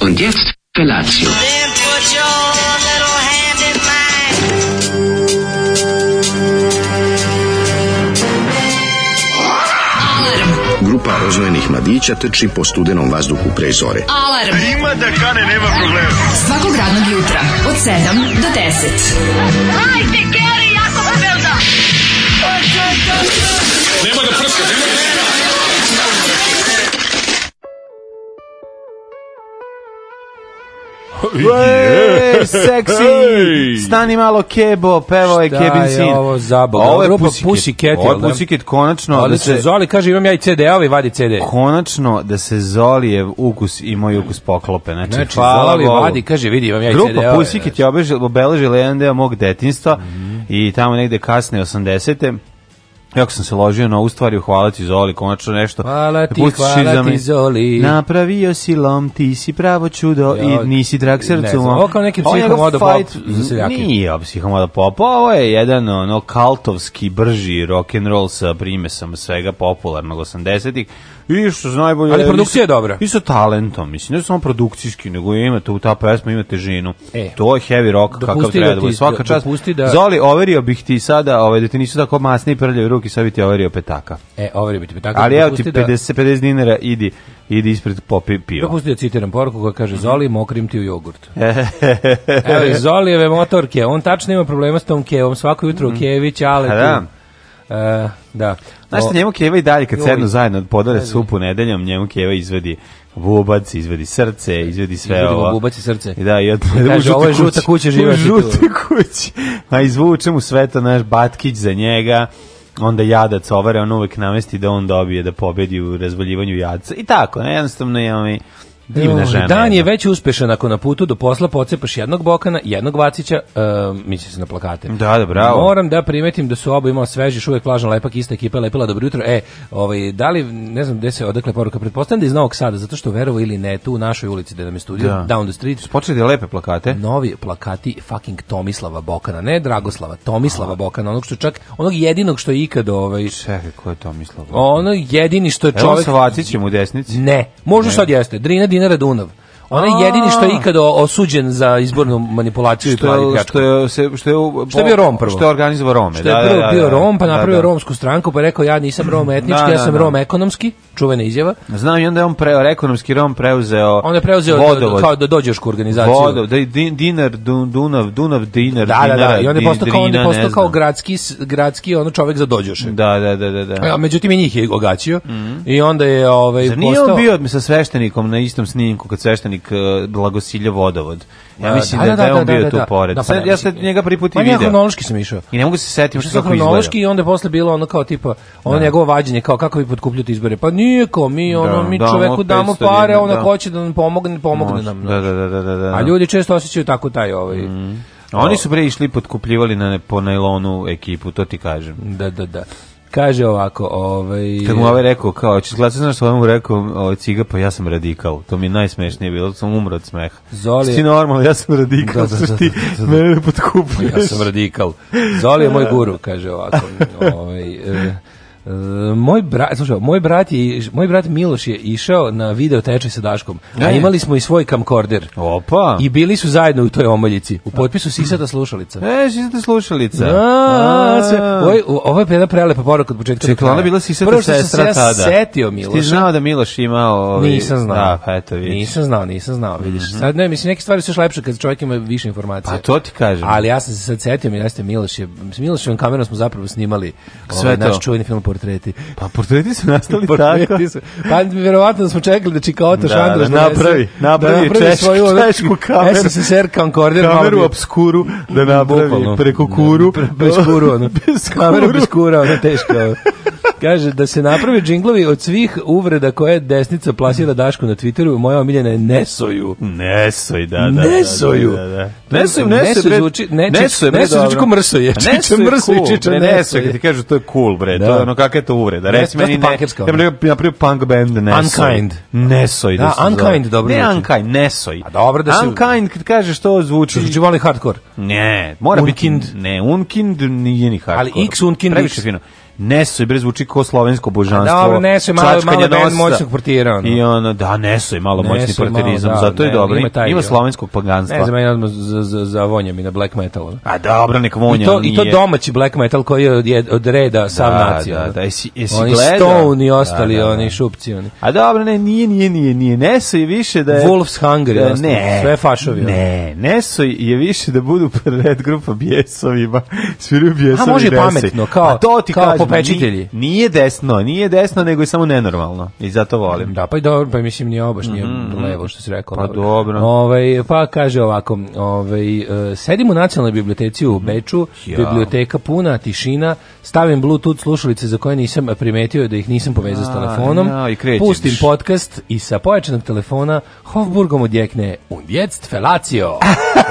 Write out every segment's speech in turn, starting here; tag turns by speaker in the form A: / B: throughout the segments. A: Und jetzt Felatio.
B: Then put your little hand in mine.
C: Grupa rozvojenih mladića trči po studenom vazduhu pre zore.
D: Alarm. E, Ima da kane, nema problema. Svakog radnog jutra, od 7 do 10.
E: Ej, seksi!
F: Ej!
E: Stani malo Kebo, pevao je
G: Šta
E: Kevin
G: je
E: Sin.
G: ovo za bog?
E: Ovo je
G: Grupa
E: Pussycat.
G: Pussycat,
E: Ovo je
G: jel da?
E: Pussycat, konačno da
G: Odlično,
E: se...
G: Zoli kaže imam ja i CD-ove, vadi CD.
E: Konačno da se Zolijev ukus i moj ukus poklope. Znači,
G: Znači,
E: hvala
G: Zoli
E: Bogu.
G: vadi, kaže vidi imam ja i CD-ove.
E: Grupa Pussycat je obež- obeležila jedan deo mog detinstva
G: Mhm.
E: i tamo negde kasne 80-te. Jako sam se ložio na ovu stvar i hvala ti Zoli, konačno nešto.
G: Hvala ti,
E: Pustiš
G: hvala
E: iza
G: ti,
E: me.
G: Zoli.
E: Napravio si lom, ti si pravo čudo
G: Ja,
E: i nisi drag
G: ne
E: srcu.
G: znam,
E: mom.
G: ovo kao neki
E: Ovo je njegov
G: psihomodo pop
E: fight-
G: za seljake.
E: Nije psihomodo pop, ovo je jedan ono kaltovski, brži rock'n'roll sa primesom svega popularnog 80-ih. I što se najbolje...
G: Ali produkcija je dobra.
E: I sa talentom, mislim, ne samo produkcijski, nego imate u ta pesma, imate žinu.
G: E.
E: to je heavy rock kakav
G: Dopusti da
E: treba da bude.
G: ti-
E: Svaka čast.
G: dopusti da-
E: Zoli, overio bih ti sada, ovaj, da ti nisu tako masni i prljaju ruki, sad bi ti overio petaka.
G: E, ovdje biti tako.
E: Ali evo ti
G: dopusti da-
E: 50, 50 dinara, idi, idi ispred popi pivo.
G: Dopusti da citiram poruku koja kaže Zoli, mokrim ti u jogurt. Evo, iz Zolijeve motorke. On tačno ima problema s tom kevom. Svako jutro u kevi ćale.
E: Mhm. A da.
G: tu. E, da.
E: Znaš
G: O,
E: šta, njemu Keva i dalje kad
G: Joj.
E: sednu zajedno podare supu nedeljom, njemu Keva izvedi bubac, izvedi srce, izvedi sve
G: Izvedi mu
E: ovo.
G: bubac i srce.
E: I da, i od,
G: Kaže,
E: u žute
G: ovo je žuta
E: kući-
G: kuća, živeti tu.
E: u žute kući. A izvuče mu sve to naš Batkić za njega, onda jadac ovare, on uvek namesti da on dobije da pobedi u razvaljivanju jadca. I tako, ne, jednostavno je ovaj divna
G: Joj,
E: žena.
G: Dan je
E: jedna.
G: već uspešan ako na putu do posla pocepaš jednog Bokana, jednog Vacića, uh, misli se na plakate.
E: Da, da, bravo.
G: Moram da primetim da su oba imala sveži, još uvek lažan lepak, ista ekipa je lepila dobro jutro. E, ovaj, da li, ne znam gde se odakle poruka, pretpostavljam da je iz Novog Sada, zato što verovo ili ne, tu u našoj ulici da nam je studio,
E: Da.
G: down the street,
E: Počeli da lepe plakate.
G: novi plakati fucking Tomislava Bokana, ne Dragoslava, Tomislava Bokana, onog što čak, onog jedinog što je ikad, ovaj,
E: Čekaj, ko je to mislao?
G: ono jedini što je
E: Evo
G: čovjek...
E: sa Vacićem u desnici.
G: Ne, možda sad jeste. Drina Dinara Dunav. Ona
E: A.
G: je jedini što je ikada o- osuđen za izbornu manipulaciju i
E: što
G: pravi
E: je,
G: pljačku.
E: što je, se, što je, u-
G: Što je bio Rom prvo.
E: Što je organizovao Rome.
G: Što je
E: da,
G: prvo
E: da, da,
G: bio
E: da.
G: Rom, pa
E: Da,
G: napravio
E: da.
G: romsku stranku, pa je rekao ja nisam Rom etnički,
E: Da,
G: ja
E: da,
G: sam
E: da.
G: Rom ekonomski, čuvena izjava.
E: Znam i onda je on preo, ekonomski Rom preuzeo
G: On je preuzeo
E: vodovod.
G: kao da dođešku organizaciju.
E: Vodov, da, i di- dinar, du- Dunav, Dunav, dinar,
G: Da, da, da,
E: dinara,
G: i on je
E: di-
G: postao kao, on je
E: drina,
G: postao
E: ne
G: kao
E: znam.
G: gradski, s- gradski ono čovek za dođoše. Mhm.
E: Da, da, da, da. da.
G: A, međutim i njih je ogaćio i onda je ovaj,
E: Zar nije
G: postao...
E: on bio sa sveštenikom na istom snimku kad sveštenik uh, blagosilja vodovod? Ja
G: Da,
E: mislim
G: da,
E: da, da,
G: da,
E: je on
G: da,
E: bio
G: da,
E: tu
G: da.
E: pored.
G: Da, pa
E: Sad
G: ne,
E: ja sam
G: mislim-
E: njega prvi put i
G: Pa ja
E: video.
G: hronološki sam išao.
E: I ne mogu se setim što
G: Što
E: kako
G: hronološki
E: izgleda.
G: i onda je posle bilo ono kao tipa ono njegovo vađenje kao kako vi potkupljujete izbore pa nije kao mi ono
E: Da,
G: mi
E: da, ono
G: čoveku damo
E: 500
G: pare
E: dinara,
G: ono
E: da.
G: hoće da nam pomogne pomogne
E: Može,
G: nam
E: Da, da, da, da, da, da.
G: a ljudi često osjećaju tako taj ovaj
E: Oni su pre išli i potkupljivali na, po najlonu ekipu, to ti kažem.
G: da da da kaže ovako ovaj
E: Kad mu ovaj rekao, kao, ćeš glasati, znaš što ovaj mu rekao, ovaj ciga, pa ja sam radikal. To mi je najsmešnije bilo, sam umro od smeha.
G: Zoli je-
E: Ti normalno, ja sam radikal,
G: Da, da,
E: što
G: da,
E: ti
G: da, da, da.
E: mene potkupuješ.
G: ja sam radikal Zoli je moj guru kaže ovako ovaj e, e, moj brat, slušaj, moj brat je, moj brat Miloš je išao na video tečaj sa Daškom, a
E: E.
G: imali smo i svoj kamkorder.
E: Opa!
G: I bili su zajedno u toj omoljici. U potpisu sisata slušalica.
E: E, što ste slušalica?
G: A,
E: A,
G: sve- Ovo- Ovo je jedna prelepa poruka od početka. do
E: Čekaj, ona
G: kraja.
E: bila si
G: Prvo
E: sada
G: što sam se
E: sestra
G: ja
E: tada.
G: setio
E: Ti
G: Miloša.
E: znao da Miloš imao... Ovi...
G: Nisam znao.
E: Da, pa eto vidiš. Mhm.
G: Nisam znao, nisam znao, vidiš. Sad ne, mislim, neke stvari su još lepše kad čovjek ima više informacija.
E: Pa to ti kažem.
G: Ali ja sam se sad setio, mi jeste Miloš je, s Miloševom kamerom smo zapravo snimali
E: Sve
G: ovaj,
E: to.
G: naš čuveni film Portreti.
E: Pa portreti su nastali tako.
G: Portreti su- Pa verovatno da smo čekali da Čikaota
E: Da,
G: Šandor
E: da napravi, napravi češ-
G: ono-
E: češku
G: E,
E: kameru.
G: SSR Concorder. malo
E: Kameru
G: bi-
E: obskuru da napravi
G: Bukvalno.
E: preko kuru.
G: Pre- bez kuru, ono.
E: Bez
G: Kamera
E: kuru.
G: bez kura, ono, teško. ono. Kaže da se naprave džinglovi od svih uvreda koje desnica plasira Dašku na Twitteru, moja omiljena je Nesoju.
E: Nesoj, da, da, da.
G: Nesoju.
E: da, da, da. Nesoj, nesoj,
G: Nesoj
E: bre.
G: zvuči- ne, čič-
E: nesoj, bre,
G: nesoj zvuči
E: dobro.
G: ko mrsoje.
E: A
G: Čiča
E: nesoj je
G: mrsoje,
E: ono. cool,
G: čiča
E: bre,
G: nesoj
E: nesoj,
G: je.
E: kad ti kažu to je cool, bre, to
G: Da.
E: je ono kakva je to uvreda.
G: Ne,
E: Reci
G: dosta
E: meni ne.
G: punkerska,
E: Ja
G: ono.
E: bih rekao- ja bih rekao punk band Nesoj.
G: Unkind.
E: Nesoj da,
G: Da,
E: se zove.
G: Unkind dobro
E: Ne
G: zvuči.
E: Unkind, Nesoj.
G: A dobro da se-
E: Unkind kad kažeš to zvuči
G: Zvuči voli hardcore.
E: Ne, mora
G: Unkind.
E: biti ne, Unkind nije ni hardcore.
G: Ali X Unkind
E: Previše
G: X.
E: fino. Neso i bre zvuči kao slovensko božanstvo.
G: dobro, Neso je malo-
E: čačkanje
G: malo band
E: nosa.
G: moćnog portira, ono.
E: I ono, da, Neso je malo
G: Neso
E: moćni
G: je malo,
E: portirizam,
G: da,
E: zato je
G: ne,
E: dobro.
G: ima taj
E: Ima
G: dio.
E: slovenskog paganstva.
G: Ne znam, meni odmah za, za, za vonja mi na black metal. ono.
E: A dobro, nek vonja
G: I to, I to
E: nije.
G: domaći black metal koji je od, je od reda sam
E: Da,
G: nacija.
E: da,
G: ono.
E: da, jesi- jesi
G: oni
E: gledao?
G: Stone i ostali,
E: Da, da, da.
G: oni šupci. Oni.
E: A dobro, ne, nije, nije, nije, nije. Neso je više da je...
G: Wolf's Hungry,
E: Da,
G: ostalo.
E: ne.
G: Sve fašovi, ono.
E: Ne, Neso je više da budu red grupa bjesovima. Sviraju bjesovi
G: A, može i
E: Neso.
G: pametno, kao-
E: A to ti
G: kao
E: kažem,
G: popečitelji.
E: ni- Nije desno, nije desno, nego je samo nenormalno. I zato volim. Mhm,
G: Da, pa i dobro, pa mislim nije obaš, nije levo što si rekao.
E: Pa dobro.
G: Ovaj, pa kaže ovako, ovaj, e, sedim u nacionalnoj biblioteci u Beču,
E: Mhm. Ja.
G: biblioteka puna, tišina, stavim bluetooth slušalice za koje nisam primetio da ih nisam povezao s
E: A,
G: telefonom,
E: ja, i krećeš.
G: pustim podcast i sa pojačanog telefona Hofburgom odjekne Und jetzt felatio.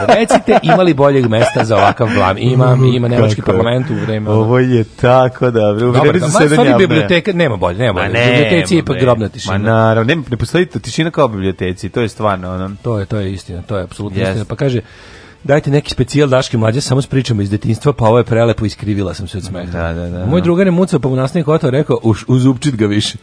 G: Recite, ima li boljeg mesta za ovakav blam? Ima, ima nemački
E: Kako je?
G: parlament u vreme. ono,
E: Ovo je tako dobro. U vreme
G: Dobar, da, pa ma,
E: zasedanja
G: stvari
E: apne.
G: biblioteka, nema bolje, nema
E: Ma
G: bolje.
E: ne,
G: Biblioteci je ipak
E: bre.
G: grobna tišina.
E: Ma naravno, ne, ne postoji to tišina kao u biblioteci, to je stvarno ono.
G: To je, to je istina, to je apsolutno
E: Jeste.
G: istina. Pa kaže, dajte neki specijal Daške mlađe samo s pričama iz detinjstva, pa ovo je prelepo, iskrivila sam se od smeha.
E: Da, da, da.
G: Moj drugar je mucao, pa mu nastavnik oto rekao, Uš, uzupčit ga više.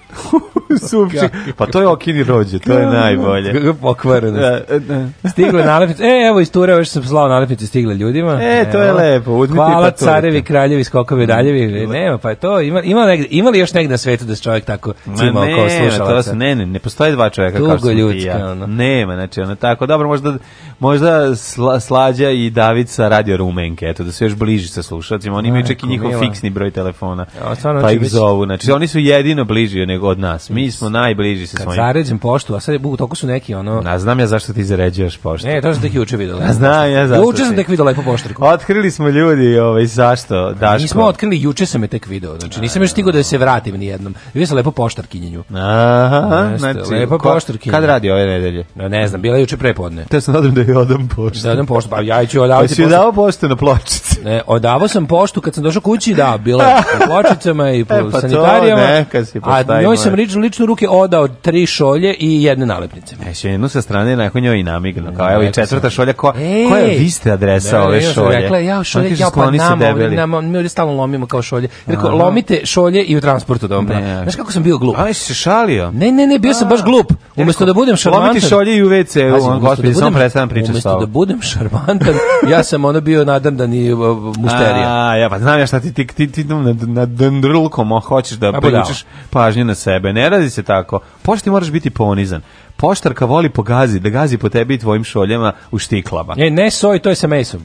E: Supčik. Pa to je okini rođe, to je najbolje.
G: Kako pokvareno.
E: Da, da.
G: Stigle nalepnice. E, evo iz Ture, još sam slao nalepnice stigle ljudima.
E: E, to je
G: Evo.
E: lepo, uzmite i pa Mm,
G: Hvala
E: paturite.
G: carevi, kraljevi, skokovi, daljevi. Nema, pa je to. Ima, ima, negde, ima li još negde na svetu da se čovjek tako cima
E: ne,
G: oko
E: to su-
G: slušalaca?
E: ne, ne, ne postoje dva čoveka
G: Tugo
E: kao što sam ti
G: ljudska,
E: ja.
G: ono.
E: Nema, znači, ono, tako, dobro, možda, možda sla- Slađa i Davica radio rumenke, eto, da su još bliži sa slušalcima, oni imaju čak i
G: Majko
E: njihov
G: mila.
E: fiksni broj telefona,
G: Ja, stvarno,
E: pa
G: znači,
E: ih
G: već-
E: zovu, znači, oni su jedino bliži nego od nas, mi smo najbliži sa
G: Kad
E: svojim.
G: zaređem poštu, a sad je, bu, toliko su neki ono...
E: A znam ja zašto ti zaređuješ poštu.
G: Ne, to sam tek juče vidio.
E: A znam ja zašto
G: Juče sam
E: si.
G: tek vidio lepo poštarku.
E: Otkrili smo ljudi, ovaj, zašto, Daško.
G: Pa Nismo otkrili, juče sam je tek video. Znači, nisam još stigao da se vratim nijednom. Vidio sam lepo poštarkinjenju.
E: Aha,
G: Jeste,
E: znači,
G: lepa
E: ko-
G: poštarkinja.
E: Kad radi ove nedelje?
G: No, ne znam, bila je juče prepodne.
E: Te sam nadam da je odam poštu.
G: Da, odam poštu, pa ja ću odavati
E: Jesi
G: poštu.
E: joj dao poštu na pločici?
G: Ne, odavao sam poštu kad sam došao kući, da, bila je po pločicama i po
E: E, pa to
G: sanitarijama.
E: neka si
G: a
E: postavi,
G: njoj sam
E: moj.
G: lično, lično u ruke odao tri šolje i jedne nalepnice.
E: E, Še jednu sa strane, nakon njoj i namigno. Kao, evo i
G: Rekao
E: četvrta
G: sam.
E: šolja, ko,
G: Ej!
E: koja je vi ste adresa
G: Da,
E: ove
G: ja sam
E: šolje?
G: Rekla, ja
E: Ona
G: šolje,
E: kaže,
G: ja pa
E: skloni se
G: nama, ovdje,
E: debeli.
G: nama, mi ovdje stalno lomimo kao šolje. Rekao,
E: Aha.
G: lomite šolje i u transportu da vam
E: Ne.
G: pravim. Znaš kako sam bio glup?
E: A, jesi se šalio?
G: Ne, ne, ne, bio sam baš glup. Umesto da budem šarmantan.
E: Lomiti šolje i u WC,
G: Pazi,
E: u on
G: umesto
E: gospodin,
G: da
E: samo
G: budem-
E: prestavam pričati s
G: Umesto da
E: tobom.
G: budem šarmantan, ja sam ono bio nadardan i uh, musterija.
E: A, ja pa znam ja šta ti ti ti, ti na, na dendrulkom o, hoćeš da
G: pa da.
E: privučeš pažnju na sebe. Ne radi se tako. Pošti moraš biti ponizan. Poštarka voli pogazi, da gazi po tebi i tvojim šoljama u štiklama.
G: E, Ne, ne soj, to je sa mesom.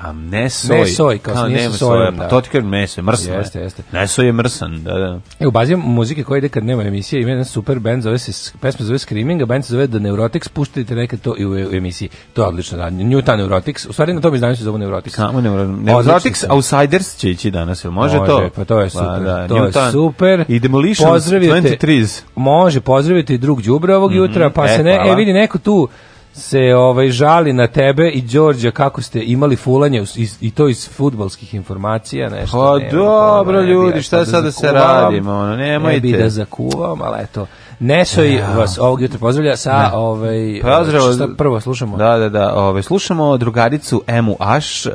E: A ne soj.
G: Ne soj, kao nije sa
E: nema
G: sojom,
E: soja, pa
G: da.
E: To ti kažem meso, je mrsan.
G: Jeste,
E: je.
G: jeste.
E: Ne soj je mrsan, da, da.
G: E, u bazi muzike koja ide kad nema emisije, ima jedan super band, zove se, pesma zove Screaming, a band se zove The Neurotics, puštajte nekad to i u, e-, u emisiji. To je odlično radnje. New Ta Neurotics, u stvari na tom izdanju se zove Neurotics.
E: Samo ne moram. Ne,
G: Odlični
E: Zotix
G: su.
E: Outsiders će ići danas, jel može, to?
G: Pa to je super.
E: Pa da,
G: to je
E: Newton
G: super.
E: I Demolition
G: Pozdravite-
E: 23s.
G: Može, pozdravite i drug đubra ovog jutra, pa
E: e,
G: se ne,
E: hvala.
G: e vidi neko tu se ovaj žali na tebe i Đorđa kako ste imali fulanje us- iz- i to iz fudbalskih informacija nešto.
E: Pa
G: nema
E: dobro,
G: pojma, ne bi
E: ljudi,
G: ja
E: šta sad da se
G: zakuvam,
E: radimo, ono, nemojte.
G: Ne bi da zakuvam, ali eto. Nesoj vas ovog jutra pozdravlja sa ovaj
E: Pozdrav.
G: šta prvo slušamo.
E: Da, da, da. Ove, slušamo drugaricu Emu Aš e,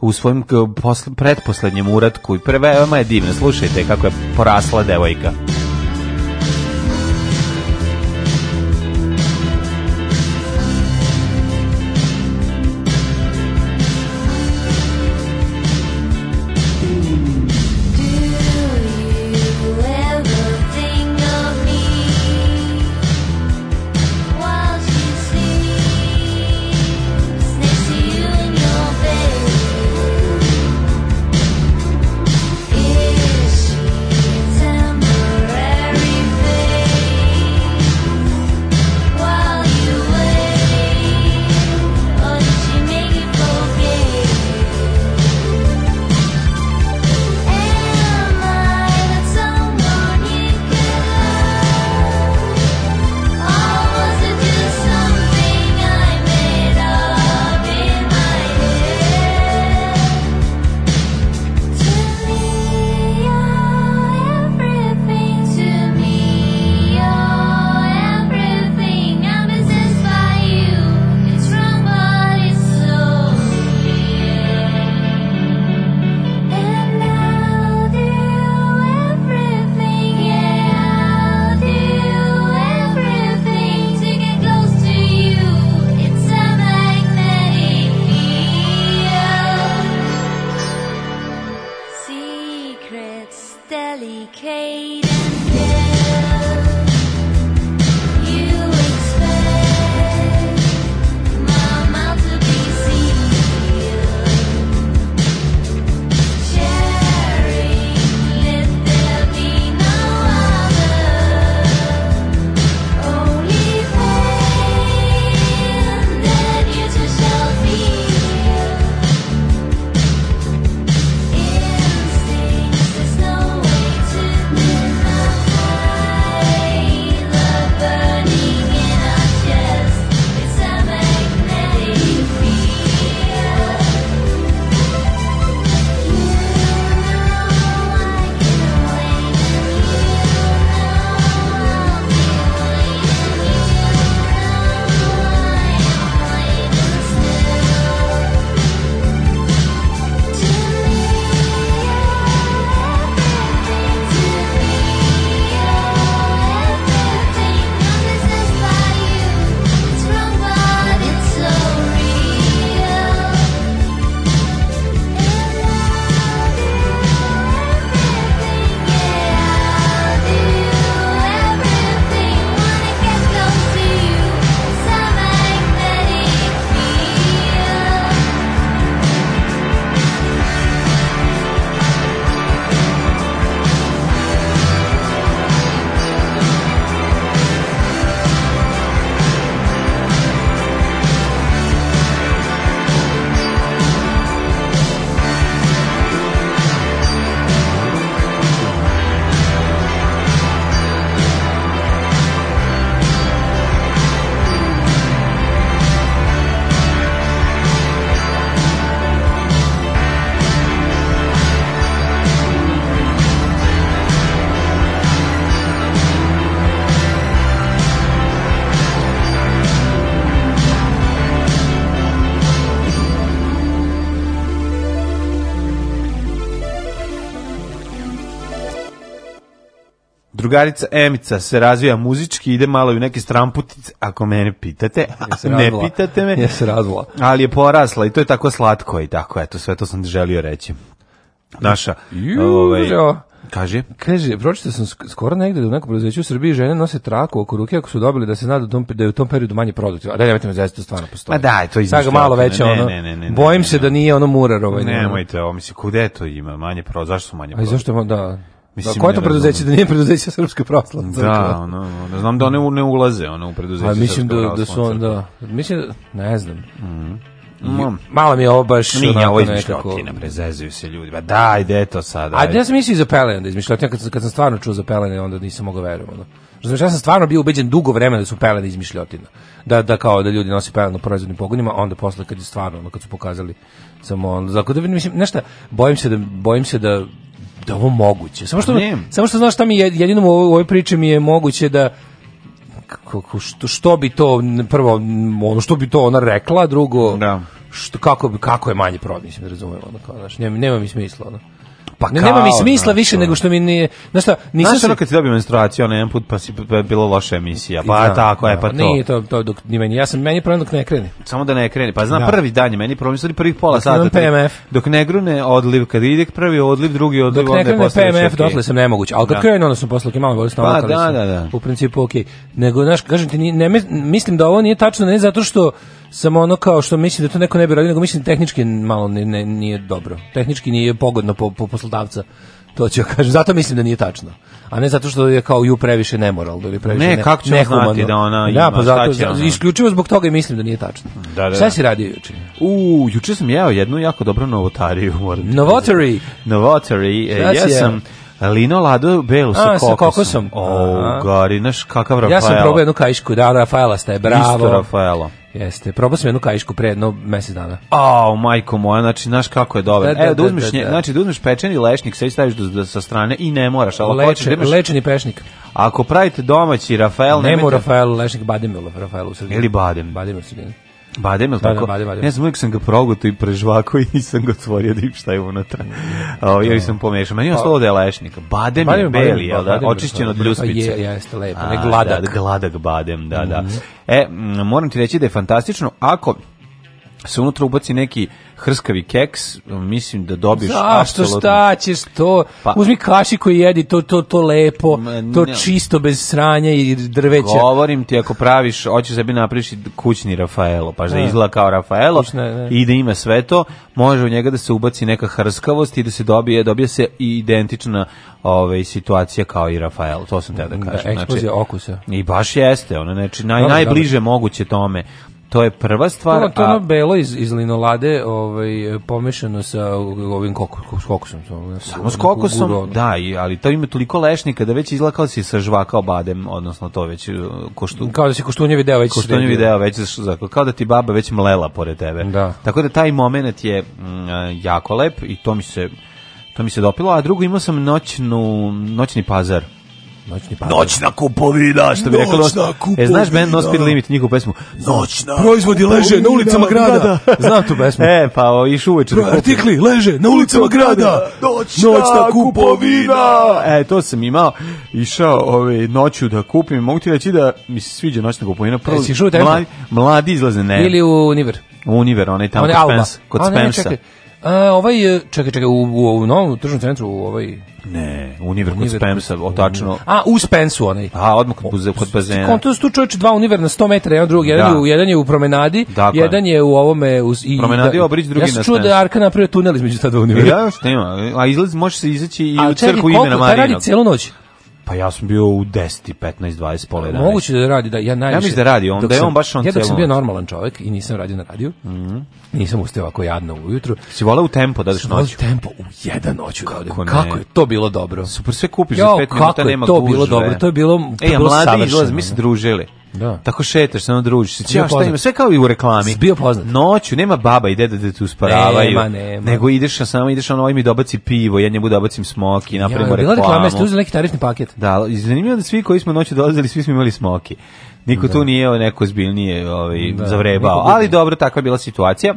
E: u svojem k- posl- pretposlednjem uratku i pre- veoma je divno. Slušajte kako je porasla devojka.
A: Is she a tambourine?
E: Drugarica Emica se razvija muzički, ide malo i u neke stramputice, ako mene pitate,
G: Ja se
E: ne
G: razvla.
E: pitate me.
G: Ja se razvla.
E: Ali je porasla i to je tako slatko i tako, eto, sve to sam želio reći. Naša, Ovaj,
G: Južo.
E: kaže,
G: Kaže, pročitao sam sk- skoro negde da u nekom preduzeću u Srbiji žene nose traku oko ruke ako su dobili da se zna da, u tom, da je u tom periodu manje produktivno. A da, nemojte me zezati, to stvarno postoji.
E: Ma Pa daj, to je
G: Sad ga malo
E: izmišljotina.
G: veće,
E: Ne,
G: ono,
E: ne, ne, ne, ne,
G: bojim
E: ne,
G: se
E: ne.
G: da nije ono murar ovaj. ne,
E: nemojte ovo, mislim, kude to ima, manje pro, zašto su manje
G: A i
E: pro?
G: zašto, mo- da,
E: Mislim,
G: da, koje
E: ne
G: to preduzeće
E: razumem.
G: da nije preduzeće Srpske pravoslavne crkve?
E: Da, ono, ono, znam da one u- ne ulaze, ono, u preduzeće.
G: A mislim da,
E: Srpske
G: da su
E: pravoslavne
G: on, da, mislim, da- ne znam.
E: crkve. Mm.
G: Malo mi je ovo baš
E: Nije
G: onako
E: ovo
G: nekako-
E: izmišljotina, prezezuju se ljudi. Ba daj, gde je to sada?
G: A ja sam mislio i za pelene da izmišljotina, kad sam, kad sam stvarno čuo za pelene, onda nisam mogao verujem. Ono. Razumiješ, ja sam stvarno bio ubeđen dugo vremena da su pelene izmišljotina. Da, da kao da ljudi nose pelene u proizvodnim pogonima, a onda posle kad je stvarno, ono, kad su pokazali samo ono, dakle, da vidim, mislim, znaš šta, bojim se da, bojim se da da je ovo moguće. Samo što,
E: Pa Ne.
G: samo što znaš šta mi je, jedino u ovoj, u ovoj priči mi je moguće da kako, što, što bi to n- prvo m, ono što bi to ona rekla drugo
E: Da.
G: što kako bi kako je manje prod mislim da razumem ono kao znaš nema, nema mi smisla ono pa ne,
E: kao,
G: nema mi smisla
E: znaš,
G: više
E: ono.
G: nego što mi nije znaš šta nisam
E: Znaš
G: se
E: ono kad si dobio menstruaciju, ono jedan put pa si pa je bilo loša emisija, pa
G: Da,
E: tako je,
G: da,
E: pa to.
G: Nije to, to dok ni meni. Ja sam meni je problem dok ne krene.
E: Samo da ne krene, pa znam
G: Da.
E: prvi dan je meni problem, stvari prvih pola
G: Dok
E: sata.
G: imam
E: tri-
G: PMF.
E: Dok ne grune odliv, kad ide prvi odliv, drugi odliv,
G: Dok ne
E: onda je
G: krene
E: posle već
G: PMF,
E: okej.
G: dotle sam nemoguć. Ali kad
E: Da.
G: krene, onda sam posle ok, malo bolje
E: Pa,
G: stalo.
E: da, da, da.
G: U principu ok. Nego, znaš, kažem ti, ni- ne, mis- mislim da ovo nije tačno, ne zato što sam ono kao što mislim da to neko ne bi radio, nego mislim tehnički malo ne, ne- nije dobro. Tehnički nije pogodno po, po poslodavca. To ću ja kažem. Zato mislim da nije tačno. A ne zato što je kao ju previše nemoralno ili previše
E: Ne,
G: ne,
E: kako ćemo
G: nehumano.
E: znati da ona
G: Da,
E: ima,
G: pa
E: šta
G: zato,
E: će ona?
G: isključivo zbog toga i mislim da nije tačno.
E: Da, da, da.
G: Šta si radio juče?
E: U, juče sam jeo jednu jako dobru novotariju. moram ti
G: Novotary.
E: reći. Novotary. e,
G: Šta si jeo?
E: Ja sam lino ladu belu sa
G: A, sa
E: kokosom.
G: kokosom.
E: O,
G: Aha.
E: gari, znaš kakav Rafaelo.
G: Ja sam probao jednu kaišku, da, Rafaela ste, bravo.
E: Isto Rafaelo.
G: Jeste, probao sam jednu kaišku pre jedno mesec dana.
E: A, majko moja, znači, znaš kako je dobro.
G: Da, da,
E: Evo, da
G: da,
E: uzmeš,
G: da,
E: nje-
G: da.
E: znači, da uzmeš pečeni lešnik, sve staviš do, do- sa strane i ne moraš, ali ako hoćeš da
G: Leče,
E: imaš-
G: lečeni pešnik.
E: Ako pravite domaći Rafael,
G: Nema u
E: nemojte-
G: Rafaelu, lešnik Badimilo, Rafaelu u sredini.
E: Ili badem.
G: Badimilo u sredini.
E: Badem, jel
G: Da, da,
E: tako?
G: badem, badem.
E: Ne znam, uvijek sam ga progutao i prežvako i nisam ga otvorio da vidim šta je unutra. O, ja sam pomešao.
G: Pa,
E: Meni je ostalo da je lešnik. Badem, je
G: Badem, badem,
E: beli, jel da?
G: badem,
E: Očišćen od
G: badem,
E: ljuspice.
G: je, jeste, lepo,
E: A,
G: ne, gladak.
E: Da, gladak badem, da, da. E, m, moram ti reći da je fantastično. Ako se unutra ubaci neki hrskavi keks, mislim da dobiješ
G: Zašto
E: apsolutno-
G: šta ćeš to?
E: Pa-
G: Uzmi kašiku i jedi to, to, to lepo,
E: Ma,
G: to
E: ne.
G: čisto bez sranja i drveća.
E: Govorim ti, ako praviš, hoćeš sebi napraviš i kućni Rafaelo, pa da izgleda kao Rafaelo
G: Kućna, ne.
E: i da ima sve to, može u njega da se ubaci neka hrskavost i da se dobije, dobije se i identična ovaj, situacija kao i Rafaelo, to sam teo da
G: Da,
E: kažem. Znači,
G: eksplozija okusa.
E: I baš jeste, ono, znači, naj,
G: Dobro,
E: najbliže moguće tome. To je prva stvar,
G: To, to
E: a-
G: ono belo iz, iz linolade ovaj, pomešano sa ovim koko, s kokosom.
E: Samo s
G: onako
E: kokosom,
G: guro, ono.
E: da, i, ali to ima toliko lešnika da već izgleda kao si sa žvakao badem, odnosno to već uh, koštu,
G: Kao da se koštunjevi deo već
E: koštonji
G: sredio.
E: video već za- za- kao da ti baba već mlela pored tebe.
G: Da.
E: Tako da taj moment je mm, e, jako lep i to mi se to mi se dopilo, a drugo imao sam noćnu, noćni pazar.
G: Noćni
H: Pa
G: pazar.
E: Noćna kupovina, što bi rekao.
A: Noćna
E: E, znaš band No
A: kupovina.
E: Speed Limit, njihovu pesmu?
A: Noćna.
G: Proizvodi leže na ulicama
A: kupovina,
G: grada. Znam tu pesmu.
E: E, pa o, išu uveče. da kupim.
G: Artikli leže na ulicama grada.
A: Noćna kupovina.
E: E, to sam imao. Išao ove, noću da kupim. Mogu ti reći da mi se sviđa noćna kupovina. Prvo,
G: Jesi išao u Tempo?
E: mladi, mladi izlaze, ne.
G: Ili u Niver.
E: Univer, onaj tamo
G: On je
E: kod
G: Alba.
E: Spemsa. Kod
G: A, ne, ne,
E: Spemsa.
G: čekaj. A, ovaj, e, čekaj, čekaj, u, u, u novom tržnom centru, u ovaj...
E: Ne, Univer kod
G: Univer-
E: Spemsa, otačno.
G: A, u Spensu onaj.
E: A, odmah kod, buze, kod bazena.
G: Konto su tu čovječe dva univer na 100 metara, jedan drugi, jedan,
E: E. Da.
G: je, u, jedan je u promenadi,
E: Dakle.
G: jedan je u ovome... Uz, i,
E: Promenadi Obrić, drugi
G: ja sam
E: na
G: čuo da je
E: Spensu.
G: Arka napravio tunel između ta dva univera.
E: Ja, šta ima? A izlaz, može se izaći i u
G: Ali čekaj,
E: crku
G: koliko,
E: imena
G: taj radi
E: Marinog.
G: celu noć.
E: Pa ja sam bio u 10, 15, 20, pola 11.
G: Moguće da radi, da ja najviše...
E: Ja mislim da radi on,
G: dok
E: da je
G: sam-
E: on baš on Mhm.
G: Ja dok sam
E: celu
G: bio
E: noć.
G: normalan čovjek i nisam radio na radiju, nisam ustao ovako jadno ujutru,
E: Si volao u tempo da ideš
G: Noć.
E: noću.
G: tempo u jedan noću da odem.
E: ne?
G: Kako je to bilo dobro.
E: Super, sve kupiš
G: Jao,
E: za 5
G: kako
E: minuta,
G: je
E: nema
G: to
E: gužve.
G: bilo dobro, to je bilo- to
E: Ej,
G: je
E: a
G: bilo
E: mladi
G: savršeno,
E: izlaz, mi se
G: ono.
E: družili.
G: Da.
E: Tako šetaš, samo družiš. se.
G: Bio
E: Ja, šta ima,
G: poznat.
E: sve kao i u reklami.
G: Si bio poznat.
E: Noću, nema baba i deda da te usporavaju.
G: Nema, nema.
E: Nego ideš, a samo ideš, ono, ovaj mi dobaci pivo, ja njemu dobacim smoki, napravimo
G: Ja, bila
E: reklamu.
G: reklama, jeste uzeli neki tarifni paket.
E: Da, ali zanimljivo je da svi koji smo noću dolazili, svi smo imali smoki. Niko tu nije o, neko zbiljnije ovaj, zavrebao.
G: niko drugi.
E: Ali dobro, takva je bila situacija.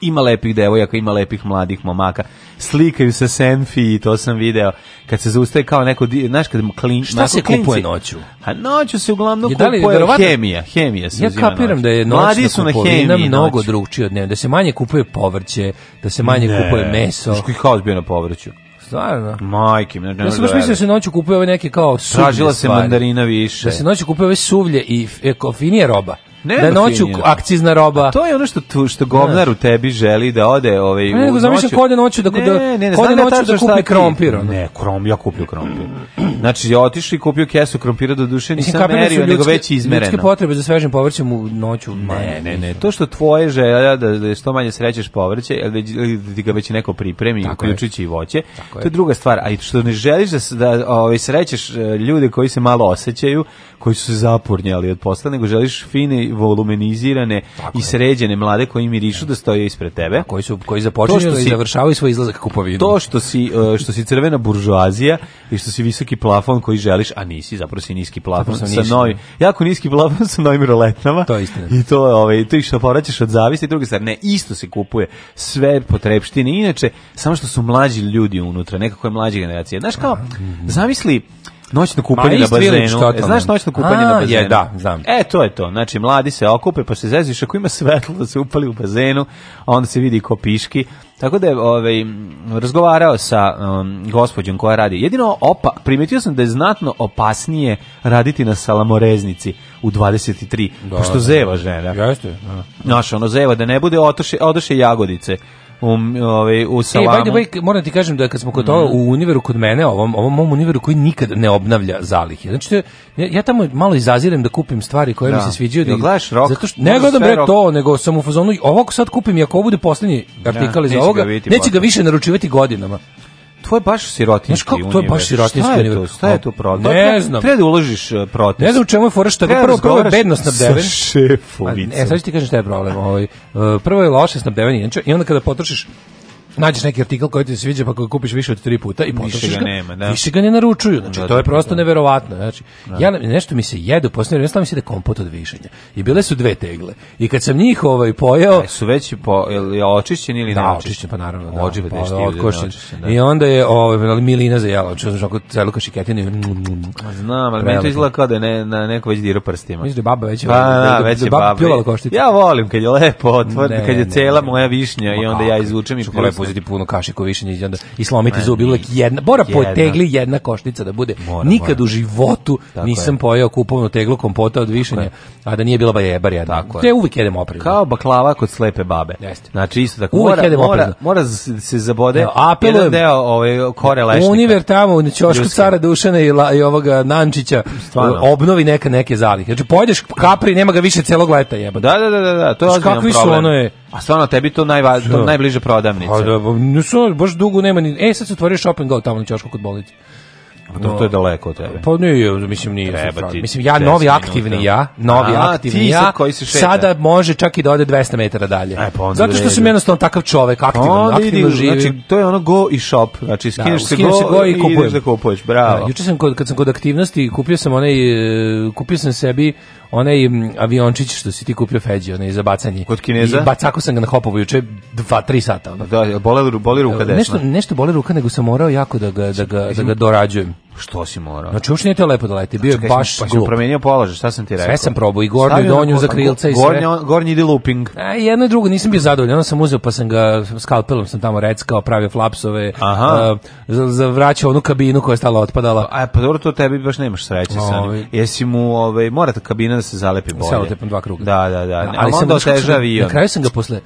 E: Ima lepih devojaka, ima lepih mladih momaka. slikaju se senfi i to sam video. Kad se zaustaje kao neko, di- znaš kad klin,
G: Šta
E: onako
G: se kupuje
E: klinci-
G: noću?
E: A noću se uglavnom
G: Je, da li-
E: kupuje
G: verovatno-
E: hemija, hemija se
G: Ja
E: uzima
G: kapiram
E: noću.
G: da je
E: Mladi
G: noćna
E: su na
G: kupovina
E: hemiji
G: mnogo
E: noću.
G: drugčija od dnevne, da se manje kupuje povrće, da se manje kupuje meso.
E: Znaš koji haos bio na povrću?
G: Stvarno.
E: Majke, mi, ne, ne,
G: Ja
E: mogu
G: sam
E: da
G: baš mislio da
E: verujem.
G: se noću kupuje ove neke kao suvlje
E: Tražila se
G: stvari.
E: mandarina više.
G: Da se noću kupuje ove suvlje i f- e, ko- finije roba.
E: Nema
G: da noću
E: finije.
G: akcizna roba.
E: To je ono što tu, što govnar u tebi želi da ode ovaj
G: Ne, nego
E: u
G: zamišljam
E: noću.
G: ko ode noću da-
E: Ne,
G: da-
E: ne, ne,
G: ko ode
E: znam ja
G: noću
E: tačno
G: da
E: šta
G: kupi
E: ti-
G: krompir, ono.
E: Ne, krom ja kupio krompir. Znači ja otišao i kupio kesu krompira do duše nisam
G: kapiram da su
E: merio, nego
G: ljudske-
E: već izmereno.
G: Ljudske potrebe za svežim povrćem u noću manje.
E: Ne, ne, ne, to što tvoje želja da, da što manje srećeš povrće, ili da- ili da ti ga već neko pripremi,
G: Tako je.
E: uključujući i voće,
G: Tako
E: to
G: je.
E: je druga stvar, a i što ne želiš da, s- da ovaj, srećeš e, ljude koji se malo osjećaju, koji su se zapurnjali od posla, nego želiš fine, volumenizirane i sređene mlade koji mirišu da stoje ispred tebe.
G: Koji su koji započinju
E: To što
G: i
E: si-
G: završavaju svoj izlazak kupovinu.
E: To što si, e, što si crvena buržuazija i što si visoki plafon koji želiš, a nisi, zapravo si niski plafon
G: Zapravo sam
E: sa
G: ništa.
E: novim, jako niski plafon sa novim roletnama.
G: To je istina.
E: I to, je, ovaj, to i što povraćaš od zavisti, druga stvar, ne, isto se kupuje sve potrebštine, inače, samo što su mlađi ljudi unutra, nekako je mlađa generacija. Znaš kao, zamisli, Noćno kupanje
G: Ma,
E: na
G: East Village
E: bazenu.
G: totalno.
E: E, Znaš noćno kupanje na
G: A,
E: bazenu?
G: je, da, znam.
E: E, to je to. Znači, mladi se okupe, pa se zeziš, ako ima svetlo da se upali u bazenu, a onda se vidi ko piški. Tako da je ovaj, m, razgovarao sa um, gospođom koja radi. Jedino, opa, primetio sam da je znatno opasnije raditi na salamoreznici u 23, pošto zeva žena.
G: Jeste. da.
E: Znaš, ono zeva da ne bude otoše, odoše jagodice u, m, ovaj, u
G: E,
E: salamu. Mhm.
G: by the way, moram ti kažem da kad smo kod toga u univeru kod mene, ovom, ovom mom univeru koji nikad ne obnavlja zalihe. Znači, to je- ja, ja tamo malo izazirem da kupim stvari koje mi
E: Da.
G: se sviđaju. Da,
E: Jel
G: ih-
E: gledaš rock?
G: Zato što,
E: Možda
G: ne gledam
E: sve
G: bre
E: rock.
G: to, nego sam u fazonu, ovo ako sad kupim i ako ovo bude poslednji artikal iz
E: neće ga
G: ovoga,
E: vidjeti
G: neće ga
E: posle.
G: više naručivati godinama.
E: To je baš
G: Znaš
E: sirotinjski
G: kako, to je baš
E: univerz.
G: sirotinjski
E: Šta je to?
G: univerz.
E: Šta je to problem?
G: Ne
E: To treba-
G: znam.
E: Treba da uložiš e, protest.
G: Ne znam u čemu je fora što ga
E: Treba
G: prvo, prvo je
E: razgovaraš
G: bedno snabdeven.
E: Sa šefovicom.
G: Pa, E, sad ću ti kažem šta je problem. Ovaj, e, prvo je loše snabdevanje, inače, i onda kada potrošiš nađeš neki artikl koji ti se sviđa pa ga kupiš više od tri puta i potrošiš
E: ga nema, da.
G: Više ga ne naručuju, znači
E: Da,
G: to je
E: da,
G: prosto neverovatno. Znači, ja na- nešto mi se jede u posljednje vreme, stalo mi se da kompot od višanja. I bile su dve tegle. I kad sam njih ovaj pojeo,
E: E, su već po, jel je očišćen ili
G: da,
E: neočišćen?
G: očišćen, pa naravno. Da,
E: Ođe
G: pa,
E: pa,
G: otkošen.
E: očišćen. Da.
G: I onda je ovaj, ali milina zajela, čuo sam šako celu kašiketinu. i mm, mm, mm.
E: Znam, ali meni
G: Prelepo.
E: to izgleda kao da je ne, na neko već dira prstima.
G: Mislim da je baba već...
E: Pa, da, već je baba.
G: pljuvala koštice.
E: Ja volim kad je lepo otvoren,
G: Ne,
E: kad je
G: ne,
E: cela
G: ne.
E: moja višnja i onda ja izvučem i
G: Što lepo
E: pljusnem.
G: uzeti puno kašiku višnje i onda i slomiti
E: Ma,
G: zub uvijek jedna. Mora po
E: Jedna.
G: tegli jedna košnica da bude.
E: Mora,
G: Nikad
E: mora.
G: u životu
E: Tako
G: nisam
E: je.
G: pojeo kupovnu teglu kompota od višanja, a da nije bila bajebar jedna.
E: Tako je.
G: Ja uvijek jedem oprezno.
E: Kao baklava kod slepe babe.
G: Jeste.
E: Znači isto tako.
G: Uvek
E: Mora,
G: jedemo
E: mora,
G: oprezno.
E: mora z- se zabode
G: Evo, apelujem.
E: jedan deo ovaj, kore lešnika.
G: Univer tamo u ćošku
E: Ljuski.
G: cara Dušana i, la, i ovoga Nančića
E: Stvarno.
G: obnovi neka neke zalihe. Znači pojedeš kapri nema ga više celog leta jeba.
E: Da, da, da, da, da, to je
G: Znaš,
E: ozbiljan
G: kakvi su,
E: problem.
G: ono je-
E: A stvarno, tebi to, najva, to
G: Što?
E: najbliže prodavnice.
G: Pa da, nisu, baš dugo nema ni... E, sad se otvorio shop and go tamo na ćošku kod bolnice.
E: to, to je daleko od tebe.
G: Pa nije, mislim nije.
E: Treba
G: sad frag.
E: ti
G: mislim ja
E: 10
G: novi
E: minuta.
G: aktivni ja, novi
E: A,
G: aktivni
E: ti sad
G: ja.
E: koji se šeta.
G: sada može čak i da ode 200 metara dalje.
E: E, pa onda
G: Zato što
E: vidi.
G: sam jednostavno takav čovek, aktivan,
E: Onda
G: aktivno
E: idi,
G: živim.
E: znači, to je ono go i shop. Znači,
G: Da,
E: skineš se
G: skinem
E: go,
G: se go i
E: ideš
G: kupujem.
E: da kupuješ, bravo.
G: Da, juče sam kod, kad sam kod aktivnosti kupio sam onaj e, kupio sam sebi onaj m, aviončić što si ti kupio Feđi, onaj za bacanje.
E: Kod Kineza?
G: I bacako sam ga na hopovo juče 2 3 sata. Ono.
E: Da, boli, ru- boli ruka desna.
G: Nešto nešto boli ruka nego sam morao jako da ga da ga da ga dorađujem.
E: Što si morao?
G: Znači uopšte nije to lepo da leti, bio je
E: Kaj si-
G: baš
E: pa si mu
G: glup.
E: promenio položaj, šta sam ti rekao?
G: Sve sam probao, i gornju, i
E: Stavio na
G: donju
E: go-
G: za krilca i sve.
E: gornja, Gornji ide looping.
G: A jedno i drugo nisam bio zadovoljan, onda sam uzeo pa sam ga skalpelom sam tamo reckao, pravio flapsove,
E: Aha.
G: uh, za- zavraćao onu kabinu koja je stala otpadala.
E: A pa dobro, to tebi baš nemaš sreće sa
G: Ovaj.
E: njim. Jesi mu, ovaj, mora ta kabina da se zalepi bolje.
G: Selotepom dva kruga.
E: Da, da, da. Ali,
G: sam-
E: onda
G: znaš kako sam
E: oteža
G: ga-
E: avion.
G: Na kraju sam ga posle...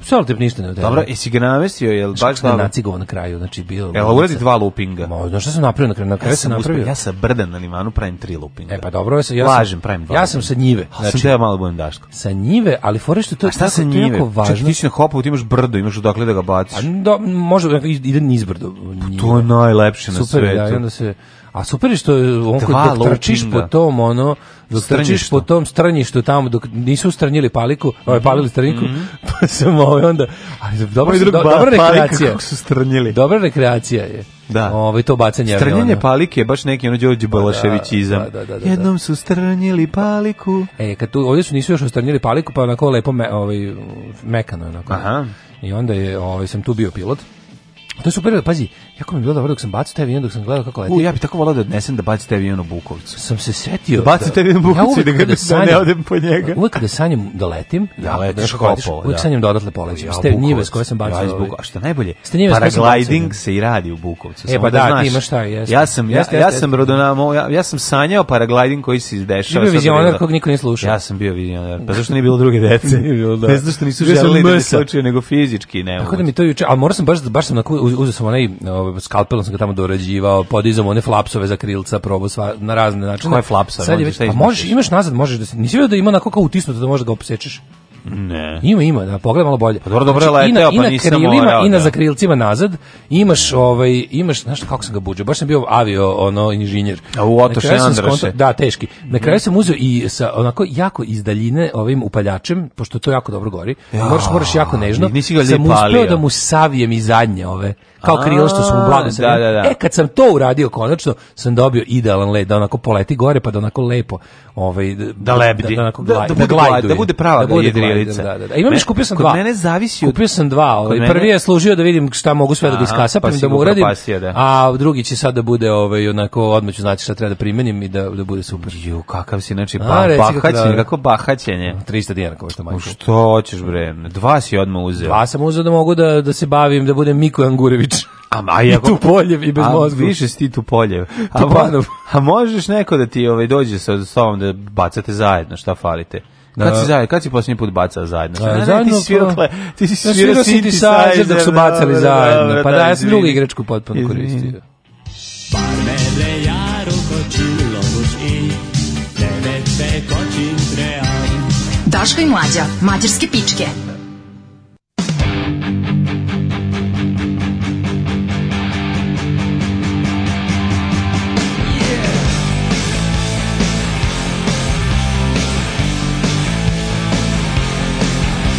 G: Selotep ništa ne otežava.
E: Dobro, jesi ga namestio, jel baš
G: sam ga
E: dobro?
G: Znači, nacigovao na kraju, znači bilo...
E: Jel uradi dva loopinga?
G: Ma, znaš šta sam napravio na kraju? Na kraju
E: Ja
G: sam
E: sam, uspeo,
G: napravio...
E: ja sa brda na limanu pravim tri loopinga.
G: E pa dobro, ja sam... Ja sam-
E: Lažem, pravim dva.
G: Ja sam sa njive.
E: Znači, sam
G: Znači,
E: teo malo budem daško.
G: sa njive, ali fore što to je
E: A šta
G: tako,
E: se
G: to je
E: njive?
G: jako
E: Čak
G: važno.
E: ti si na hopu, ti imaš brdo, imaš odakle da ga baciš.
G: A, Pa da, možda ide nizbrdo. njive.
E: Pa To je najlepše na
G: super je, da, i
E: svetu.
G: onda se a super je što je on
E: Dva
G: kad dok trčiš po
E: loopinga.
G: tom ono dok trčiš
E: Strnjištu.
G: po tom strnjištu tamo dok nisu stranjili paliku ovaj palili straniku
E: Mhm.
G: pa sam ovaj onda ali dobro do, dobra rekreacija
E: Kako su strnjili.
G: dobra rekreacija je
E: Da.
G: ovaj to bacanje
E: Strnjenje
G: aviona. Pa
E: palike je baš neki ono Đorđe Balaševićizam.
G: da, da, da, da.
E: Jednom su strnjili paliku.
G: E, kad tu, ovdje su nisu još ostranjili paliku, pa onako lepo me, ovaj, mekano je onako.
E: Aha.
G: I onda je, ovaj, sam tu bio pilot. To je super, pazi, jako mi je bilo dobro dok sam bacio taj avion, dok sam gledao kako leti.
E: U, ja bih tako volao da odnesem da bacite avion u Bukovcu.
G: sam se setio.
E: Da bacite avion u Bukovcu i da
G: uvek
E: ga-
G: kada
E: da ne
G: sanjam-
E: odem po njega.
G: Uvek kada sanjam da letim,
E: Da
G: ja,
E: letiš
G: znaš kako letiš,
E: kopao,
G: uvek
E: da.
G: sanjam da odatle polećem. Ste
E: Bukovac.
G: njive s koje sam bacio.
E: Ja iz
G: ovaj.
E: Bukovca. A šta je najbolje?
G: S te njive s koje sam
E: Paragliding
G: bacio.
E: se i radi u Bukovcu.
G: E,
E: samo
G: pa da, ti
E: znaš.
G: imaš šta, jeste.
E: Ja sam, ja,
G: Jeste,
E: ja
G: jeste.
E: sam rodonamo, ja, ja sam sanjao paragliding koji se izdešava.
G: Ti bio
E: sad
G: vizionar
E: bilo.
G: kog niko nije slušao.
E: Ja sam bio vizionar. Pa zašto nije bilo druge dece?
G: Nije bilo, da.
E: Ne zašto nisu
G: Bio sam
E: želeli da me
G: mrsa.
E: slučaju, nego fizički ne
G: Tako
E: mogu.
G: da mi to juče, ali morao sam baš, baš sam na uzeo sam onaj ovaj, skalpelom sam ga tamo dorađivao, podizam one flapsove za krilca, probao sva, na razne načine.
E: Koje flapsove?
G: Sad je
E: Možeš
G: već,
E: šta
G: a
E: izmisliš?
G: možeš, imaš nazad, možeš da se, nisi vidio da ima onako kao utisnuto da možeš da ga opsečeš.
E: Ne.
G: Ima, ima, da pogledaj malo bolje. Pa
E: dobro, dobro je
G: i na,
E: leteo,
G: i
E: pa
G: na
E: nisam
G: krilima,
E: morao,
G: I na
E: da.
G: zakrilcima nazad, imaš, ovaj, imaš, znaš kako sam ga buđao, baš sam bio avio, ono, inženjer.
E: A u
G: Na
E: Otoše
G: kraju sam
E: Andraše.
G: skontao- Da, teški. Na kraju sam uzeo i sa onako jako iz daljine ovim upaljačem, pošto to jako dobro gori, moraš, moraš jako nežno,
E: nisi ga
G: sam
E: lijepo
G: uspeo
E: palio.
G: da mu savijem i zadnje ove, kao krilo što su mu
E: A,
G: blago savijali.
E: da, da, da.
G: E, kad sam to uradio konačno, sam dobio idealan led, da onako poleti gore, pa da onako lepo, ovaj,
E: Da lebdi.
G: Da, onako
E: Da-
G: glaj-
E: da bude
G: glajduje.
E: glaj- da bude prava jedrilica.
G: glajduje, Da, da, da. A imam
E: Me-
G: još, kupio sam
E: kod
G: dva.
E: mene zavisi od-
G: Kupio sam dva. Ovaj.
E: Kod mene-
G: Prvi je služio da vidim šta mogu sve da ga
E: Aha,
G: iskasapim,
E: pa si
G: da mu
E: ga
G: uradim.
E: upropastio, da.
G: A drugi će sad da bude, ovaj, onako, odmah ću znati šta treba da primenim i da, da bude super.
E: Ju, kakav si, znači,
G: A,
E: pa,
G: reci kako da.
E: bahaćenje, kako bahaćenje.
G: 300 dinara, kao što
E: U
G: majko.
E: što hoćeš, bre? Dva si odmah uzeo.
G: Dva sam uzeo da mogu da, da se bavim, da budem Miko Angurević.
E: A, a
G: I
E: jako-
G: tu poljev i bez
E: a,
G: mozga.
E: Više si ti tu poljev. A,
G: Tupanov.
E: mo- a možeš neko da ti ovaj, dođe sa sobom da bacate zajedno, šta falite? Kad si, zajedno, kad si posljednji put bacao zajedno?
G: A,
E: Ne, ne,
G: zajedno
E: ti si svirao,
G: kao-
E: kle- ti si
G: Ja
E: svirao synthesizer,
G: dok su
E: da,
G: bacali
E: da,
G: zajedno.
E: da,
G: Pa
E: da,
G: da, ja sam
E: izvini.
G: drugu igračku potpuno
E: Izvini.
G: koristio.
D: Daško i mlađa, mađarske pičke.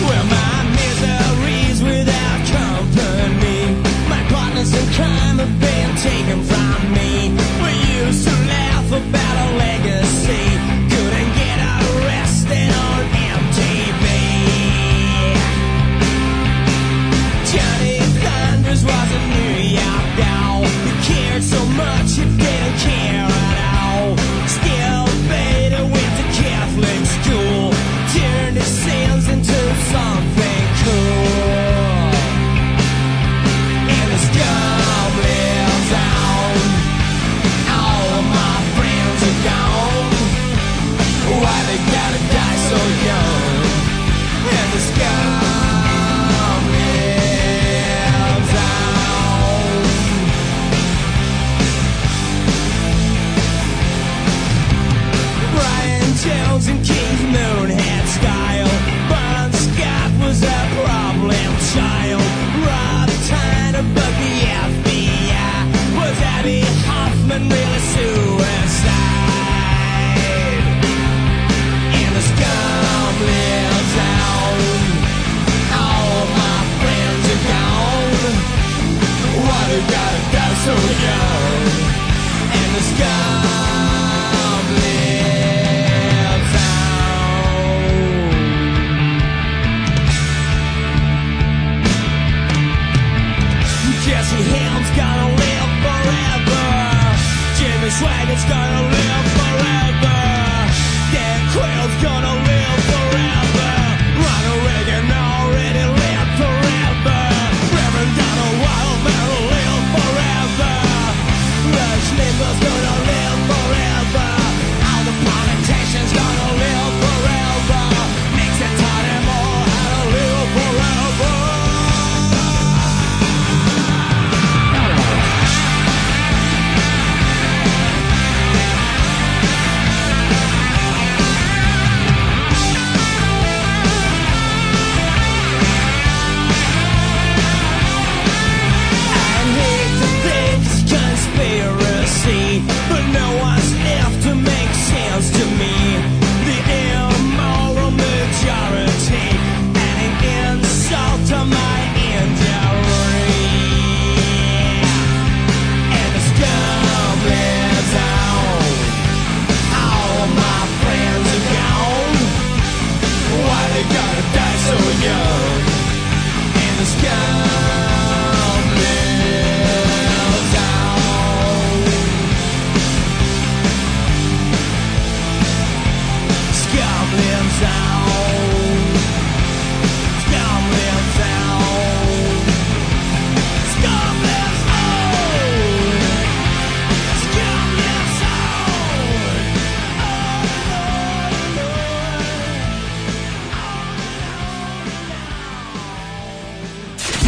F: Well, my misery's without company. My partners in crime have been taken from me. We used to laugh about a legacy. Couldn't get arrested on MTV.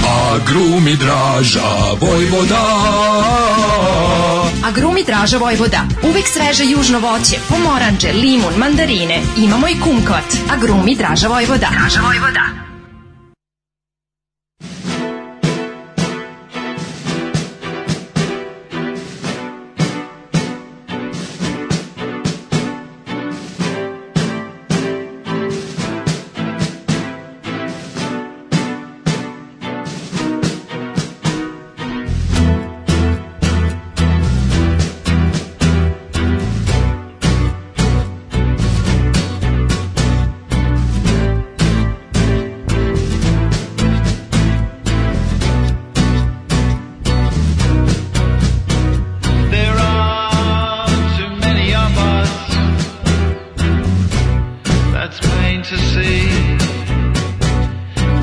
A: A grumi draža Vojvoda
D: A grumi Draža Vojvoda. Uvek sveže južno voće, pomoranđe, limun, mandarine. Imamo i kumkvat. A grumi Draža Vojvoda. Draža Vojvoda.
I: There are too many of us. That's plain to see.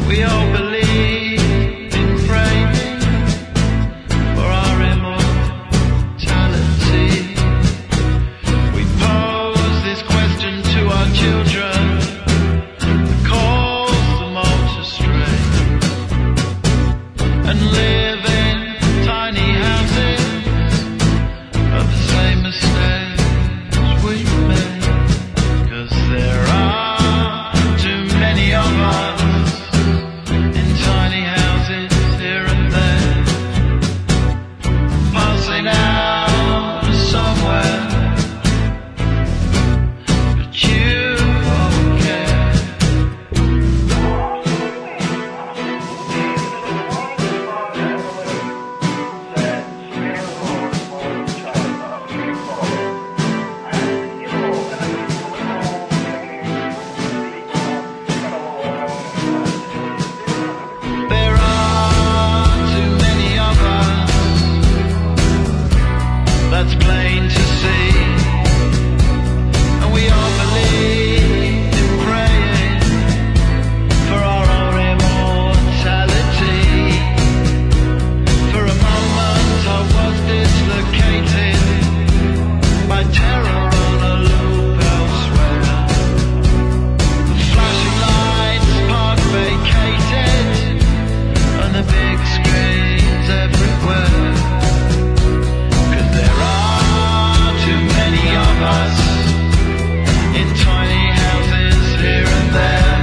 I: We all believe in praying for our immortality. We pose this question to our children. that Calls them all to stray and live in tiny houses of the same mistakes we made. 'Cause there are too many of us in tiny houses here and there, passing out somewhere. But you won't care. There are too many of us. That's plain to see. And we all believe in praying for our immortality. For a moment I was dislocated by terror on a loop elsewhere. Flashing lights, park vacated, and the big screens everywhere. 'Cause there are too many of us in tiny houses here and there,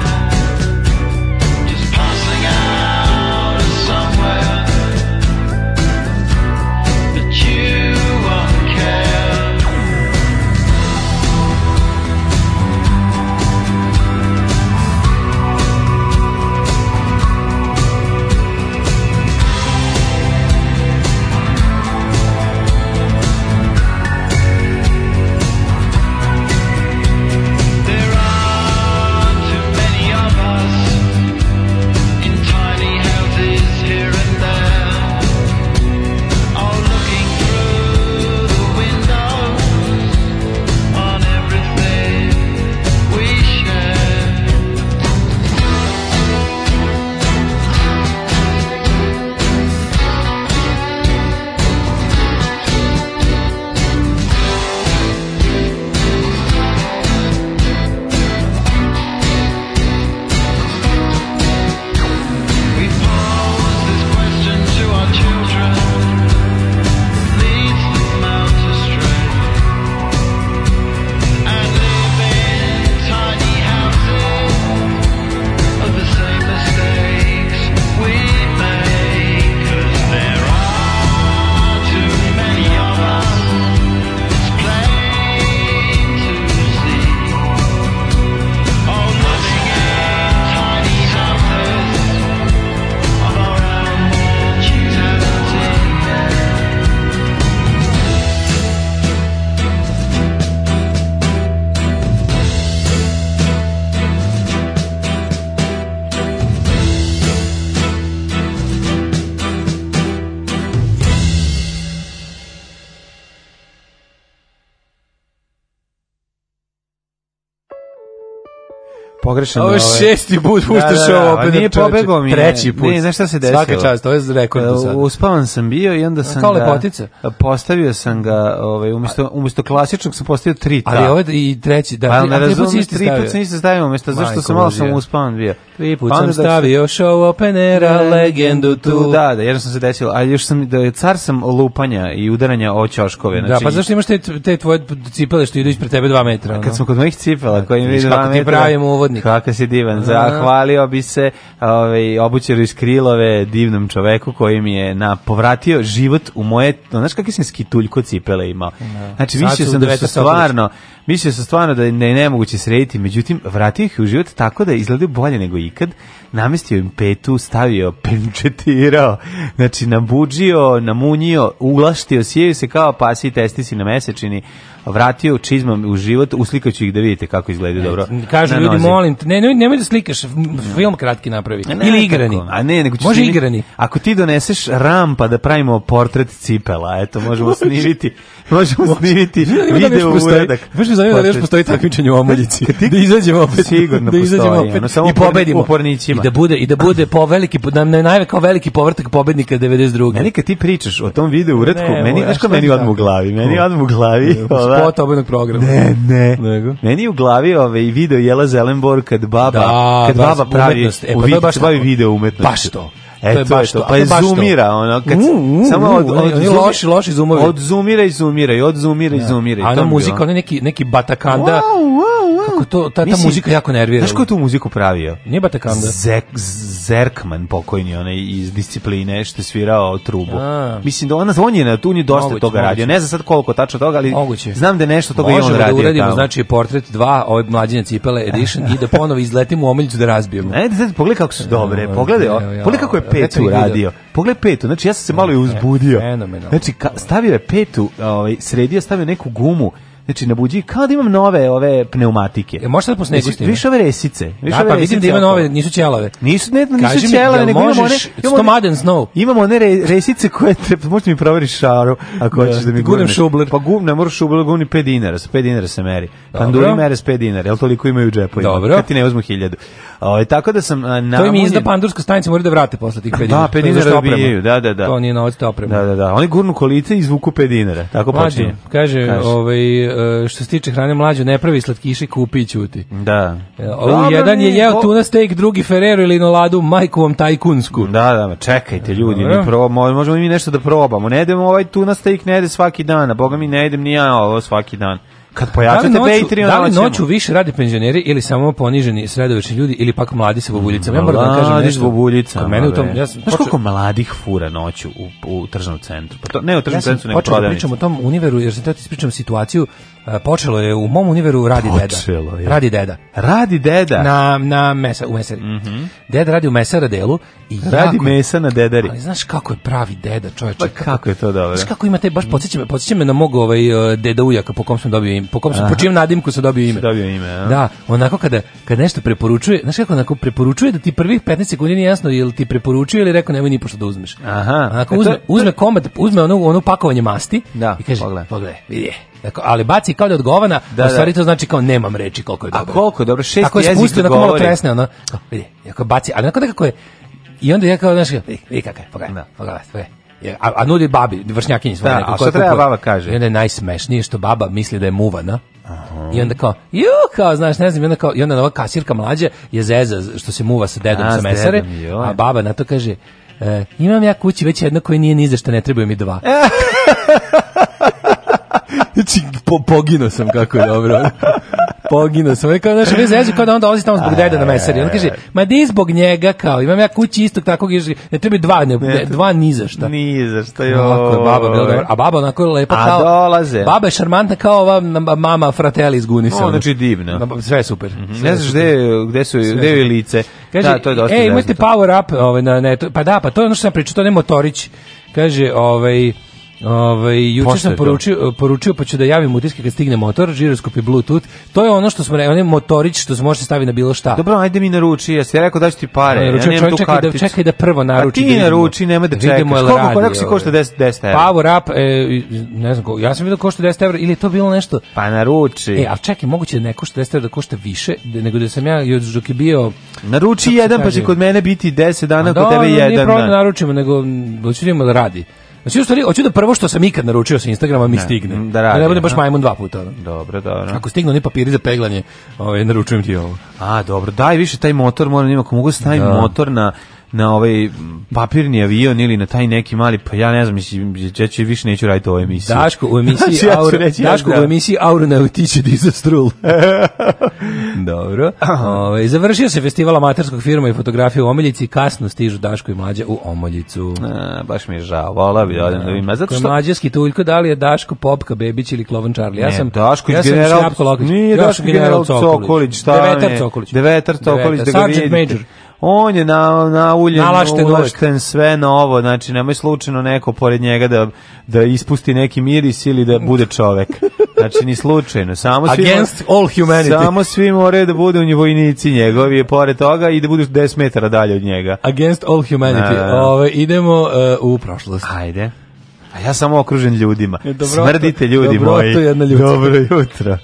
I: just passing out of somewhere. But you won't care. There are too many of us in tiny houses here and there, all looking through the windows on everything we share. We pose this question to our children. Leads them out astray. And live in tiny houses of the same mistakes we make. 'Cause there are too many of us. It's plain to see. All living in tiny houses of our own mortality.
G: Pogrešan.
E: Ovo je ovaj- šesti
G: put
E: puštaš ovo opet,
G: Nije
E: čoveče.
G: pobegao mi. je.
E: Treći put.
G: Ne, znaš šta se desilo?
E: Svaka čast,
G: to je rekord
E: E, Uspavan sam bio i onda sam
G: kao
E: ga...
G: lepotica.
E: Postavio sam ga, ovaj, umjesto, umjesto klasičnog sam postavio tri.
G: Ali ovo je i treći, da,
E: Pa, ne
G: a tri put si
E: razumiješ,
G: isti
E: tri put
G: stavio.
E: sam isto stavio, umjesto zašto
G: Majko
E: sam malo sam
G: Božja.
E: uspavan bio.
G: Tri put
E: Pa onda
G: sam
E: dok sam-
G: stavio show openera, legendu tu.
E: Da, da, jedno sam se desilo, ali još sam, da je car sam lupanja i udaranja o ćoškove.
G: Da,
E: znači,
G: pa zašto imaš te, te tvoje cipele što idu ispred tebe dva metra? ono?
E: Kad smo kod mojih cipela, koji mi
G: Vidiš
E: dva
G: kako ti
E: metra,
G: pravim uvodnik.
E: Kako si divan. Zahvalio bi se ovaj, obućeru iz Krilove, divnom čoveku koji mi je na, povratio život u moje... no, Znaš kakve sam skituljko cipele imao? Znači,
G: Sad
E: mislio
G: su
E: sam da su
G: drveta sa
E: stvarno... Mislio sam stvarno da je ne- nemoguće srediti, međutim, vratio ih u život tako da izgledaju bolje nego ikad. Namestio im petu, stavio, penčetirao, znači nabuđio, namunjio, uglaštio, sjevio se kao pasi i testisi na mesečini, vratio čizmom u život, uslikaću ih da vidite kako izgledaju dobro.
G: Kažu
E: na
G: ljudi,
E: nozi.
G: molim te, ne, nemoj, nemoj da slikaš, f- film kratki napravi.
E: Ne,
G: Ili igrani.
E: tako. A ne, nego ću
G: Može
E: snimiti-
G: igrani.
E: Ako ti doneseš rampa da pravimo portret cipela, eto, možemo snimiti, možemo snimiti video uradak.
G: Baš mi zanima da još
E: Portret
G: postoji takmičenje u omoljici. Da izađemo opet.
E: Sigurno
G: da izađemo
E: postoji,
G: opet
E: ono, samo
G: i pobedimo.
E: u pornićima.
G: I da bude, i da bude po veliki, na, na, najve kao veliki povratak pobednika 92.
E: Meni kad ti pričaš o tom video uretku,
G: Ne,
E: meni,
G: moj,
E: znaš
G: a šta
E: ko meni
G: ti
E: odmah u
G: tako?
E: glavi? Meni
G: Ko?
E: odmah u glavi. ova-
G: Spot obenog programa.
E: Ne, ne.
G: Nego?
E: Meni je u glavi ovaj video Jela Zelenborg kad baba,
G: Da,
E: kad
G: da,
E: baba pravi,
G: umetnost. E, pa
E: u
G: to je
E: vid-
G: baš
E: kad bavi
G: tako.
E: video umetnost.
G: Baš to.
E: E,
G: To je
E: to je
G: baš
E: to.
G: to.
E: Pa
G: A to
E: je
G: je baš to.
E: zoomira, ono, kad,
G: Mm, mm,
E: samo od,
G: mm,
E: od,
G: oni- oni
E: zoomira-
G: loši- loši zoomovi.
E: Od zoomira i zoomira, i od zoomira i zoomira. i
G: A
E: to
G: ona
E: mi je
G: muzika,
E: bilo.
G: ona neki, neki batakanda.
E: Wow, wow, wow.
G: Kako to, ta, ta
E: Mislim,
G: muzika jako nervira.
E: Znaš ko je tu muziku pravio?
G: Nije batakanda.
E: Zek, Zerkman pokojni onaj iz discipline što je svirao trubu.
G: A.
E: Mislim da ona on je na tu on je dosta
G: Moguće,
E: toga
G: moguće.
E: radio. Ne znam sad koliko tačno toga, ali
G: Moguće.
E: znam da je nešto toga i
G: Možemo
E: on radio.
G: da uradimo,
E: tamo.
G: znači, portret 2, ovaj mlađine cipele edition i da ponovo izletimo u omiljicu da razbijemo.
E: E, da sad pogledaj kako su dobre.
G: Evo,
E: Pogledaj,
G: Pa evo,
E: o,
G: ja,
E: pogledaj kako je
G: eto ih
E: petu
G: vidim.
E: radio. Pogledaj petu, znači ja sam se malo i uzbudio.
G: fenomenalno.
E: Znači ka- stavio je petu, ovaj sredio stavio neku gumu. Znači nabuđi kao da imam nove ove pneumatike.
G: E, možeš sad po snegu
E: Znači,
G: s time?
E: Više ove resice. Više
G: Da,
E: ove
G: pa
E: resice
G: vidim da ima
E: oko.
G: nove, nisu ćelave.
E: Nisu ne, nisu
G: Kaži mi,
E: ćelave,
G: jel
E: nego imamo one,
G: možeš
E: imamo
G: Stom
E: one-
G: Aden Snow?
E: Imamo one re, resice koje te, možda mi proveriš šaru, ako
G: Da,
E: hoćeš da mi
G: gurnem
E: gurneš.
G: šubler.
E: Pa gum, ne moraš šubler, gurni 5 dinara, sa 5 dinara se meri.
G: Dobro.
E: Panduri mere s 5 dinara, jel toliko imaju u džepovima?
G: Dobro.
E: Kad ti ne uzmu hiljadu. Ovaj, tako da sam a,
G: To im je
E: namunjen-
G: izda pandurska stanica, moraju da vrate posle tih 5 dinara.
E: Da, 5
G: To je za
E: dinara
G: što opremu.
E: dobijaju, da, da, da.
G: To nije novac, to je oprema.
E: Da, da, da. Oni gurnu kolice i izvuku 5 dinara. Tako
G: Mlađo,
E: počinje.
G: kaže, ovaj, e, što se tiče hrane mlađo, ne pravi slatkiše, kupi i ćuti.
E: Da.
G: E, O,
E: Dobro,
G: jedan je
E: nije,
G: jeo
E: o-
G: tuna steak, drugi Ferrero ili noladu, majku vam tajkunsku.
E: Da, da, ma čekajte ljudi,
G: Dobro.
E: mi probamo, možemo i mi nešto da probamo. Ne jedemo ovaj tuna steak, ne jede svaki dan, a boga mi ne jedem ni ja ovo svaki dan. Kad
G: Da li,
E: pojačate
G: noću,
E: Patreon,
G: da li
E: hoćemo.
G: noću više rade penzioneri ili samo poniženi sredovečni ljudi ili pak mladi sa bobuljicama? Ja moram da vam kažem
E: Mladi
G: nešto.
E: s bobuljicama,
G: Kod mene u tom,
E: bre.
G: ja sam
E: Znaš
G: počeo-
E: koliko mladih fura noću u, u tržnom centru? Pa to, ne u tržnom
G: Ja sam
E: centru, nego u
G: počeo da
E: prodavnici.
G: pričam o tom univeru, jer sam teo ti ispričam situaciju. E, Počelo je, u mom univeru radi
E: Počelo je.
G: deda. Radi deda.
E: Radi deda,
G: Na, na mesa, u mesari.
E: Mhm.
G: Deda radi u mesara delu. I
E: radi
G: jako-
E: mesa na dedari.
G: Ali znaš kako je pravi deda, čoveče?
E: Pa kako je to dobro?
G: Znaš kako imate, baš podsjeća me, podsjeća me na mog ovaj, e, deda ujaka po kom sam dobio ime, po, kom sam, po čijem nadimku sam dobio ime.
E: Dobio ime, a?
G: Da, onako kada, kad nešto preporučuje, znaš kako onako preporučuje da ti prvih 15 sekundi nije jasno je li ti preporučuje ili rekao nemoj ni pošto da uzmeš.
E: Aha.
G: Onako
E: E, to-
G: uzme, uzme komad, uzme ono, ono pakovanje masti
E: Da,
G: i kaže,
E: pogledaj.
G: pogledaj, vidi je. Dakle, ali baci kao da je odgovana,
E: Da,
G: a u stvari
E: da.
G: to znači kao nemam reči koliko je
E: A
G: dobro.
E: koliko je dobro, šest
G: Tako je
E: jezika
G: spustio, onako malo
E: govori.
G: tresne, ono, kao, vidi, jako baci, ali onako nekako je, i onda ja kao, znaš, vidi, vidi kakav je, pogledaj,
E: Da.
G: pogledaj, pogledaj. Je, A, a nudi babi, vršnjakinji smo
E: Da, a šta treba baba kaže?
G: I onda je najsmešnije što baba misli da je muvana. I onda kao, ju, kao, znaš, ne znam, i onda, kao, i onda ova kasirka mlađa je zeza što se muva sa dedom
E: A,
G: sa
E: s
G: mesare,
E: dedom, joj.
G: a baba na to kaže, e, imam ja kući već jedno koje nije ni za šta, ne trebaju mi dva. Znači, po, poginuo sam kako je dobro. poginuo sam. Ono je Kao, znaš, mi zezu kao da onda dolazi tamo zbog deda na mesari. On kaže, ma di zbog njega kao, imam ja kući istog takvog, jer ne treba mi dva, ne, ne, dva ni za šta.
E: Nije za što je
G: Ovako je baba bila dobra. A baba onako je lepa
E: A
G: kao...
E: dolaze.
G: Baba je šarmantna kao ova nam- mama frateli iz Gunisa.
E: O, znači divna.
G: Na- Sve je super.
E: Ne znaš gde, je- gde su, gde je lice.
G: Kaže,
E: da, to je dosta
G: e, imate
E: zeznuto.
G: power up, ovaj, na, na, to- pa da, pa to je ono što sam pričao, to je onaj motorić. Kaže, ovaj, Ovaj juče
E: Pošto
G: sam
E: je to?
G: poručio, poručio pa ću da javim utiske kad stigne motor, žiroskop i bluetooth. To je ono što smo rekli, onaj motorić što se može staviti na bilo šta.
E: Dobro, ajde mi naruči, ja sam ja rekao da ću ti pare, ja
G: Naručio,
E: nemam
G: čovjek,
E: tu
G: čekaj da-
E: karticu.
G: čekaj da prvo naruči,
E: A
G: da
E: ti
G: vidimo.
E: naruči, nemoj da
G: Da vidimo
E: čekaš.
G: jel
E: Koliko,
G: radi,
E: koliko si
G: ovaj.
E: košta 10, 10 evra?
G: Power up, e, ne znam, ko- ja sam vidio košta 10 evra ili je to bilo nešto
E: Pa naruči.
G: E, ali čekaj, moguće da ne košta 10 evra, da košta više, da- nego da sam ja još dok je bio...
E: Naruči
G: Kako se
E: jedan, pa
G: kaže?
E: će kod mene biti 10 dana,
G: Da,
E: kod tebe
G: ono, Nije
E: jedan.
G: problem da
E: dan.
G: naručimo, nego mm, hoću da vidimo da radi. Znači, u stvari, hoću da prvo što sam ikad naručio sa Instagrama Pa mi stigne.
E: mm, da radi,
G: ne bude baš
E: aha.
G: majmun dva puta. ono.
E: Dobro, dobro.
G: Ako stignu oni papiri za peglanje, ovaj, naručujem ti ovo.
E: A, dobro, daj više taj motor, moram njima, ako mogu stavim motor na na ovaj m, papirni avion ili na taj neki mali, pa ja ne znam, mislim, ja ću više neću raditi ovo emisiju.
G: Daško u emisiji
E: Znači, ja ću
G: Aura,
E: reći, ja
G: Daško
E: znam.
G: u emisiji Aura ne utiče disastrul. Dobro. Ovaj, završio se festival amaterskog firma i fotografije u Omiljici, kasno stižu Daško i mlađa u Omoljicu.
E: A, baš mi je žao, vola bi da odem da vidim. A zato
G: Ko je
E: što...
G: mlađarski tuljko, da li je Daško Popka Bebić ili Klovan Čarli? Ja
E: Ne,
G: sam
E: Daško
G: ja
E: iz
G: sam
E: general-
G: Šljapko Lokvić.
E: Nije
G: Ja sam
E: Daško general Cokolić, šta vam je?
G: Devetar Cokolić.
E: Devetar Cokolić, da ga
G: Sergeant
E: vidite.
G: Major.
E: On je na, na uljen,
G: Nalašten uvek.
E: ulašten sve novo, znači nemoj slučajno neko pored njega da, da ispusti neki miris ili da bude čovek. Znači ni slučajno, samo svi...
G: Against all humanity.
E: Samo svi moraju da budu oni vojnici njegovi pored toga i da budu 10 metara dalje od njega.
G: Against all humanity.
E: Da, da, da.
G: Ove, idemo e, u prošlost.
E: Ajde. A ja sam okružen ljudima.
G: Dobro,
E: Smrdite ljudi
G: dobro,
E: moji.
G: to je jedna ljudska.
E: Dobro jutro.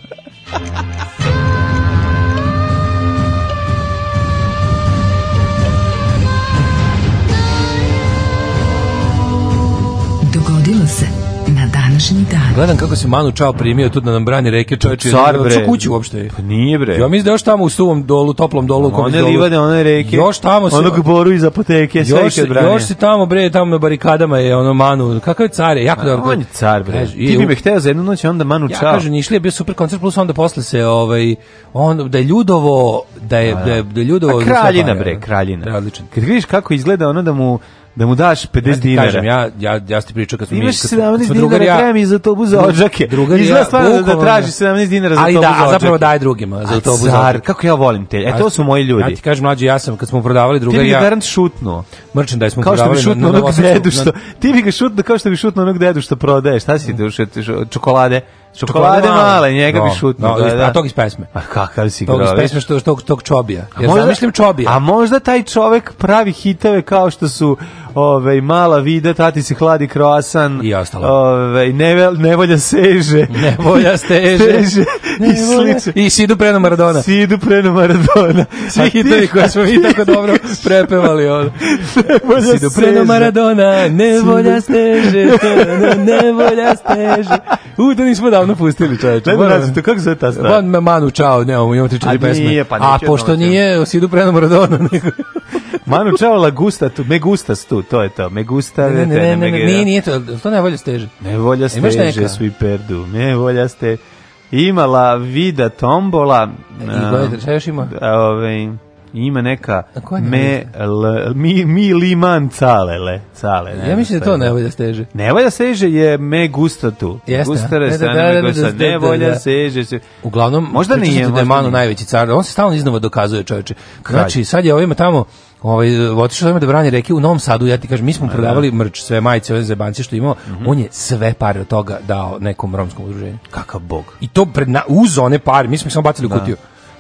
D: Dogodilo se na današnji dan.
G: Gledam kako se Manu Čao primio tu da nam brani reke čoveče.
E: Car,
G: Hoću
E: bre.
G: kući uopšte.
E: Pa nije bre.
G: Ja mislim da još tamo u suvom dolu, toplom dolu. u kom
E: One
G: dolu-
E: livade, one reke.
G: Još tamo se...
E: Onog boru iz apoteke, sve
G: Još,
E: ih
G: se,
E: odbranio.
G: još se tamo, bre, tamo na barikadama je ono Manu, kakav je car je, jako dobro.
E: On je car, bre.
G: Kaže,
E: Ti
G: i
E: bi
G: u-
E: me hteo za jednu noć, onda manu
G: Ja
E: čao.
G: kažem, Nišli je bio super koncert, plus onda posle se, ovaj, on, da je Ljudovo, da je, da je, da je Ljudovo...
E: A kraljina, bre, kraljina.
G: Da, odlično.
E: Kad vidiš kako izgleda ono da mu, da mu daš 50
G: Ja ti
E: dinara.
G: kažem, ja, ja, ja ste pričao kad smo mi...
E: Imaš
G: kad smo- kad
E: 17
G: smo
E: dinara,
G: drugar i ja-
E: treba mi za autobus za
G: Dru-
E: odžake.
G: drugar i
E: Izgleda
G: ja,
E: stvarno da- da
G: bukvalno,
E: traži 17 dinara za
G: Ali da,
E: autobus za
G: a zapravo
E: odžake.
G: daje drugima za
E: A
G: autobus za
E: car,
G: odžake.
E: kako ja volim te. E, to su moji
G: Ja
E: ljudi.
G: ti kažem, mlađi, ja sam, kad smo prodavali
E: Ti
G: druga
E: bi
G: i
E: ga
G: ja,
E: garant šutnuo.
G: merchandise smo
E: Kao što
G: prodavali...
E: bi
G: na-
E: šutnuo
G: na
E: onog
G: Novosadsku-
E: dedu
G: na-
E: što... Ti bi ga šutnuo kao što bi šutnuo onog dedu što prodaje. Šta si duše? ti šo- Čokolade? Čokolade male, njega
G: No,
E: bi šutnuo.
G: no,
E: da, da.
G: A tog iz pesme.
E: A kakav si
G: Tog iz
E: grović.
G: pesme što, tog, tog čobija.
E: A
G: Ja zamišljam čobija.
E: A možda taj čovek pravi hitove kao što su ovaj mala vida, tati se hladi kroasan.
G: I ostalo.
E: Ovaj nevel- nevolja seže.
G: Nevolja steže.
E: Steže i
G: Nevolja-
E: slično.
G: I Sidu preno Maradona.
E: Sidu preno Maradona.
G: Svi
E: A ti-
G: hitovi koje smo mi tako dobro prepevali. Ono.
E: Nevolja
G: Sidu preno
E: seže.
G: Maradona, nevolja steže, nevolja steže. U, to nismo davno pustili, čoveče.
E: Ne znam
G: Moram-
E: naći to, kako se zove ta stvar?
G: Van me manu čao, nemamo, imamo tri četiri
E: A
G: pesme.
E: nije, pa
G: A
E: neću
G: pošto
E: jednom
G: nije, Sidu preno Maradona, nego...
E: Manu Čao la gusta tu, me gustas tu, to je to. Me gusta,
G: Ne, ne, ne, ne, ne, nije, nije to, to nevolja steže.
E: Nevolja
G: E, Imaš neka?
E: steže, svi perdu. Nevolja ste... Imala vida tombola.
G: E, I gledajte, šta još ima?
E: a, Ove, ima neka
G: A koja je
E: me, l, mi, mi liman calele. Cale, ne
G: Ja
E: znam
G: mislim da
E: šta
G: to nevolja steže.
E: Nevolja seže je me gusta tu.
G: Jeste.
E: Gustare
G: Ne, da,
E: strane
G: da,
E: me
G: da,
E: gusta.
G: da, da, da,
E: Nevolja
G: da.
E: seže se...
G: Uglavnom,
E: Možda
G: pričali
E: nije,
G: ste da je
E: možda
G: Manu
E: nije.
G: najveći car. On se stalno iznova dokazuje, čoveče.
E: Kralj.
G: Znači, sad je ovima tamo, ovaj, otišao ovima da branje reke u Novom Sadu, ja ti kažem, mi smo prodavali mrč, sve majice, ove zebance što je imao,
E: Mhm.
G: on je sve pare od toga dao nekom romskom udruženju.
E: Kakav bog.
G: I to pred na, uz one pare, mi smo ih samo bacili u kutiju.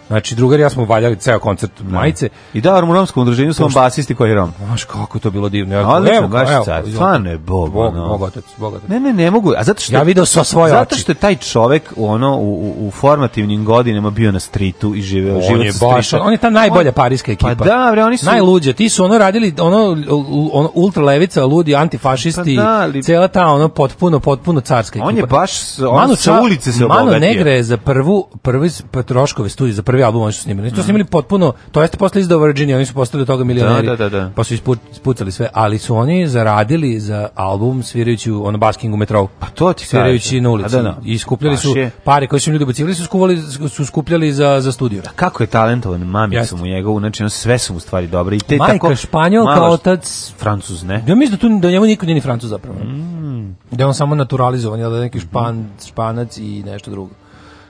G: Znači, drugar i ja smo valjali ceo koncert majice.
E: I da, u romskom udruženju su vam basisti koji je rom.
G: Znaš kako je to bilo divno. Ja,
E: Odlično,
G: evo,
E: baš
G: evo,
E: car.
G: evo,
E: Stvarno je bog,
G: Bog,
E: ono.
G: bog otac, bog otac.
E: Ne, ne, ne mogu. A zato što
G: Ja video sa svoje
E: Zato
G: oči.
E: što je taj čovek u ono u, u, u formativnim godinama bio na stritu i živeo
G: on
E: život
G: je
E: sa
G: baš,
E: strita.
G: on je ta najbolja
E: On-
G: parijska ekipa.
E: Pa da, bre, oni su
G: Najluđe, ti su ono radili ono u- ono ultralevica, ludi antifašisti,
E: Pa da, ali-
G: cela ta ono potpuno potpuno carska ekipa.
E: On je baš s- on sa
G: Čao-
E: ulice se
G: Mano
E: obogatio.
G: Negre je za prvu prvi s- pa, troškove studije, za prvi album oni su snimili. Oni su
E: Mhm.
G: to snimili potpuno, to jeste posle izdao Virginia, oni su postali od toga milioneri.
E: Da, da, da, da.
G: Pa su ispu- ispucali sve, ali su oni zaradili za album svirajući u ono basking u metrou.
E: Pa to ti
G: svirajući
E: kažem.
G: na ulici.
E: A da, da.
G: I skupljali
E: Baš
G: su
E: je.
G: pare koje su im ljudi ubacivali, su, skuvali, su skupljali za, za studio.
E: Kako je talentovan mamicu
G: Jeste.
E: mu njegovu, znači on sve su mu stvari dobre i te
G: Majka
E: tako
G: Španjolka,
E: malo-
G: otac-
E: Francuz, ne?
G: Ja mislim da tu da njemu niko nije ni Francuz zapravo.
E: Mm.
G: Da je on samo naturalizovan, jel da je neki špan, španac i nešto drugo.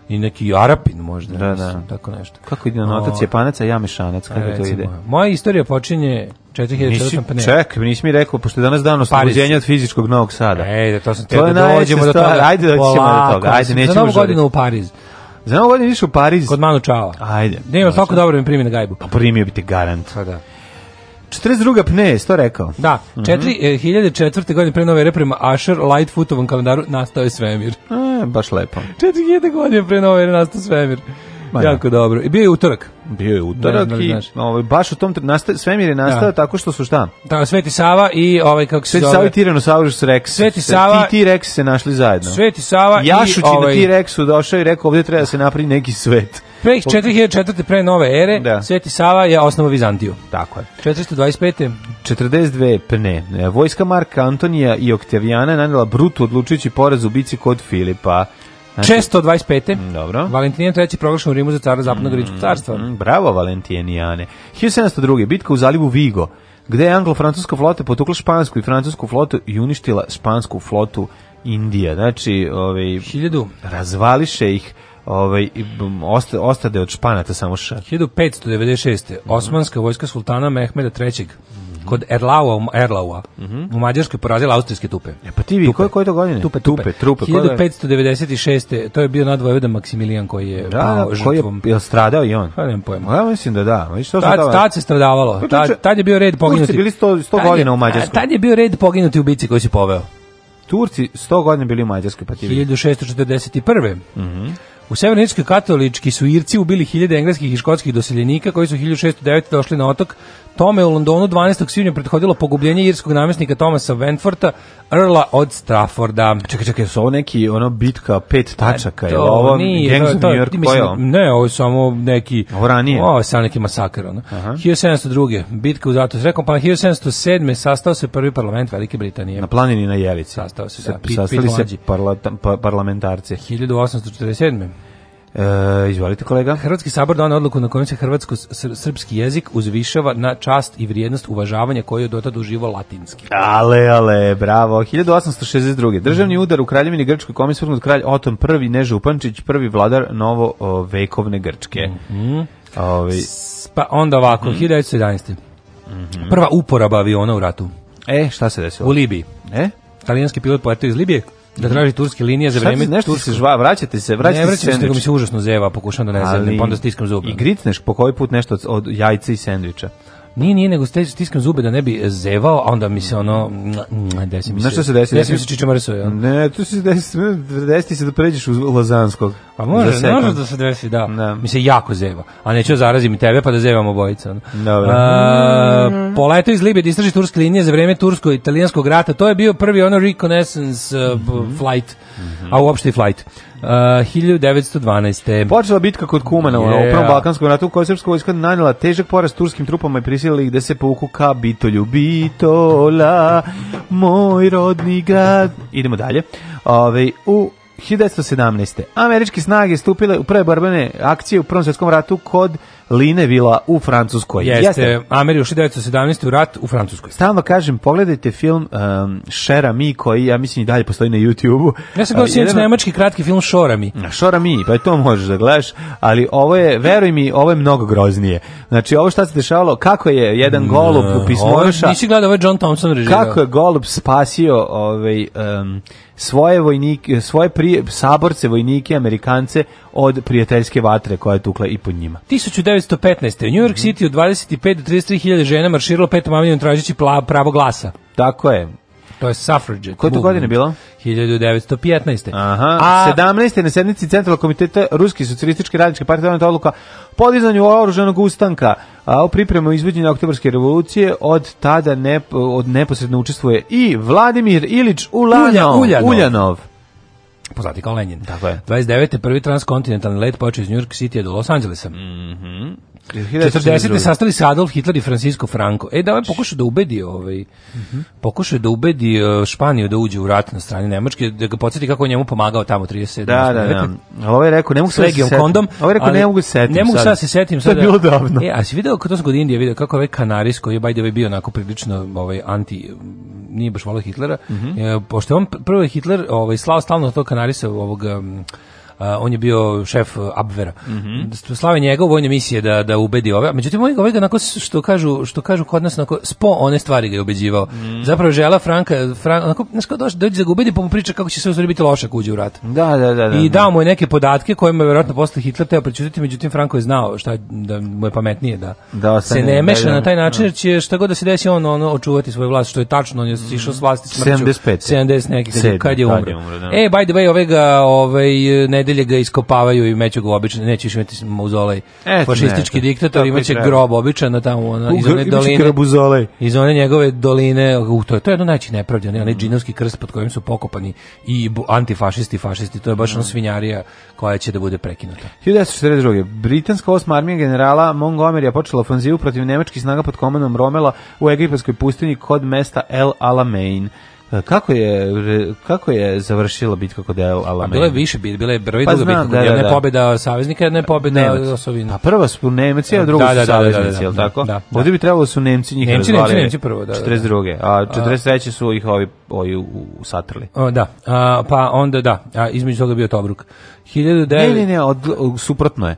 G: I neki Arapin možda,
E: Da,
G: mislim,
E: da.
G: tako nešto.
E: Kako ide na otac
G: O,
E: je panac, a ja mešanac, kako to
G: recimo,
E: ide?
G: Moja istorija počinje 4400
E: Nisi,
G: pa ne.
E: ček, nisi mi rekao, pošto je danas dan oslobođenja od fizičkog Novog Sada.
G: Ejde, to sam
E: To je
G: E, da dođemo
E: najveća
G: do toga.
E: stvar. Ajde, doći ćemo do
G: Polako,
E: toga. Ajde,
G: mislim,
E: nećemo
G: Za novu
E: žuriti.
G: godinu u Pariz.
E: Za novu godinu ideš u Pariz.
G: Kod Manu Čava.
E: Ajde.
G: Ne, ima svako dobro mi primi na gajbu.
E: Pa primio bi te garant.
G: Pa da.
E: 42. pne, sto rekao.
G: Da, 4004. godine pre nove ere prema Asher Lightfootovom kalendaru nastao je svemir.
E: E, baš lepo.
G: 4000 godine pre nove ere nastao svemir.
E: Ma da.
G: jako dobro. I bio je utorak.
E: Bio je utorak
G: Ne znam,
E: i
G: znaš.
E: ovaj, baš u tom tre- nastaje, svemir je nastao
G: Da.
E: tako što su šta?
G: Da, Sveti Sava i ovaj kako se
E: Sveti
G: zove.
E: Sava i Tiranosaurus Rex.
G: Sveti
E: Se-
G: Sava-
E: Ti i T-Rex se našli zajedno.
G: Sveti Sava
E: Jašuć
G: i ovaj
E: na T-Rexu došao i rekao ovdje treba da se napravi neki svet.
G: pre 4004. pre nove ere,
E: Da.
G: Sveti Sava je osnovao Vizantiju.
E: Tako je.
G: 425.
E: 42 pne. E, Vojska Marka Antonija i Oktavijana je nanela brutu odlučujući poraz u bici kod Filipa. Znači,
G: 625.
E: Dobro.
G: Valentinijan III proglašen u Rimu za cara zapadnog rimskog carstva.
E: Mm, Bravo Valentinijane. 1702. Bitka u zalivu Vigo, gde je anglo-francuska flota potukla špansku i francusku flotu i uništila špansku flotu Indija. Znači, ovaj,
G: 1000
E: razvališe ih ovaj, i bum, osta- ostade od španata samo šar.
G: 1596.
E: Mhm.
G: Osmanska vojska sultana Mehmeda III. kod Erlaua, Erlaua u Mađarskoj porazila austrijske tupe.
E: Mhm. E pa ti vi, koje, koje to godine?
G: Tupe, tupe.
E: Tupe, trupe. koje godine?
G: 1596. To je bio nadvojvoda Maksimilijan koji je
E: Da,
G: pao
E: da, koji je,
G: žrtvom.
E: jel stradao i on?
G: Pa nemam pojma.
E: Ja mislim da da. Ma i što sam
G: Tad,
E: tamo-
G: tad se stradavalo.
E: Pa čovječe,
G: Tad, tad je bio red
E: Turci
G: poginuti.
E: bili 100 100
G: Tad je-
E: godina u Mađarskoj.
G: Tad je bio red poginuti u bici koji si poveo.
E: Turci 100 godina bili u Mađarskoj, pa ti vidi. Mhm.
G: 1641. U Severnoj Irskoj katolički su Irci ubili hiljade engleskih i škotskih doseljenika koji su 1609. došli na otok. Tome u Londonu 12. svibnja prethodilo pogubljenje irskog namjesnika Thomasa Wentforta, Earla od Strafforda. Pa
E: Čekaj, čekaj, su ovo neki ono bitka pet tačaka, je
G: To
E: ovo
G: nije,
E: Gangs
G: to-
E: of
G: to-
E: New York, ko
G: mislim,
E: je ovo?
G: Ne, ovo je samo neki...
E: Ovo ranije.
G: Ovo je samo neki masakar. Ono. 1702. Bitka u Zlatu Srekom, pa 1707. sastao se prvi parlament Velike Britanije.
E: Na planini na Jelici.
G: Sastao se,
E: Se-
G: da, Pit-
E: Sastali
G: Pit
E: se
G: mlađi.
E: parla- pa- parlamentarci.
G: 1847.
E: E, izvolite kolega.
G: Hrvatski sabor donio odluku na kojom se hrvatsko-srpski jezik uzvišava na čast i vrijednost uvažavanja koju je dotad uživao latinski.
E: Ale, ale, bravo. 1862. Državni udar u Kraljevini Grčkoj kome je svrgnut kralj Oton I, Neža Upančić, prvi vladar novo o, vekovne Grčke.
G: Mhm.
E: Ovaj- Ovi,
G: Pa onda ovako,
E: Mhm.
G: 1911. Prva uporaba aviona u ratu.
E: e, šta se
G: U
E: desilo?
G: Libiji.
E: E? Mhm.
G: Italijanski pilot poletio iz Libije da traži turske linije za
E: Šta ti,
G: vreme
E: nešto ti se žva, vraćate se, vraćate
G: Ne vraćam se, nego mi
E: sendvič.
G: se užasno zeva, pokušam da ne zevnem, pa onda stiskam zube.
E: I gritneš po koji put nešto od, od jajca i sendviča.
G: Nije, nije, nego ste- stiskam zube da ne bi zevao, a onda mi se ono... Desi mi se...
E: Znaš šta se desi?
G: Desi mi
E: Desi-
G: se čičamarsuje, ono.
E: Ne, tu se desi, desi ti se da pređeš u Lazanskog.
G: Pa može,
E: Za sekund.
G: može da se desi, da.
E: Da.
G: Mi se jako zeva. A neću da zarazim i tebe pa da zevamo obojica. ono.
E: Dobro.
G: A, poletao iz Libije da istraži turske linije za vreme tursko-italijanskog rata. To je bio prvi ono reconnaissance uh, b-
E: Mhm.
G: flight, a uopšte i flight. Uh, 1912.
E: Počela bitka kod Kumana u
G: Yeah.
E: prvom Balkanskom ratu u kojoj je srpska vojska nanijela težak poraz turskim trupama i prisilila ih da se povuku ka Bitolju. Bitola, moj rodni grad. Idemo dalje. Ove, u 1917. Američke snage stupile u prve borbene akcije u Prvom svjetskom ratu kod Linevila u Francuskoj.
G: Jeste, Ameri ušli 1917. u rat u Francuskoj.
E: Stalno kažem, pogledajte film um, Shera Mi, koji ja mislim i dalje postoji na YouTube-u.
G: Ja sam gledao
E: A,
G: sinoć
E: jedan-
G: nemački kratki film Šorami.
E: Na Shora Mi, pa i to možeš da gledaš, ali ovo je, veruj mi, ovo je mnogo groznije. Znači, ovo šta se dešavalo, kako je jedan golub u pismonoša,
G: Mm, Ovo- Nisi gledao, ovo je John Thompson režirao.
E: kako je golub spasio ovaj, em, svoje vojnike, svoje prije, saborce, vojnike, amerikance od prijateljske vatre koja je tukla i pod njima.
G: 1915. U New
E: Mhm.
G: York City od 25 do 33 hiljade žena marširalo petom avnijom tražeći pla- pravo glasa.
E: Tako je.
G: To je suffragette.
E: Koje to godine bilo?
G: 1915.
E: Aha,
G: A
E: 17. na sednici Centralnog komiteta Ruske socijalističke radničke partije doneta odluka podizanju oružanog ustanka a u pripremu izvođenja oktobarske revolucije od tada ne, od neposredno učestvuje i Vladimir Ilić Ulanov.
G: Ulja- Uljanov.
E: Uljanov.
G: poznati kao Lenin.
E: Tako je.
G: 29. prvi transkontinentalni let počeo iz New York City do Los Angelesa. 40.
E: Mhm. 1942.
G: sastali se Adolf Hitler i Francisco Franco. E, da ovaj pokušao da ubedi, ovaj,
E: Mhm.
G: pokušao da ubedi eh, Španiju da uđe u rat na strani Nemačke, da ga podsjeti kako je njemu pomagao tamo 37.
E: Da, da, da. Ali
G: ovaj
E: Ovo je rekao, ne mogu
G: s
E: sad da se
G: legijom
E: setim.
G: kondom.
E: Ovo je rekao,
G: ali
E: ne mogu se setim
G: Ne mogu sad da se setim.
E: To je
G: sad
E: bilo davno.
G: E, a si video, to sam kod Indije video, kako je ovaj Kanaris, koji je by the way bio onako prilično ovaj, anti, nije
E: Mhm.
G: baš volao Hitlera, e, pošto je on, pr- prvo je Hitler ovaj, slao stalno to Kanarisa ovog... em, a, on je bio šef a, Abvera.
E: Mhm.
G: Slave njega u vojne misije da, da ubedi ove. Međutim, ovaj ovaj ga onako, s- što kažu, što kažu kod nas, onako, spo one stvari ga je ubeđivao.
E: Mm.
G: Zapravo žela Franka, Fran, onako, znaš kao dođe, dođe da ga ubedi, pa mu priča kako će sve u stvari biti loše ako uđe u rat.
E: Da, da, da. da
G: I dao mu je neke podatke kojima je vjerojatno posle Hitler teo prećutiti, međutim Franko je znao šta je- da mu je pametnije da,
E: Da ostane,
G: se ne
E: da,
G: meša
E: da,
G: na taj način,
E: da.
G: jer će šta god da se desi on ono očuvati svoju vlast, što je tačno, on je išao s vlasti smrću.
E: 75.
G: 70 neki, kad, je-
E: Sedmi,
G: kad je umro.
E: kad je umro, da.
G: E, by the way, ove ga, ovaj, e, nedelje ga iskopavaju i meću ga u običan, neće više imati mauzolej.
E: Eto,
G: Fašististički
E: E, ne, eto,
G: diktator,
E: tako i
G: imaće
E: treba.
G: grob običan tamo, ono, iz one doline
E: Grabuzolej.
G: iz one njegove doline, u, to je, to je jedno najveći nepravdje, onaj džinovski krst pod kojim su pokopani i bu- antifašisti i fašisti, to je baš ono svinjarija koja će da bude prekinuta.
E: 1942. Britanska osma armija generala Montgomerya počela ofenzivu protiv nemačkih snaga pod komandom Romela u egipatskoj pustinji kod mesta El Alamein. E, Kako je, re- kako je završila bitka kod El
G: A
E: Alamein?
G: bilo je više bit, bila je prva i
E: Pa
G: druga
E: znam,
G: bitka,
E: da, da,
G: jedna je
E: da.
G: pobjeda saveznika, jedna je pobjeda
E: Nemac.
G: osovina.
E: Pa prva su Nemci, a druga
G: Da,
E: su
G: da, da, da, da,
E: saveznici,
G: da,
E: jel
G: da,
E: tako?
G: da, da.
E: Ovdje bi trebalo su Nemci njih
G: Nemci,
E: razvalili.
G: Nemci, Nemci prvo, da, da, da.
E: 42. A 43. su ih ovi, ovi u, u- satrli.
G: O, da, A, pa onda da, a, između toga je bio Tobruk. 1900...
E: Ne, ne, ne, od, od- suprotno je.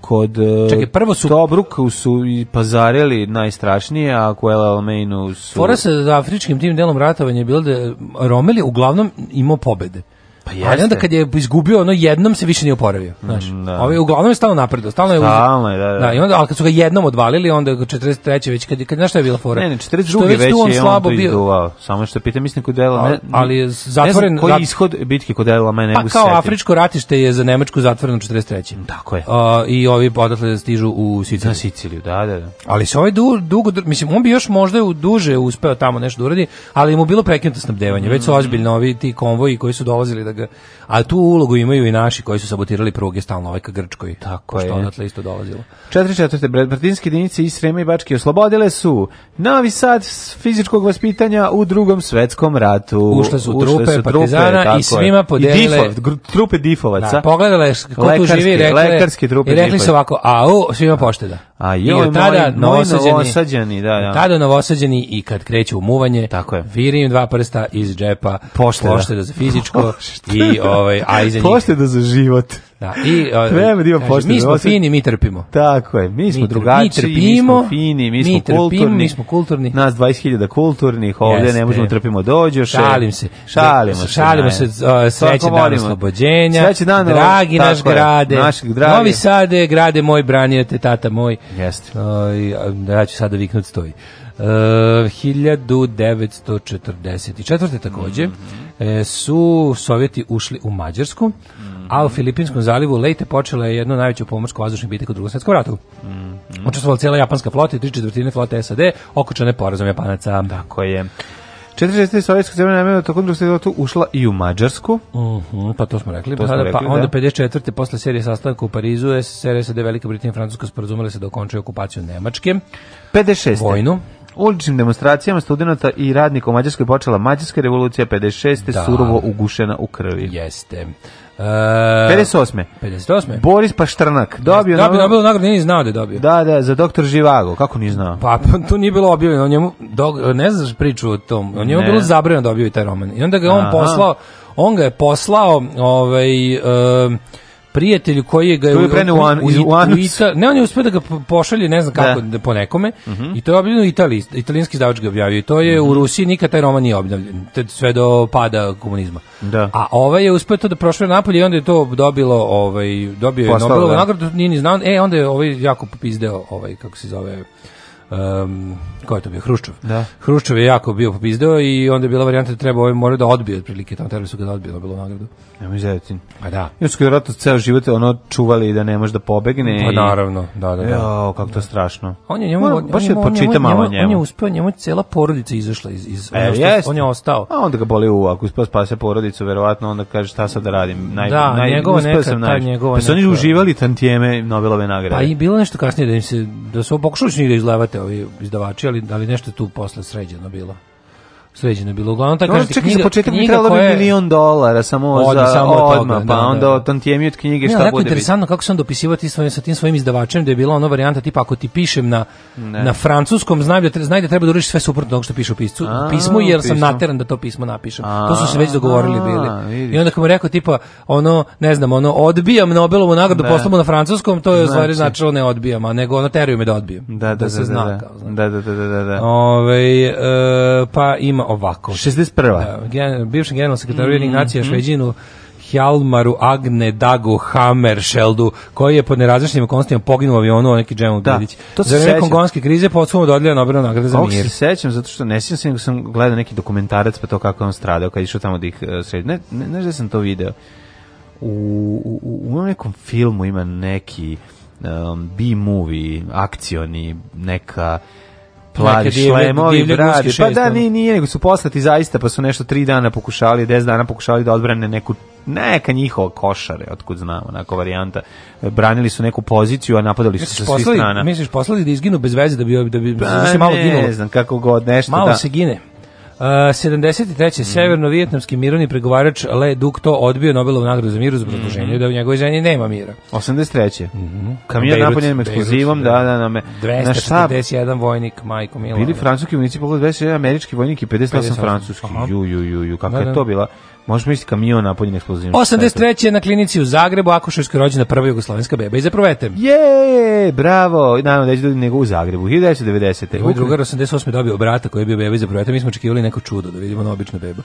E: Kod e,
G: Čekaj, prvo su-
E: Tobruku su i pazarili najstrašnije, a u El Alameinu su...
G: Fora sa za afričkim tim delom ratovanja je bilo da je Romeli uglavnom imao pobede. Pa Ali
E: jeste.
G: onda kad je izgubio ono jednom se više nije oporavio, znaš.
E: Mm, da.
G: Ovaj uglavnom je stalno napredo, stalno je uz-
E: Stalno je, da, da.
G: i onda al kad su ga jednom odvalili, onda je 43. već kad kad znaš šta je bila fora.
E: Ne, ne,
G: Što
E: 42. već
G: tu
E: je on to izduvao. Samo što pitam, mislim kod Ela...
G: Ali-
E: Ne,
G: ali je
E: ne znam
G: zatvoren-
E: koji
G: zat-
E: je ishod bitke kod Ela Mej,
G: Pa kao afričko ratište je za Nemačku zatvoreno 43.
E: Tako je.
G: A, I ovi odatle stižu u Siciliju.
E: Na Siciliju, da, da, da.
G: Ali se ovaj du, dugo, dr- mislim, on bi još možda u duže uspeo tamo nešto da uradi, ali mu je bilo prekinuto snabdevanje. Već
E: Mm.
G: su ozbiljno ovi ti konvoji koji su dolazili da ga... A tu ulogu imaju i naši koji su sabotirali pruge stalno ovaj ka Grčkoj. Tako
E: je.
G: Što odatle isto dolazilo.
E: 44. Bratinske jedinice iz Srema i Bačke oslobodile su Novi Sad s fizičkog vaspitanja u drugom svetskom ratu.
G: Ušle su trupe partizana i
E: tako je.
G: svima podelile-
E: I difov, gru- trupe difovaca.
G: Da, pogledala je ko tu
E: Lekarske-
G: živi i rekla je-
E: lekarske trupe
G: i rekli
E: difovaca.
G: su ovako, au, svima pošteda.
E: A
G: I
E: joj,
G: od
E: moji- moji novosađeni, da, da.
G: Tada novosađeni i kad kreću u muvanje,
E: Tako je.
G: viri im dva prsta iz džepa,
E: Pošteda.
G: za fizičko i, ovaj, a iza njih
E: Pošteda za život.
G: Da, i, o,
E: Treba da ima
G: kaže,
E: pošteno,
G: Mi smo
E: ovo se-
G: fini, mi trpimo.
E: Tako je, mi smo
G: Mi tr-
E: drugačiji,
G: mi
E: mi,
G: trpimo,
E: smo fini, mi,
G: mi
E: smo
G: trpimo,
E: kulturni.
G: mi smo kulturni.
E: Nas 20.000 kulturnih, ovdje
G: Jeste.
E: ne možemo trpimo dođoš.
G: Šalim se.
E: Šalimo se.
G: Šalimo se. o, Sreće
E: Tako
G: dan
E: volimo.
G: oslobođenja.
E: Sreće dan,
G: dragi
E: tako
G: naš
E: je,
G: grade.
E: Naš dragi.
G: Novi Sade, grade moj, branio te tata moj.
E: Jeste.
G: Oj, a, da ja ću sada viknut stoji. E, 1944. takođe
E: Mhm.
G: e, su Sovjeti ušli u Mađarsku,
E: Mhm.
G: a u Filipinskom zalivu lejte počela je jedno najveće pomorsko vazdušno bitak u drugom svjetskom ratu.
E: Mhm.
G: Učestvovala cijela japanska flota i tri četvrtine flote SAD, okočane porazom Japanaca.
E: Tako je. 46. sovjetska zemlja namjerno tokom drugog svjetskog rata ušla i u Mađarsku.
G: Mhm, pa to smo rekli.
E: To smo
G: Da, da,
E: rekli,
G: pa onda
E: da.
G: 54. posle serije sastanka u Parizu, SSR, SAD, Velika Britanija i Francuska sporazumele se da okončaju okupaciju Nemačke.
E: 56.
G: Vojnu.
E: Uličnim demonstracijama studenta i radnika u Mađarskoj počela Mađarska revolucija 56.
G: Da.
E: surovo ugušena u krvi.
G: Jeste. E,
E: 58.
G: 58.
E: Boris Paštrnak
G: Dobio
E: dobio, Nobel-
G: Nobelu nagradu, nije ni znao da je dobio.
E: Da, da, za doktor Živago, kako nije znao?
G: Pa, pa, to nije bilo objavljeno, o njemu, dog- ne znaš priču o tom, o njemu je
E: Ne.
G: bilo zabranjeno da objavi taj roman. I onda ga je on
E: Aha.
G: poslao, on ga je poslao ovaj, e, prijatelju koji ga je...
E: To je preneo u an- iz- u anus.
G: Ita- ne, on je uspio da ga po- pošalje, ne znam kako,
E: Da.
G: da. po nekome,
E: Mhm.
G: i to je objavljeno u Italiji, italijanski izdavač ga je objavio, i to je u Rusiji nikad taj roman nije objavljen, te- sve do pada komunizma.
E: Da.
G: A ovaj je uspio to da prošle napolje i onda je to dobilo, ovaj, dobio je
E: Poslao,
G: Nobelovu
E: da.
G: nagradu, nije ni znao, e, onda je ovaj jako popizdeo, ovaj, kako se zove, um, ko je to bio, Hruščov.
E: Da.
G: Hruščov je jako bio popizdeo i onda je bila varijanta da treba ovaj mora da odbije otprilike, tamo trebali su ga da odbije Nobelovu nagradu.
E: Nemoj zezati.
G: Pa da.
E: Još su ga vjerojatno ceo život ono čuvali da ne može da pobegne.
G: Pa
E: i-
G: naravno, da, da, da.
E: Jao, kako to strašno.
G: On je njemu,
E: Moram-
G: on,
E: baš
G: on
E: je
G: je- on je-
E: počita
G: on je-
E: malo
G: on je- On je
E: njemu.
G: uspeo, njemu je cijela porodica izašla iz... iz
E: E,
G: ono što-
E: jest.
G: on je ostao.
E: A onda ga boli u, ako uspeo spase porodicu, verovatno onda kaže šta sad da radim. Naj,
G: Da,
E: naj,
G: njegova
E: uspeo
G: neka-
E: sam
G: ta
E: najviše.
G: njegova
E: Pa su oni
G: neka-
E: uživali tantijeme Nobelove nagrade.
G: Pa i bilo je nešto kasnije da im se, da su pokušali su njih da izlevate ovi izdavači, ali, ali nešto je tu posle sređeno bilo. sređeno je bilo. Uglavnom, ta
E: Ono,
G: kažete,
E: čekaj,
G: knjiga,
E: za početak mi
G: knjiga
E: trebalo bi
G: koja je-
E: milion dolara samo
G: Odmah,
E: za
G: samo od toga,
E: odmah,
G: da,
E: pa
G: da.
E: onda od tantijemi od knjige
G: Ne,
E: šta
G: jako
E: bude. biti.
G: interesantno kako se on dopisivao ti svojim, sa tim svojim izdavačem, da je bila ona varijanta tipa ako ti pišem na, na francuskom, znaj da, tre- znaj da treba da uradiš sve suprotno od onog što piše u piscu,
E: A,
G: u pismu, jer
E: u
G: sam
E: pismu.
G: nateran da to pismo napišem. to su se već
E: A,
G: dogovorili bili.
E: vidiš.
G: I onda kad mu je rekao tipa, ono, ne znam, ono, odbijam Nobelovu nagradu,
E: Da.
G: poslao mu na francuskom, to je u stvari
E: Znači.
G: značilo ne odbijam, a nego ono teruju me da odbijem.
E: Da, da, da,
G: se
E: da,
G: zna,
E: da.
G: kao, znaš.
E: da, da, da, da, da, da.
G: Ovaj, e, pa ima ovako.
E: 61.
G: Da, gen, bivšem generalnom sekretaru Ujedinjenih nacija Šveđinu Hjalmaru Agne Dagu Hammerscheldu, koji je pod nerazličnim okolnostima poginuo u avionu, on neki Džemu
E: Da,
G: Gredić.
E: to se
G: Za vreme
E: sećam.
G: kongonske krize podsumno dodeljena Nobelova nagrada za
E: Ovog
G: mir.
E: se sećam, zato što ne sjećam se, nego sam gledao neki dokumentarac pa to kako je on stradao, kad je išao tamo da ih uh, sredi. Ne, ne, ne znam sam to video. U, u, u onom nekom filmu ima neki um, B-movie, akcioni, neka plavi
G: Neke divlje-
E: šlemovi,
G: divlje
E: brade.
G: guske
E: Pa
G: šest,
E: da,
G: ono.
E: nije, nije, nego su poslati zaista, pa su nešto tri dana pokušali, deset dana pokušali da odbrane neku neka njihova košare, otkud znam, onako varijanta. Branili su neku poziciju, a napadali su sa
G: Misliš
E: svih strana.
G: poslali, misliš poslali da izginu bez veze da bi da bi
E: Pa
G: da se malo
E: ne
G: ginulo.
E: znam kako god, nešto
G: Malo
E: da. Mhm.
G: se gine. Uh, 73. Severno-vijetnamski mirovni pregovarač Le Duc to odbio Nobelovu nagradu za mir uz
E: Mhm.
G: obrazloženje da u njegovoj zemlji nema mira.
E: 83.
G: Mhm.
E: Kamion
G: Bejrut,
E: napunjen eksplozivom, da,
G: Bejrut,
E: da, da. Me, na šta?
G: 241 vojnik, majko Milo.
E: Bili francuski vojnici, pogledaj, 21 američki vojnik i 58
G: 58,
E: francuski.
G: aha.
E: Ju, ju, ju, ju, kakva
G: Da,
E: je
G: da.
E: to bila? Možeš misliti kamion napunjen eksplozivom.
G: 83. je na klinici u Zagrebu Akuševskoj rođena prva jugoslovenska beba i zaprovete.
E: Je, bravo! I Naravno, da je nego u Zagrebu. 1990.
G: Ovo je
E: Ukri-
G: drugar 88. dobio brata koji je bio beba i zaprovete. Mi smo očekivali neko čudo da vidimo na običnu bebu.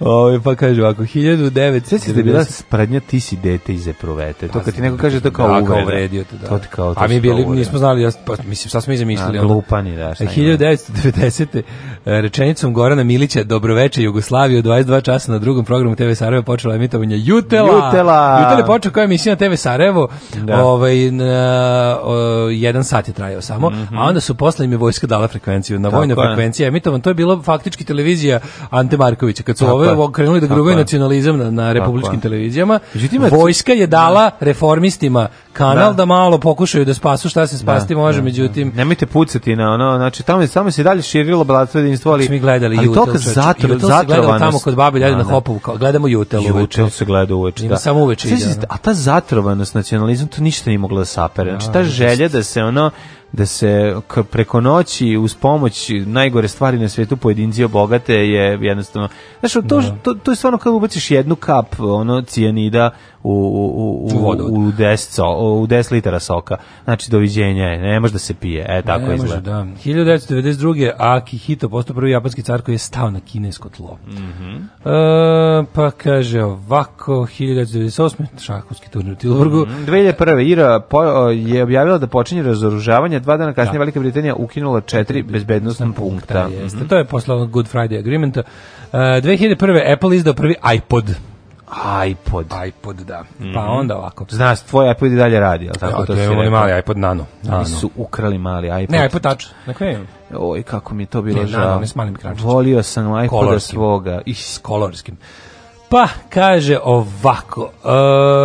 E: Ovaj,
G: Ovo pa kaže ovako, 1900...
E: Sjećaš da je bila sprednja ti si dete iz Eprovete. To kad Pa ti neko kaže to kao
G: da,
E: uvreda.
G: kao uvredio te, da.
E: To ti kao, to
G: A mi
E: su
G: bili,
E: uvrede.
G: nismo znali, ja, pa, mislim, sad smo i zamislili.
E: A,
G: onda.
E: glupani, da, šta ima.
G: 1990. e, rečenicom Gorana Milića Dobroveče Jugoslavije u 22 časa na drugom programu TV Sarajevo počelo emitovanje Jutela.
E: Jutela!
G: Jutela je počeo kao emisija na TV Sarajevo.
E: Da.
G: Ovaj, na, o, jedan sat je trajao samo. A onda su posle im je vojska dala frekvenciju. Na vojnoj
E: Mhm. Tako je.
G: frekvenciji je emitovan. To je bilo faktički televizija Ante Markovića. Kad su
E: Tako
G: ove
E: je.
G: ovo krenuli da
E: Tako
G: grubaju
E: je.
G: nacionalizam na, na republičkim
E: je.
G: televizijama,
E: Međutim,
G: vojska je dala reformistima kanal
E: Da.
G: da, malo pokušaju da spasu šta se spasti može, međutim
E: Nemojte pucati na ono, znači tamo je samo se i dalje širilo bratstvo jedinstvo, ali
G: Dok smo mi gledali
E: ali
G: Jutel.
E: to kad
G: čoveče.
E: zatro,
G: Jutel se gledao tamo
E: zatrovanost-
G: kod babi Ljade
E: Da,
G: na
E: da.
G: hopu, kao, gledamo Jutel uveče.
E: Jutel se gleda uveče,
G: Ima
E: da.
G: samo uveče
E: Sjećate
G: ide,
E: se,
G: ono.
E: a ta zatrovanost nacionalizam, to ništa nije moglo da sapere. Znači, ta želja da se ono, da se k- preko noći uz pomoć najgore stvari na svijetu pojedinci obogate je jednostavno... Znaš, to, to, to je stvarno kad ubaciš jednu kap ono, cijanida u, u, u,
G: U vodovod.
E: u, 10 so- u 10 litara soka. Znači, doviđenja je, ne može da se pije. E, tako
G: Ne može,
E: izgleda.
G: da. 1992. Akihito postao prvi japanski car koji je stao na kinesko tlo. Mhm. E, pa kaže ovako, 1998. šahovski turnir u Tilburgu.
E: Mm. Mhm. 2001. Ira po- je objavila da počinje razoružavanje, dva dana kasnije Velika Britanija ukinula četiri bezbednostna
G: Da,
E: punkta.
G: Znači, jeste. To je posle onog Good Friday agreementa. E, 2001. Apple izdao prvi iPod.
E: iPod.
G: iPod, da. Pa onda ovako.
E: Znaš, tvoj iPod i dalje radi, ali tako
G: Ja,
E: to
G: to
E: si
G: je onaj
E: rekao.
G: mali iPod Nano. Nano.
E: Oni su ukrali mali iPod.
G: Ne, iPod Touch. Na kojem imam?
E: Oj, kako mi je to bilo
G: Ne,
E: žao.
G: naravno, oni s malim ekrančićem.
E: Volio sam iPoda
G: Kolorski.
E: svoga. Ih,
G: S kolorskim. Pa, kaže ovako.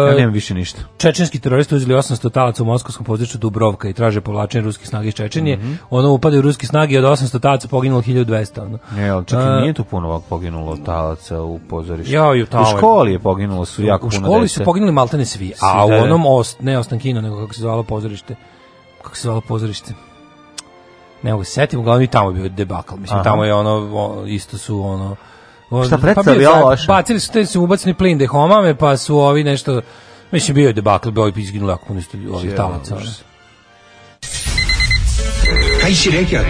E: ja
G: E,
E: nemam više ništa.
G: čečenski teroristi uzeli 800 talaca u moskovskom području Dubrovka i traže povlačenje ruskih snaga iz Čečenije.
E: Mhm.
G: Ono upade u ruski snagi i od 800 talaca poginulo 1200. Ono.
E: Ne, ali čak
G: A-
E: i nije tu puno ovako poginulo talaca u pozorištu.
G: Jao, i u
E: u
G: talo je-
E: školi je poginulo su jako
G: u
E: puno
G: školi
E: dece.
G: su poginuli maltene svi, a u
E: da, da.
G: onom ost, ne Ostankino, nego kako se zvalo pozorište. Kako se zvalo pozorište? Ne mogu se setim, uglavnom i tamo je bio debakl. Mislim,
E: Aha.
G: tamo je ono, o, isto su ono... o,
E: Šta,
G: pa bio
E: predstava je
G: za-
E: loša?
G: Bacili su, te su ubacili plin de homame, pa su ovi nešto... Mislim, bio je debakl, bio je izginulo jako puno isto ovih talaca. ono.
J: Kaj si rekao?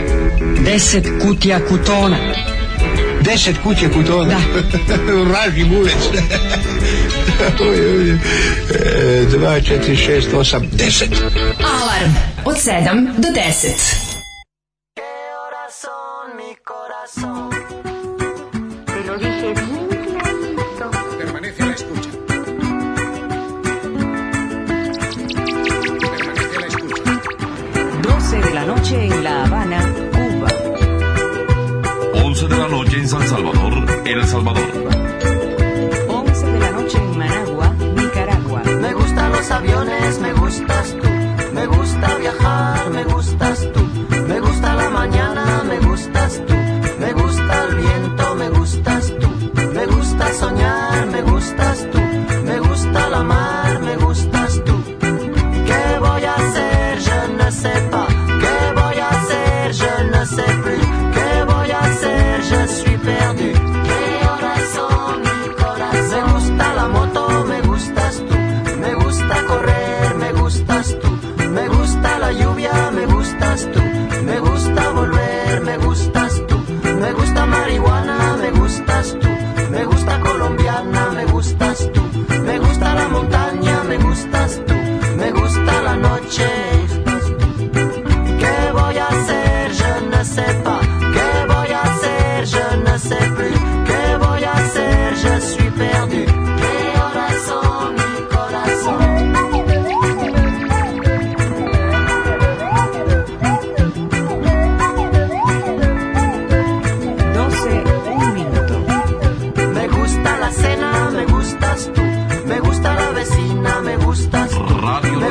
B: Deset kutija kutona.
J: Deset kuće kod ona. Vraži mulec. Oj, oj, oj. E, Dva, četiri, šest, osam, deset.
D: Alarm od 7 do 10.
K: Me gustan los aviones, me gustas tú. Me gusta viajar, me gustas tú. Me gusta la mañana, me gustas tú.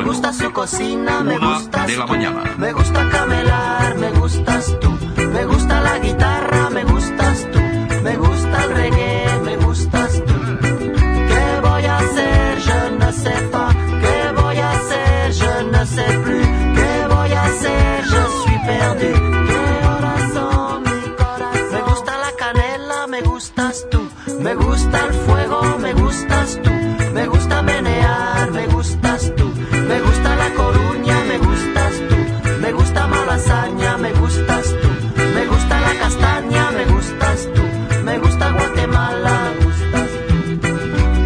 K: gusta su cocina, me
L: Una
K: gustas
L: de la
K: tú.
L: mañana.
K: Me gusta camelar, me gustas tú. Me gusta la guitarra, me gustas tú. Me gusta el reggae, me gustas tú. ¿Qué voy a hacer? Je ne sais pas. ¿Qué voy a hacer? Je ne sais plus. ¿Qué voy a hacer? Je suis perdu. ¿Qué corazón, mi corazón? Me gusta la canela, me gustas tú. Me gusta el fuego, me gustas tú. Me gusta menear, me gustas tú. Me gusta la coruña, me gustas tú. Me gusta malasaña, me gustas tú. Me gusta la castaña, me gustas tú. Me gusta Guatemala, me gustas tú.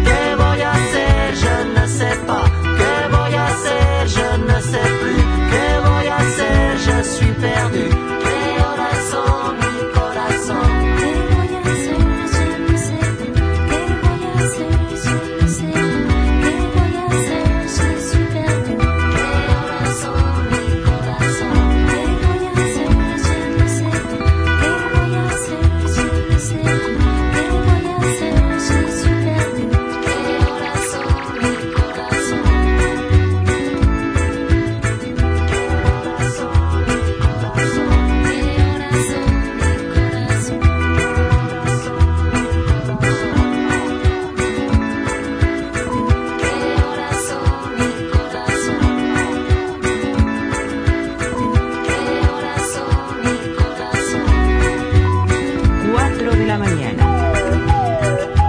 K: ¿Qué voy a hacer? Je ne sais pas. ¿Qué voy a hacer? Je ne sais plus. ¿Qué voy a hacer? Je suis perdu. ¿Qué corazón, mi corazón?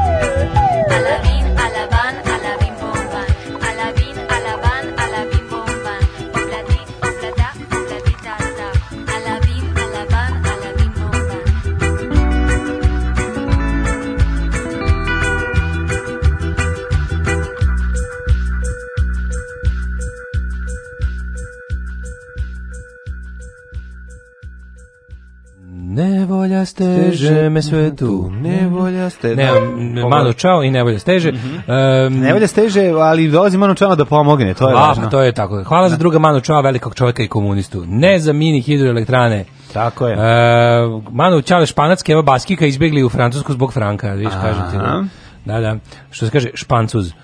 M: Alabín, alabán, alabim bombán. Alabín, alabán, alabim bombán. Obladí, oblada, obladí, tata. Alabín, alabán, alabim bombán.
G: Nevolja steže me sve tu. Mhm.
E: Nevolja ste-
G: Ne,
E: da.
G: m, malo čao i nevolja steže. Em,
E: Mhm. Ne valja steže, ali dolazi Manu Čano da pomogne, to je
G: Ah,
E: važno.
G: to je tako. Hvala za druga Manu Čao, velikog čovjeka i komunistu. Ne za mini hidroelektrane.
E: Tako je.
G: E, Manu Čale Španac, Keva Baskika izbjegli u Francusku zbog Franka, viš, kažem ti.
E: Aha. Mhm.
G: Da, da. Što se kaže, špancuz. E,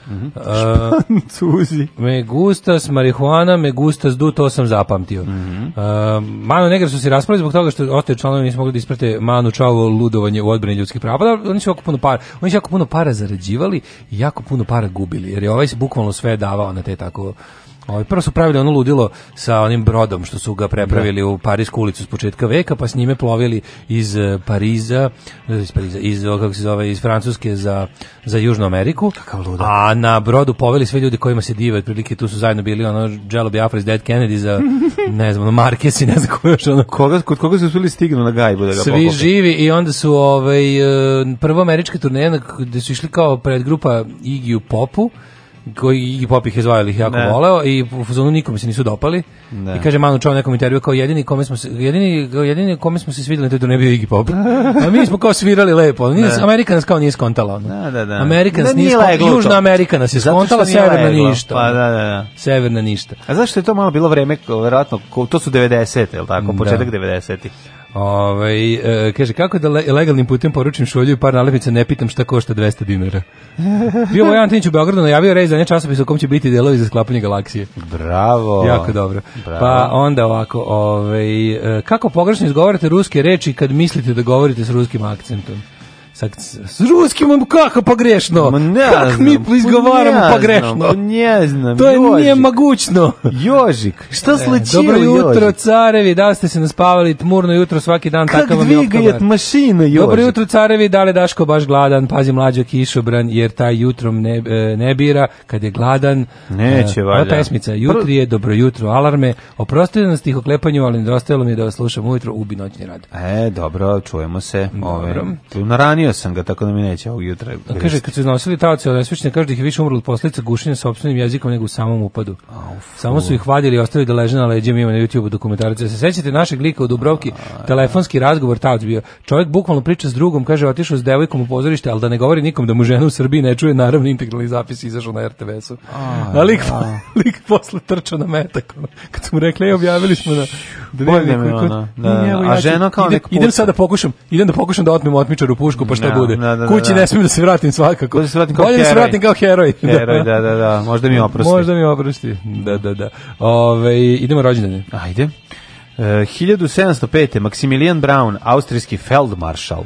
E: Cuzi.
G: Me gustas marihuana, me gustas du, to sam zapamtio. Uh, Manu Negar su se raspravili zbog toga što ostaje članovi nisu mogli da isprate Manu Čavo ludovanje u odbrani ljudskih prava. Pa Da, oni su jako puno para, oni su jako puno para zarađivali i jako puno para gubili, jer je ovaj se bukvalno sve davao na te tako Ovaj, prvo su pravili ono ludilo sa onim brodom što su ga prepravili u Parisku ulicu s početka veka, pa s njime plovili iz eh, Pariza, eh, iz Pariza, iz, o, kako se zove, iz Francuske za, za Južnu Ameriku. A na brodu poveli sve ljudi kojima se dive, otprilike tu su zajedno bili ono Jello Biafra iz Dead Kennedy za, ne znam, ono Marquez i ne znam ko još ono
E: Koga, kod koga su suli stignu na gajbu da ga
G: svi
E: pokope?
G: živi i onda su ovaj e, prva američka turneja na k- gde su išli kao pred grupa Iggy Popu koji Iggy Pop ih je zvao ili ih jako
E: Ne.
G: voleo i u fazonu nikome se nisu dopali i kaže Manu Čao u nekom intervju kao jedini kome smo se, jedini, jedini kome smo se svidjeli na toj turneji bio Iggy Pop a mi smo kao svirali lepo Nije- Amerika nas kao nije skontala ono.
E: Da, da, da.
G: Amerika nas
E: Da,
G: nije,
E: nije
G: skontala,
E: leglo to.
G: Južna Amerika nas je
E: Zato što
G: skontala
E: nije
G: Severna
E: leglo.
G: ništa
E: Pa da, da, da.
G: Severna ništa
E: A zašto je to malo bilo vreme, ko- verovatno, ko- to su 90. jel tako, početak 90.
G: Ovaj e, kaže, kako da le- legalnim putem poručim šolju i par nalepnica, ne pitam šta košta 200 dinara. Bio Bojan Antinić u Beogradu, najavio rej za nje časopis u kom će biti delovi za sklapanje galaksije.
E: Bravo.
G: Jako dobro. Pa onda ovako, ovaj, e, kako pogrešno izgovarate ruske reči kad mislite da govorite s ruskim akcentom? Sa, s ruskim, kako pogrešno?
E: Ma ne
G: kako
E: znam, pa
G: mi izgovaramo
E: ne znam,
G: pogrešno?
E: pa ne znam,
G: To je
E: Jožik.
G: nemogućno.
E: Jožik, šta
G: E,
E: sleći
G: Dobro jutro, carevi, da li ste se naspavali tmurno jutro svaki dan,
E: Kak
G: takav vam je oktobar.
E: dvigajet mašina, Jožik.
G: Dobro jutro carevi, da li je Daško baš gladan, pazi mlađo kišobran, jer taj jutrom ne, e, ne bira, kad je gladan.
E: Neće,
G: e,
E: valjda.
G: ova pesmica, jutri je, dobro jutro, alarme, oprostite nas tih oklepanju, ali nedostajalo mi je da vas slušam ujutro, ubi noćni rad.
E: E, dobro, čujemo se. Ove,
G: Dobro.
E: naranio sam ga, tako da mi neće ovog jutra.
G: A Kaže,
E: grist.
G: kad su iznosili taoce od nesvećne, kaže da ih je više umrlo od posledica gušenja sopstvenim jezikom nego u samom upadu. Samo su ih vadili i ostavili da leže na leđima, ima na YouTube dokumentarice. Se sećate našeg lika u Dubrovki, telefonski razgovor taoc bio. Čovjek bukvalno priča s drugom, kaže, otišao s devojkom u pozorište, ali da ne govori nikom da mu žena u Srbiji ne čuje, naravno integralni zapis je izašao na RTS-u. A lik, lik posle trčao na metak. ono. Kad su mu rekli, "E, objavili smo na,
E: Da
G: Bolje
E: digne me
G: nego kod-
E: ono, da, da,
G: Mm, Evo,
E: da.
G: ja
E: A
G: ću-
E: žena kao
G: idem,
E: nek
G: idem
E: puca.
G: sad da pokušam, idem da pokušam da otmem otmičaru u pušku, pa šta
E: Da,
G: bude.
E: da, da,
G: Kući
E: da.
G: ne smijem da se vratim svakako.
E: Bolje da se vratim kao
G: Bolje da se
E: heroj.
G: vratim kao heroj.
E: Heroj, da, da, da, možda mi oprosti.
G: Možda mi oprosti. Da, da, da. Ove, idemo rođendanje.
E: Ajde. E, 1705. Maximilian Braun, austrijski feldmaršal.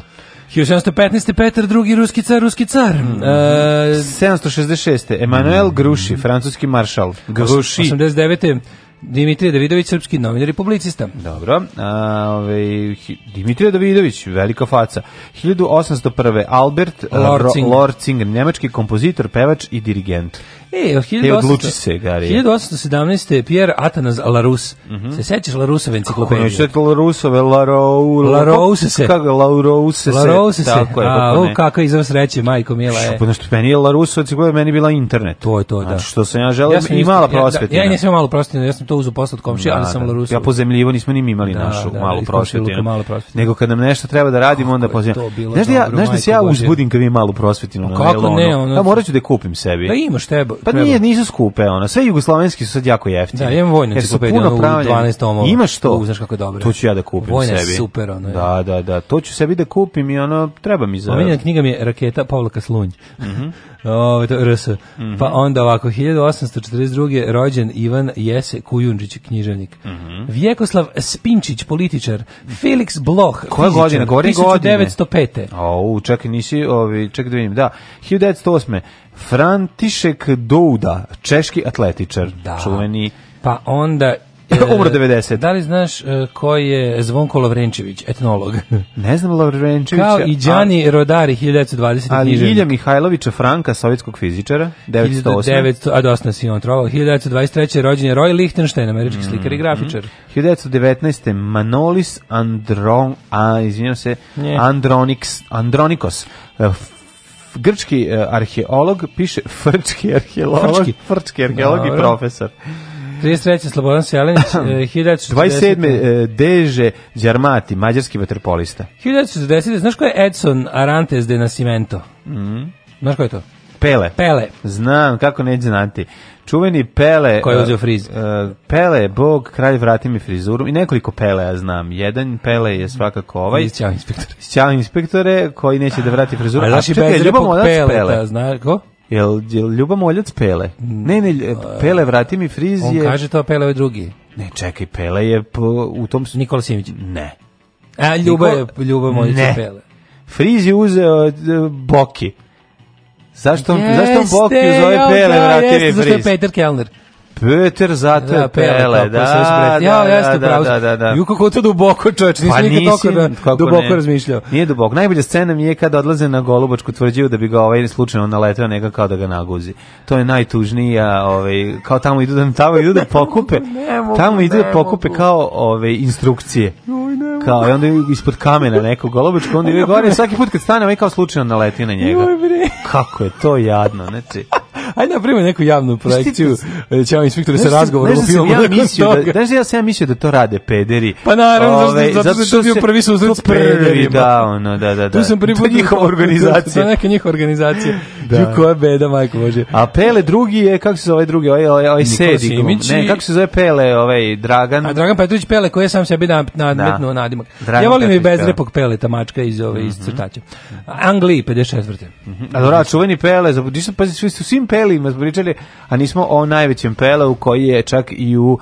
G: 1715. Petar II. Ruski car, Ruski car.
E: Mm-hmm.
G: E, Mm-hmm.
E: 766. Emanuel Gruši, francuski maršal. Gruši.
G: 89. Dimitrije Davidović, srpski novinar i publicista.
E: Dobro. A, ovaj, hi- Dimitrije Davidović, velika faca. 1801. Albert e,
G: Lorcing.
E: Ro- Lorcing, njemački kompozitor, pevač i dirigent.
G: E, od
E: E, odluči se,
G: 1800
E: Gari. Mhm.
G: 1817. je Pierre Atanas Larus. Se sećaš Larusove
E: Kako
G: enciklopedije?
E: Larusove, Larou...
G: Larouse se.
E: Kako, Larouse se.
G: Laruse se.
E: Tako je,
G: A,
E: kako
G: o,
E: ne.
G: kako je izvor sreće, majko mila e. je.
E: Što, pošto meni je Larusovac, koja meni je bila internet.
G: To je to, da.
E: Znači, što sam ja želeo,
G: sam
E: i
G: isto-
E: mala
G: ja- da,
E: prosvetina.
G: Ja, i nisam malo prosvetina, ja sam to uzeo posle od komšija, ali sam Larusov.
E: Ja pozemljivo nismo ni mi imali
G: Da,
E: našu
G: da,
E: malu
G: iz
E: prosvetinu.
G: komšiluka malu prosvetinu.
E: Nego kad nam nešto treba da radimo, onda
G: Kako je to
E: pozivamo.
G: bilo
E: Znaš da ja,
G: dobro,
E: znaš da se ja
G: majko Božja.
E: uzbudim kad vi malu prosvetinu na
G: kako
E: nailonu?
G: ne, ono-
E: Ja pa morat ću da je kupim sebi.
G: Da imaš tebe.
E: Pa nije, nisu skupe, ono. Sve jugoslovenski su sad jako jeftini.
G: Da, ja imam vojnu
E: Jer su
G: enciklopediju,
E: puno
G: ono, u
E: pravljeni.
G: 12 tomova.
E: Imaš to?
G: U, znaš kako je dobro.
E: To ću ja da kupim
G: Vojna je
E: sebi.
G: super, ono, je.
E: Da, da, da. To ću sebi da kupim i ono, treba mi za...
G: Omiljena knjiga mi je Raketa Pavlaka Slunj.
E: Mhm.
G: Ove, to je RS. Pa onda ovako, 1842. rođen Ivan Jese Kujundžić, književnik.
E: Mhm.
G: Vjekoslav Spinčić, političar. Felix Bloch,
E: Koja
G: fizičar,
E: godina? Govori godine.
G: 1905.
E: Au, čekaj, nisi, ovi, čekaj da vidim, da. 1908. František Douda, češki atletičar,
G: Da.
E: čuveni.
G: Pa onda... e,
E: Umro 90.
G: Da li znaš e, ko je Zvonko Lovrenčević, etnolog?
E: Ne znam Lovrenčevića.
G: Kao i Đani Rodari, 1920.
E: Ali
G: književnik.
E: Ilja Mihajlovića Franka, sovjetskog fizičara, 1908.
G: 1900, a dosta si on trovao. 1923. rođen je Roy Lichtenstein, američki slikar i grafičar.
E: Mhm. 1919. Manolis Andron, a, izvinjam se,
G: Ne.
E: Andronix, Andronikos, e, f- grčki e, arheolog, piše frčki arheolog,
G: Frčki.
E: frčki, arheolog i
G: Dobro.
E: profesor.
G: 33. Slobodan Selenić, eh, 1947.
E: 27. e, Deže Đarmati, mađarski vaterpolista.
G: 1940. Znaš ko je Edson Arantes de Nascimento? Znaš ko je to?
E: Pele.
G: Pele.
E: Znam, kako neće znati. Čuveni Pele...
G: Ko je
E: e,
G: uzeo friz?
E: e, Pele, Bog, kralj, vrati mi frizuru. I nekoliko Pele ja znam. Jedan Pele je svakako ovaj.
G: Iz Ćao inspektor.
E: Ćao inspektore koji neće da vrati frizuru.
G: Ali znaš i
E: čekaj,
G: bez
E: Ljuba
G: repog
E: Moljac
G: Peleta,
E: Pele.
G: znaš ko?
E: Jel, jel Ljuba Moljac Pele? Ne, ne, e, Pele, vrati mi friz
G: On
E: je...
G: kaže to, a Pele je drugi.
E: Ne, čekaj, Pele je po, u tom... s-
G: Nikola Simić.
E: Ne. Eh,
G: A, Ljuba je, Ljuba Moljica
E: Ne.
G: Pele.
E: Friz je uzeo od, e, Boki. Zašto, on- zašto on Boki
G: Jeste,
E: zove
G: jao,
E: Pele,
G: da,
E: vrati
G: jeste,
E: mi
G: Zašto je
E: friz?
G: Peter Kellner?
E: Peter zato je Pele, da,
G: pa
E: da,
G: ja,
E: da,
G: jeste
E: da,
G: pravo.
E: da, da, da. Pa
G: Ju kako je to duboko, čoveče, nisam nikad toliko da,
E: kako
G: duboko
E: ne.
G: razmišljao.
E: Nije duboko. Najbolja scena mi je kad odlaze na Golubačku tvrđavu da bi ga ovaj slučajno naleteo neka kao da ga naguzi. To je najtužnija, ovaj kao tamo idu da tamo idu da pokupe. tamo idu da pokupe kao ove instrukcije. Kao i onda ispod kamena neko Golubačko onda ide gore i svaki put kad stane ovaj kao slučajno naleti na njega.
G: Joj, bre.
E: Kako je to jadno, znači.
G: Ajde napravimo neku javnu projekciju. e, Ćao inspektore sa
E: Znaš da-
G: razgovorom
E: znaš
G: u
E: da sam
G: filmu.
E: ja
G: nakon
E: mislio da,
G: toga.
E: znaš da ja sam ja mislio da to rade pederi.
G: Pa naravno, zato-
E: Ovaj,
G: zato što je to bio
E: se-
G: prvi susret
E: to
G: s pederima.
E: Da, ono, da, da, da.
G: Tu sam prvi
E: To
G: put
E: je njihova
G: To je
E: organizacija.
G: neka njihova organizacija. da. Ju koja beda, majko Bože.
E: A Pele drugi je, kako se zove drugi, ovaj, ovaj, ovaj
G: Nikola
E: Sedi.
G: Simić
E: Ne,
G: i-
E: kako se zove Pele, ovaj Dragan.
G: A Dragan Petrović Pele koji je sam sebi na- nadmetnuo
E: Da.
G: nadimak.
E: Dragan
G: ja volim i
E: Petrović Pele. Mhm.
G: bezrepog Peleta, mačka iz ove iz crtaća. Angliji 54.
E: A dobra, čuveni Pele, zabu- nisam pa svi su svim Pelima pričali, a nismo o najvećem Peleu koji je čak i u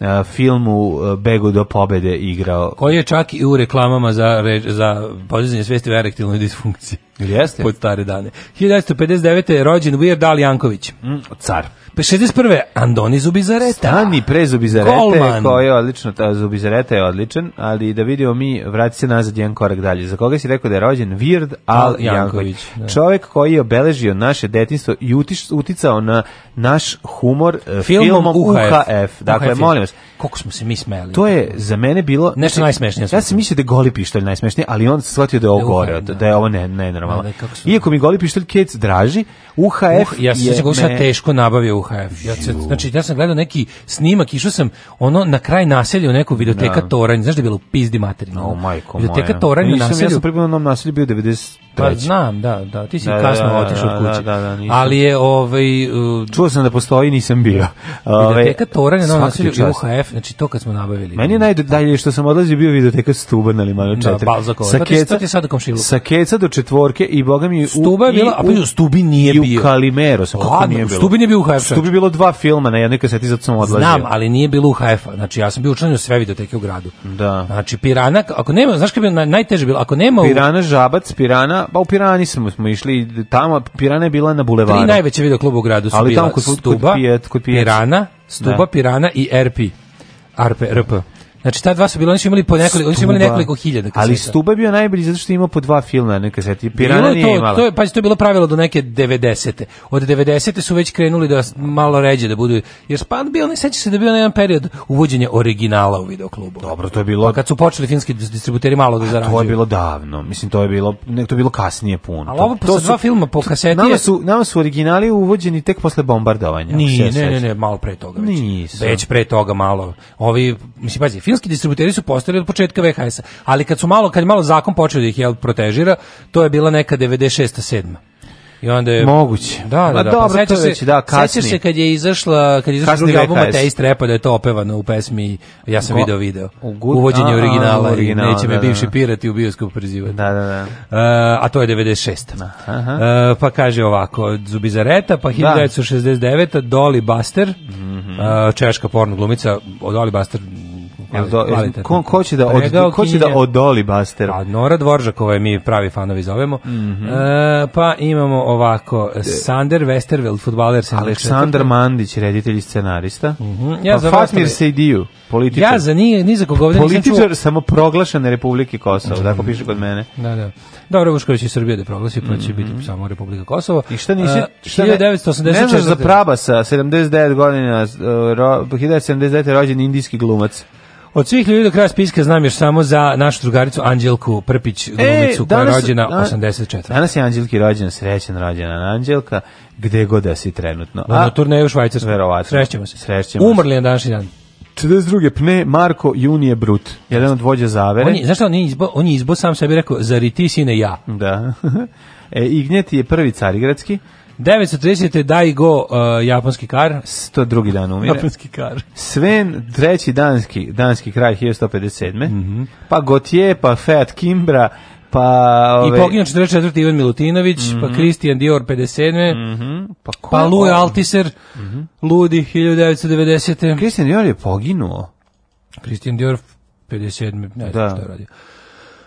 E: e, filmu e, Begu do pobede igrao.
G: Koji je čak i u reklamama za re, za podizanje svesti o erektilnoj disfunkciji.
E: Jeste?
G: Pod stare dane. 1959. je rođen Weird Al Janković.
E: Mm, car.
G: Pa 61. Andoni Zubizareta.
E: Stani pre Zubizarete,
G: Golman.
E: koji je odlično, ta Zubizareta je odličan, ali da vidimo mi, vrati se nazad jedan korak dalje. Za koga si rekao da je rođen? Vird Al
G: Al Janković,
E: Janković.
G: da.
E: Čovjek koji je obeležio naše detinstvo i utiš- uticao na naš humor eh, filmom, UHF. Dakle,
G: UHF.
E: molim vas,
G: Koliko smo se mi smijali.
E: to je za mene bilo... Znači,
G: Nešto najsmešnije
E: Ja sam
G: smo.
E: mislio da je goli pištolj najsmešnije, ali on shvatio da je ovo
G: Da je
E: gore,
G: UHF,
E: od-
G: da.
E: da je ovo ne, nenormalno. pesmama.
G: Da, kako su-
E: Iako mi goli pištolj Kec draži, UHF
G: Uh, ja sam
E: je
G: se kako sam ja
E: me-
G: teško nabavio UHF. Ja se, znači ja sam gledao neki snimak, išao sam ono na kraj naselja u neku videoteka
E: Da.
G: Toranj, znaš da je bilo u pizdi materina.
E: O, majko moja.
G: videoteka Toranj na
E: Nisam, Ja
G: naselju.
E: sam pribavljeno na onom naselju bio 93.
G: Pa znam, da, da, ti si
E: Da, da,
G: kasno
E: da,
G: otišao
E: da,
G: od kuće.
E: da, da, da, nisam.
G: Ali je ovaj uh,
E: Čuo sam da postoji, nisam bio.
G: videoteka Toranj na Novom
E: svaka ti
G: naselju i
E: čast.
G: UHF, znači to kad smo nabavili.
E: Meni je najdalje što sam odlazio bio videoteka Stuba na Limanu 4.
G: Balzakova. To Pa ti- to ti je sad komšiluk.
E: Sa keca do četvorke i boga mi u-
G: Stuba je
E: i
G: bila, a
E: u-
G: pa u Stubi nije
E: i
G: bio.
E: u Kalimero sam kako
G: Ladno,
E: nije
G: u
E: bilo.
G: Stubi nije bio UHF
E: U Stubi je bilo dva filma na jednoj kaseti zato sam odlazio.
G: Znam, ali nije bilo u HF-a. Znači, ja sam bio učlanio sve videoteke u gradu.
E: Da.
G: Znači, Pirana, ako nema, znaš kada bi na- najteže bilo? Ako nema u
E: Pirana, Žabac, Pirana, pa u Pirani smo, smo išli, tamo Pirana je bila na bulevaru.
G: tri najveće videokluba u gradu su
E: Ali
G: bila
E: tamo kod- kod
G: Stuba,
E: Pijet- kod Pijaca.
G: Pirana, Stuba,
E: Da.
G: Pirana i RP. RP, RP. Znači, ta dva su bila, oni su imali po nekoliko, oni su imali
E: Stuba.
G: nekoliko hiljada kaseta.
E: Ali Stuba je bio najbolji zato što je imao po dva filma na jednoj kaseti.
G: Bilo
E: Pirana
G: je
E: nije
G: to,
E: imala.
G: To je, pazi, to je bilo pravilo do neke 90. Od 90. su već krenuli da s- malo ređe da budu, jer span bio, ne seća se da je bio na jedan period uvođenje originala u videoklubu.
E: Dobro, to je bilo- Pa
G: Pa kad su počeli finski dis- distributeri malo da zarađuju.
E: To je bilo davno, mislim to je bilo, ne, to je bilo kasnije puno.
G: Ali ovo
E: To-
G: sa
E: to
G: dva filma po kaseti je-
E: Nama su, nama su originali uvođeni tek posle bombardovanja. ako se ja
G: Nije, ne, ne,
E: sećam.
G: ne, malo pre toga već.
E: Nisu.
G: Već pre toga malo. Ovi, mislim, pazi, filmski distributeri su postali od početka VHS-a, ali kad su malo, kad je malo zakon počeo da ih jel, protežira, to je bila neka 96. 7. I onda je...
E: Moguće.
G: Da, da,
E: Ma
G: da.
E: dobro,
G: pa sećaš
E: to je već, da,
G: sećaš
E: kasnije.
G: se kad je izašla, kad je izašla
E: Kasni
G: drugi album
E: VHS.
G: Ateist Repa da je to opevano u pesmi Ja sam
E: Go-
G: video video.
E: u gut-
G: Uvođenje
E: a,
G: originala,
E: original,
G: i neće me
E: da, da,
G: bivši
E: da.
G: pirati u bioskop prizivati.
E: Da, da, da.
G: E, a to je 96. E, pa kaže ovako, Zubizareta, pa 1969. Dolly Buster,
E: Mhm.
G: e, češka porno glumica, o Dolly Buster m,
E: Jel do- jel-
G: kvalitetna. Pa
E: ko, ko će da, od, ko će da
G: Pregaokinja.
E: odoli Basteru?
G: A Pa Nora Dvoržakova je mi pravi fanovi zovemo.
E: Mhm.
G: E, pa imamo ovako, Sander Westerveld, futbaler. 74..
E: Aleksandar Mandić, reditelj i scenarista.
G: Mhm, Ja
E: pa
G: za
E: Fatmir
G: vas-
E: Sejdiju, političar.
G: Ja za ni, ni za koga ovde nisam čuo. Mhm.
E: Političar samoproglašene Republike Kosovo, tako piše kod mene.
G: Da, da. Dobro, Vušković je Srbija da proglasi, pa će biti samo Republika Kosovo.
E: Mhm. I šta nisi...
G: E,
E: šta ne- Ne znaš
G: 1984.
E: za Prabasa, 79 godina, e, ro, 1979. rođen indijski glumac.
G: Od svih ljudi do kraja spiska znam još samo za našu drugaricu Anđelku Prpić, glumicu koja je
E: E, danas-
G: rođena
E: da-
G: 84.
E: Danas je Anđelki rođen, srećen rođena Anđelka, gde god da si trenutno.
G: Na turneju u Švajcarskoj.
E: Verovatno.
G: Srećemo se.
E: Srećemo se.
G: Umrli je na današnji dan.
E: 42. pne Marko Junije Brut, jedan od vođa Zavere.
G: On je, znaš šta, on je izbo, on je izbo sam sebi rekao, zar i ti sine ja?
E: Da. e, Ignjeti je prvi carigradski,
G: 930. daj go uh, japanski kar.
E: s- to drugi dan umire.
G: Japanski kar.
E: Sven, treći danski, danski kraj 1157.
G: Mhm.
E: Pa Gotje, pa Fiat Kimbra, pa...
G: I
E: ove, Mhm.
G: poginuo 44. Ivan Milutinović, pa Kristijan Dior 57.
E: Pa, ko Pa-
G: Pa
E: je
G: Luje
E: ovo?
G: Altiser,
E: Mhm.
G: Ludi 1990.
E: Christian Dior je poginuo.
G: Kristijan Dior 57. Ne znam
E: Da.
G: što je radio.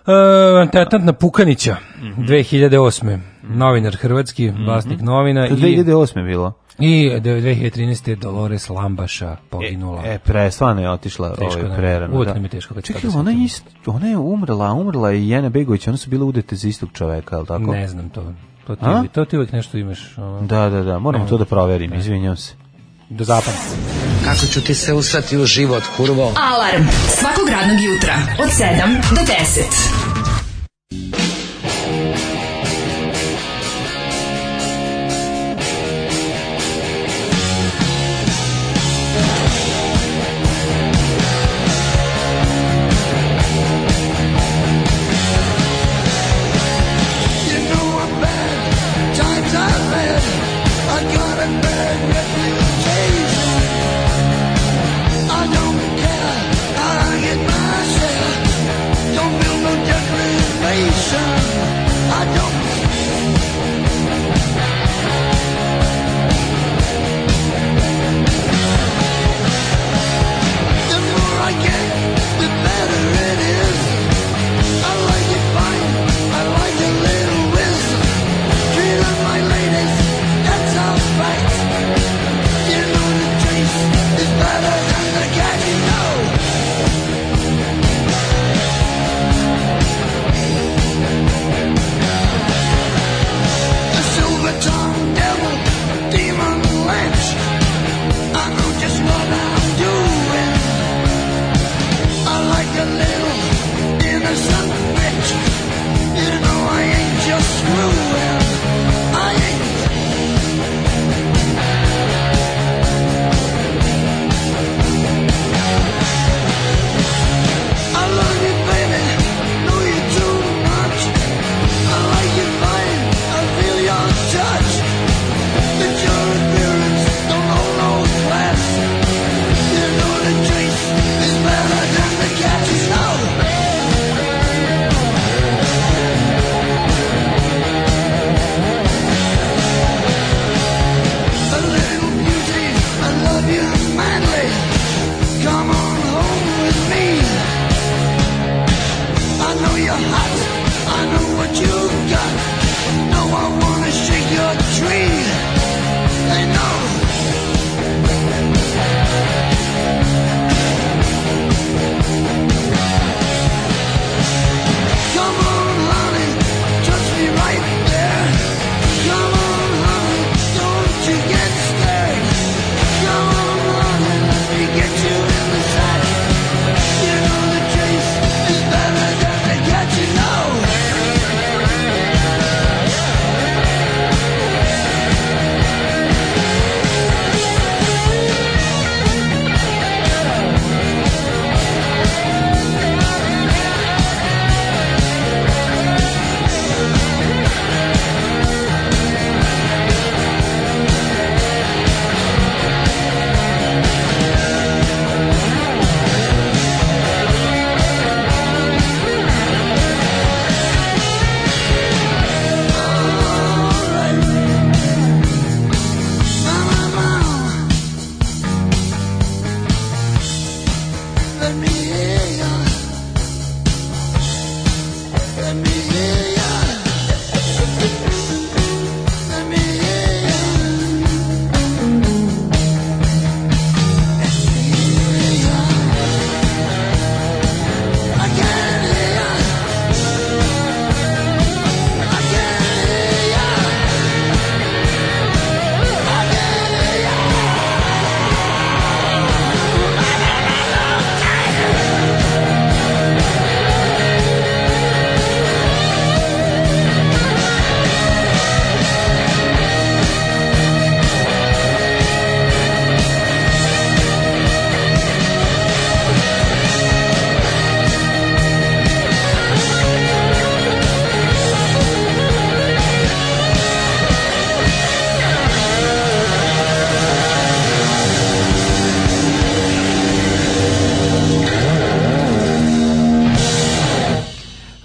G: Uh, atentat na Pukanića
E: Mhm.
G: 2008. Novinar hrvatski, vlasnik novina
E: To je
G: i,
E: 2008. je bilo.
G: i 2013. Dolores Lambaša poginula.
E: E, pre, stvarno je otišla
G: Teško nam
E: ovaj,
G: je.
E: prerano.
G: Uvek
E: da.
G: nam je teško kad
E: Čekaj,
G: kada se
E: ona,
G: sjetimo.
E: je ist, ona je umrla, a umrla je i Jena Begović, ona su bile udete za istog čoveka, je li tako?
G: ne znam to. To ti,
E: A?
G: to ti uvek nešto imaš ono,
E: Da, da, da, moramo to da proverim, izvinjam se.
G: do zapada.
N: Kako ću ti se usrati u život, kurvo?
D: Alarm svakog radnog jutra od 7 do 10.
F: You know I'm bad, times are bad. I got a bad reputation. I don't care, I get my share. Don't build no deck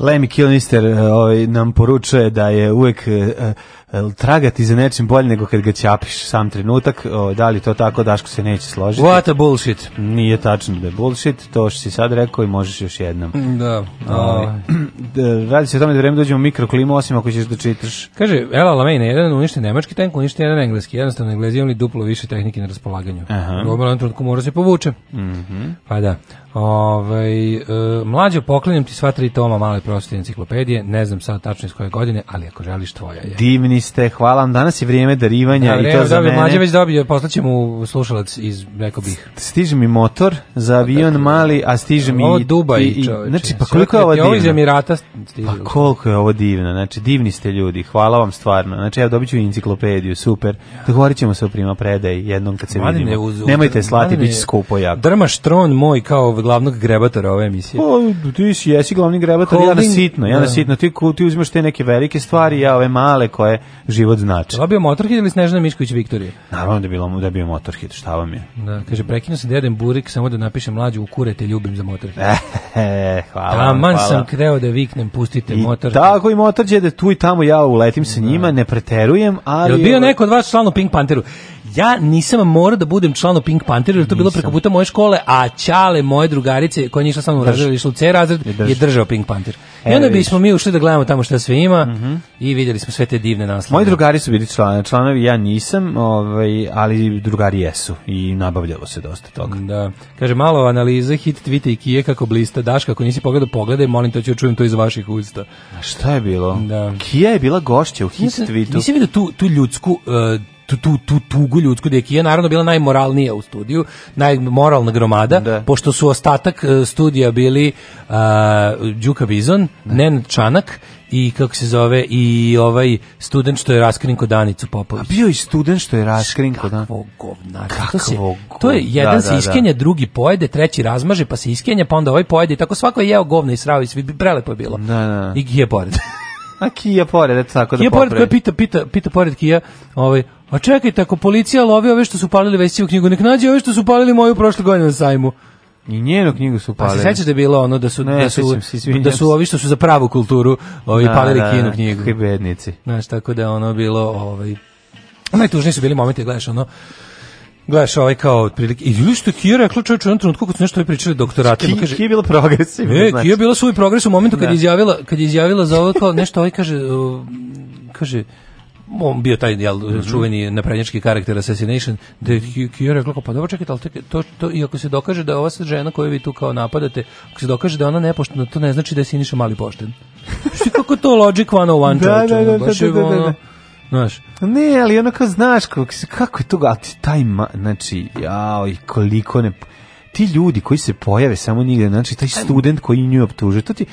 E: Lemmy Kilnister e, ovaj, nam poručuje da je uvek e, e, tragati za nečim bolje nego kad ga ćapiš sam trenutak. O, da li to tako, Daško se neće složiti.
G: What a bullshit.
E: Nije tačno da je bullshit, to što si sad rekao i možeš još jednom.
G: Da.
E: Ovaj, da, Radi se o tome da vreme dođe u mikroklimu, osim ako ćeš da čitaš.
G: Kaže, Ela Lameina, jedan uništi nemački tank, uništi jedan engleski. Jednostavno, englezi imali duplo više tehnike na raspolaganju.
E: Aha. Mhm.
G: U obranu trenutku mora se povuče. Pa da. Ovaj, e, mlađo, poklanjam ti sva tri toma male proste enciklopedije. Ne znam sad tačno iz koje godine, ali ako želiš, tvoja je.
E: Divni ste, hvala vam. Danas je vrijeme darivanja
G: Da,
E: i
G: evo,
E: to za
G: dobio,
E: mene.
G: Mlađe već dobio, poslaće mu slušalac iz, rekao bih.
E: Stiže mi motor za avion mali, a stiže mi
G: Pa Ovo
E: i-
G: Dubaj,
E: i- i-
G: čoveče.
E: Znači, pa
G: Sve
E: koliko je ovo
G: kreće,
E: divno?
G: ovo iz Emirata stiže.
E: Pa koliko je ovo divno, znači divni ste ljudi, hvala vam stvarno. Znači evo dobit ću i enciklopediju, super. Dogovorit ćemo se o prima predaj jednom kad se
G: Mladine,
E: vidimo.
G: uz- uz-
E: Nemojte slati,
G: Mladine,
E: bit će skupo jako.
G: Drmaš tron moj kao glavnog grebatora ove emisije.
E: O, Pa, ti si, jesi glavni grebator, ja na
G: Holding,
E: sitno, ja na
G: da.
E: sitno. Ti, ku- ti uzmeš te neke velike stvari, ja ove male koje život znači.
G: Dobio Motorhead ili Snežana Mišković Viktorije?
E: Naravno da je bilo da je bio motorhit, šta vam je?
G: Da, kaže, prekinuo sam deden Burik samo da napišem mlađu u kure te ljubim za Motorhead.
E: E, hvala. vam,
G: Taman
E: hvala.
G: sam kreo da viknem, pustite
E: I
G: Motorhead.
E: Tako i motor će da tu i tamo ja uletim sa njima, ne preterujem, ali...
G: Jel bio
E: ovo-
G: neko od vas član u Pink Panteru? Ja nisam morao da budem član u Pink Panteru, jer to je bilo preko puta moje škole, a Ćale, moje drugarice, koja nije išla sa mnom u razred, išla u C razred, je držao Pink Panter. I
E: E,
G: onda
E: vidiš. Mhm.
G: bismo mi ušli da gledamo tamo šta sve ima i vidjeli smo sve te divne naslove.
E: Moji drugari su bili članovi, članovi ja nisam, ovaj, ali drugari jesu i nabavljalo se dosta toga.
G: Da. Kaže, malo analize, hit tvite i kije kako blista. Daška, ako nisi pogledao, pogledaj, molim to ću čujem to iz vaših usta.
E: A šta je bilo?
G: Da.
E: Kija je bila gošća u hit tweetu.
G: Nisi vidio tu, tu ljudsku, e, tu, tu, tu tugu ljudsku, da je Kija naravno bila najmoralnija u studiju, najmoralna gromada,
E: Da.
G: pošto su ostatak e, studija bili e, Đuka Bizon, Nen Čanak i kako se zove, i ovaj student što je raskrinko Danicu
E: A
G: Popović.
E: bio je student što je raskrinko, da.
G: Kakvo govnar.
E: Kakvo
G: to, se-
E: govnar,
G: to je jedan
E: da,
G: se
E: da.
G: iskenja, drugi pojede, treći razmaže, pa se iskenja, pa onda ovaj pojede i tako svako je jeo govna i srao i svi prelepo je bilo.
E: Da, da.
G: I Kija pored.
E: A Kija pored, eto tako da
G: Kija pored koja
E: popravi.
G: pita, pita, pita pored Kija, ovaj, a čekajte, ako policija lovi ove što su palili Vesićevu knjigu, nek nađe ove što su palili moju prošle godine na sajmu.
E: I njenu knjigu su
G: Pa
E: palili.
G: se sećaš da je bilo ono da su,
E: Ne,
G: da su,
E: sećam se, izvinjam
G: da su
E: se.
G: ovi što su za pravu kulturu ovi,
E: Da,
G: palili
E: da,
G: Kijinu
E: da,
G: knjigu.
E: kakvi bednici.
G: Znaš, tako da je ono bilo, ovaj, najtužniji su bili momenti, gledaš ono, gledaš ovaj kao otprilike, i ljudi što je Kija rekla čovječ u jednom trenutku kad su nešto ovi pričali doktoratima,
E: Ki-
G: kaže,
E: Kija je bila progresivna,
G: E,
E: znači.
G: Kija je bila svoj progres u momentu kad je izjavila, kad je izjavila za ovo kao nešto, ovaj kaže, uh, kaže, on bio taj jel,
E: Mhm.
G: čuveni naprednjački karakter Assassination, da je Ki- Kija rekla kao, pa dobro čekajte, ali tek- to, to, i ako se dokaže da je ova sad žena koju vi tu kao napadate, ako se dokaže da je ona nepoštena, to ne znači da je Siniša mali pošten. Što kako to Logic 101
E: Da,
G: čovječe,
E: da, da,
G: ono, baš
E: da,
G: je
E: da, da, da.
G: ono, Znaš,
E: Ne, ali onako znaš kako, se- kako je to, ga- a ti taj, ma, znači, jao, i koliko ne, ti ljudi koji se pojave samo nigde, znači taj student koji nju optužuje, to ti,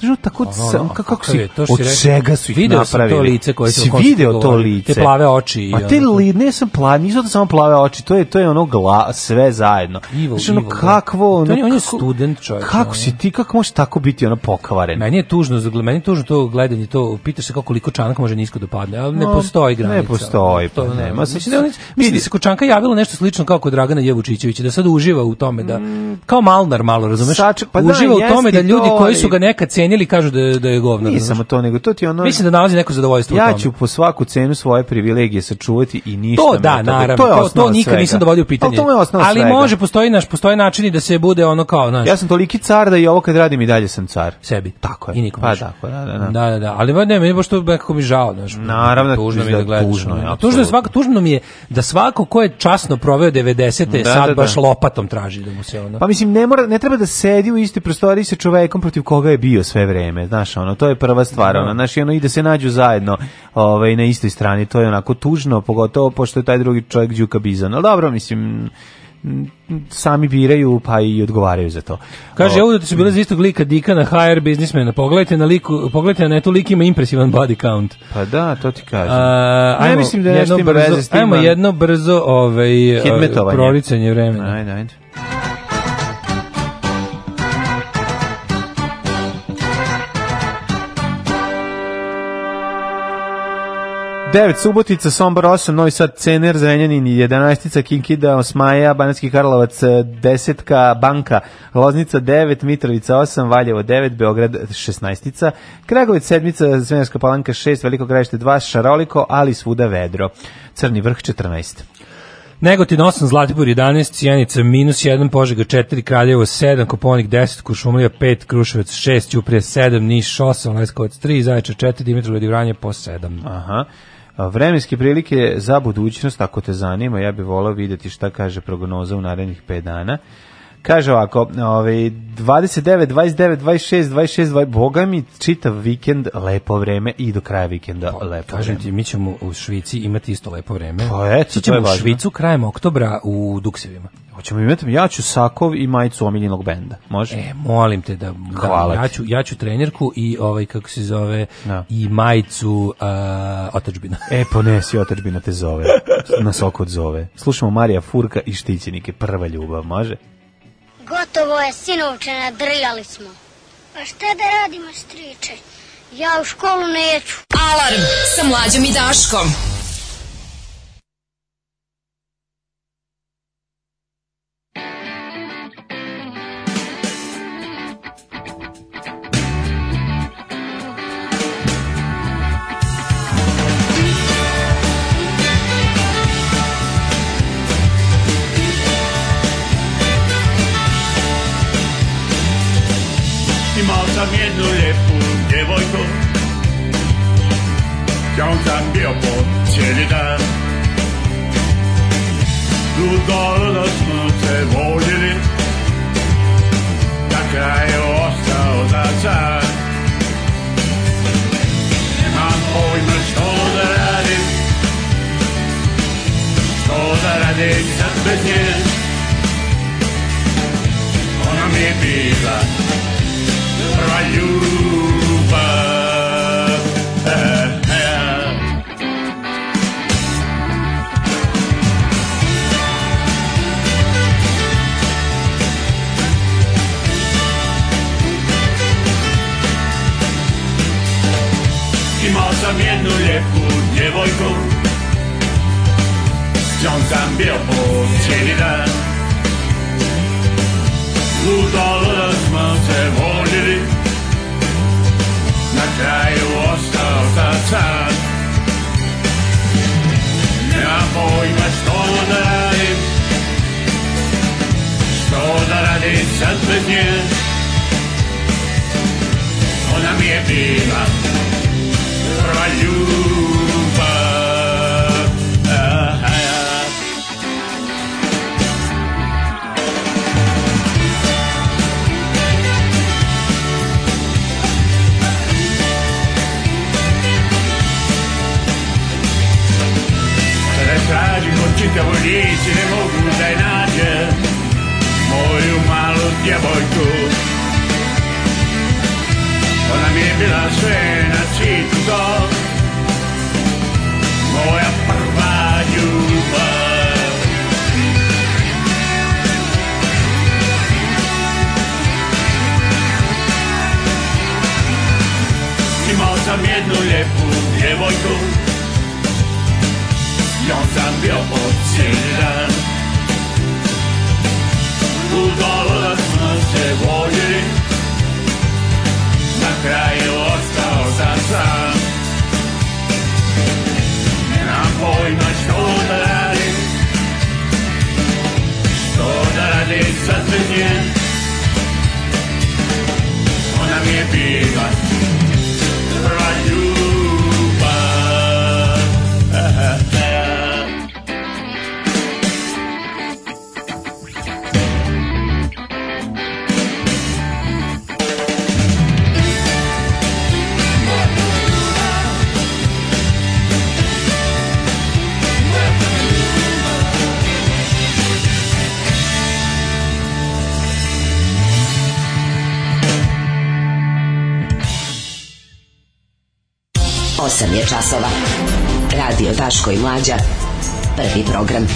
E: Znaš, ono tako,
G: ono,
E: sam, kako,
G: kakav
E: si,
G: je, to što
E: od
G: si rekao.
E: čega su ih
G: Video sam to
E: napravili?
G: lice koje su
E: si
G: o kom
E: video
G: ste
E: to
G: govorili,
E: lice.
G: te plave oči i
E: Pa
G: ono
E: te
G: to.
E: li, ne sam pla, nisu to samo plave oči, to je, to je ono gla, sve zajedno.
G: Evil,
E: Znaš, ono,
G: evil, da.
E: kakvo, ono,
G: To je- on je
E: kako-
G: student, čovječe, ono.
E: Kako si ti, kako možeš tako biti ono pokavaren?
G: meni je tužno, za- meni je tužno to gledanje, to pitaš se kako koliko čanak može nisko da padne, ali ne
E: No,
G: postoji granica.
E: ne postoji, pa
G: ne,
E: nema.
G: mislim da je oni- mislim da se kod čanka javilo nešto slično kao kod Dragana Jevučićevića, da sad uživa u tome da kao Malnar malo, razumeš?
E: Sač- Mm. pa da,
G: uživa u tome da
E: jeste i
G: ljudi
E: to,
G: koji
E: ali-
G: su ga nekad cenili kažu da je, da je govnar.
E: Nije
G: razumeš?
E: samo to, nego to ti je ono...
G: Mislim da nalazi neko zadovoljstvo u
E: Ja
G: tome.
E: ću po svaku cenu svoje privilegije sačuvati i ništa.
G: To
E: me
G: da,
E: od toga-
G: naravno. To, to,
E: osnova
G: nikad
E: svega.
G: nisam dovodio u pitanje.
E: Ali to je osnova
G: Ali
E: svega.
G: može, postoji, naš, postoji načini da se bude ono kao, znaš,
E: Ja sam toliki car da i ovo kad radim i dalje sam car.
G: sebi.
E: Tako je.
G: I nikom
E: Pa
G: više.
E: tako, da, da, da.
G: Da, da, da. Ali ba, ne, meni baš to nekako mi žao, znaš.
E: Naravno,
G: tužno mi je
E: da
G: da gledaš.
E: tužno
G: ono.
E: je,
G: tužno je
E: apsolutno.
G: svako, tužno mi je da svako ko je časno proveo 90-te
E: Da,
G: sad
E: da, da.
G: baš lopatom traži da mu se ono.
E: Pa mislim ne mora ne treba da sedi u istoj prostoriji sa čovekom protiv koga je bio sve vreme, znaš, ono to je prva stvar, ono, znaš, i ono i da se nađu zajedno, ovaj na istoj strani, to je onako tužno, pogotovo pošto je taj drugi čovjek Đuka Bizon. Al dobro, mislim m, m, sami biraju pa i odgovaraju za to.
G: Kaže,
E: O,
G: ovo da su bile za istog lika Dika na HR biznismena. Pogledajte na liku, pogledajte na to lik ima impresivan body count.
E: pa da, to ti kažem.
G: A,
E: ne
G: ajmo
E: mislim da je nešto
G: jedno
E: ima
G: brzo,
E: veze s tim,
G: ajmo
E: ali-
G: jedno brzo ovaj, a,
E: Hidmetovanje.
G: proricanje vremena.
E: Ajde, ajde. 9, Subotica, Sombor 8, Novi Sad, Cener, Zrenjanin, 11, Kinkida, Osmaja, Banatski Karlovac, 10, Banka, Loznica 9, Mitrovica 8, Valjevo 9, Beograd 16, Kragovic 7, Zrenjanska palanka 6, Veliko grajište 2, Šaroliko, ali svuda vedro, Crni vrh 14.
G: Negotin 8, Zlatibor 11, Cijenica minus 1, Požega 4, Kraljevo 7, Koponik 10, Kuršumlija 5, Kruševac 6, Ćuprije 7, Niš 8, Leskovac 3, Zaječar 4, Dimitrov i Vranje po 7.
E: Aha. A, Vremenske prilike za budućnost, ako te zanima, ja bih volao vidjeti šta kaže prognoza u narednih 5 dana. Kaže ovako, ovaj, 29, 29, 26, 26, 20, boga mi čitav vikend lepo vreme i do kraja vikenda lepo
G: Pa, Kažem
E: vreme.
G: ti, mi ćemo u Švici imati isto lepo vreme.
E: Pa eto,
G: Ići
E: to je
G: ćemo u
E: važno.
G: Švicu krajem oktobra u Duksevima.
E: Hoćemo imati, ja ću sakov i majicu omiljenog benda, može?
G: E, molim te da, da
E: Hvala
G: ja,
E: ti.
G: ću, ja ću trenerku i ovaj kako se zove
E: Da.
G: i majicu a, otačbina.
E: E, ponesi, otečbina te zove. Nas oko zove. Slušamo Marija Furka i Štićenike, prva ljubav, može?
O: Gotovo je, sinovče, nadrljali smo. Pa šta da radimo, striče? Ja u školu neću.
D: Alarm sa mlađom i Daškom.
P: Imao sam jednu lijepu djevojku Kjom sam bio po cijeli dan Ludo, ludo smo se vozili Na kraju ostao za sad Nemam pojma što da radim Što da radim sad bez nje Ona mi je bila prva ljubav. E, e. Imao sam jednu lijepu djevojku S njom sam bio po cijeli dan Ludo, ludo smo se voljeli Na kraju ostao za sad Nemam pojma što da radim Što da radim sad bez nje Ona mi je bila Prva ljubav Ah, ah, ah. Kada tražim od čitavoj riječi ne mogu da je nađem Moju malu djevojku Ona mi je bila sve na svijetu to Moja prva ljubav Imao sam jednu lijepu djevojku Ją sam bio odciran U dolara smo se voljeli Na kraju ostao sam sam Nemam pojma što da radim Što da radim sa sve nje Ona mi je bila Prva ljubav
Q: Osam je časova. Radio Daško i Mlađa. Prvi program.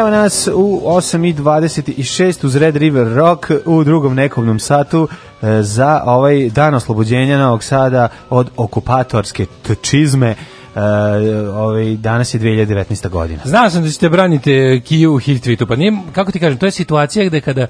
E: Evo nas u 8.26 uz Red River Rock u drugom nekovnom satu e, za ovaj dan oslobođenja Novog Sada od okupatorske čizme. E, ovaj, danas je 2019. godina.
G: Znao sam da ćete braniti eh, Kiju u hit tweetu, pa nije, kako ti kažem, to je situacija gde kada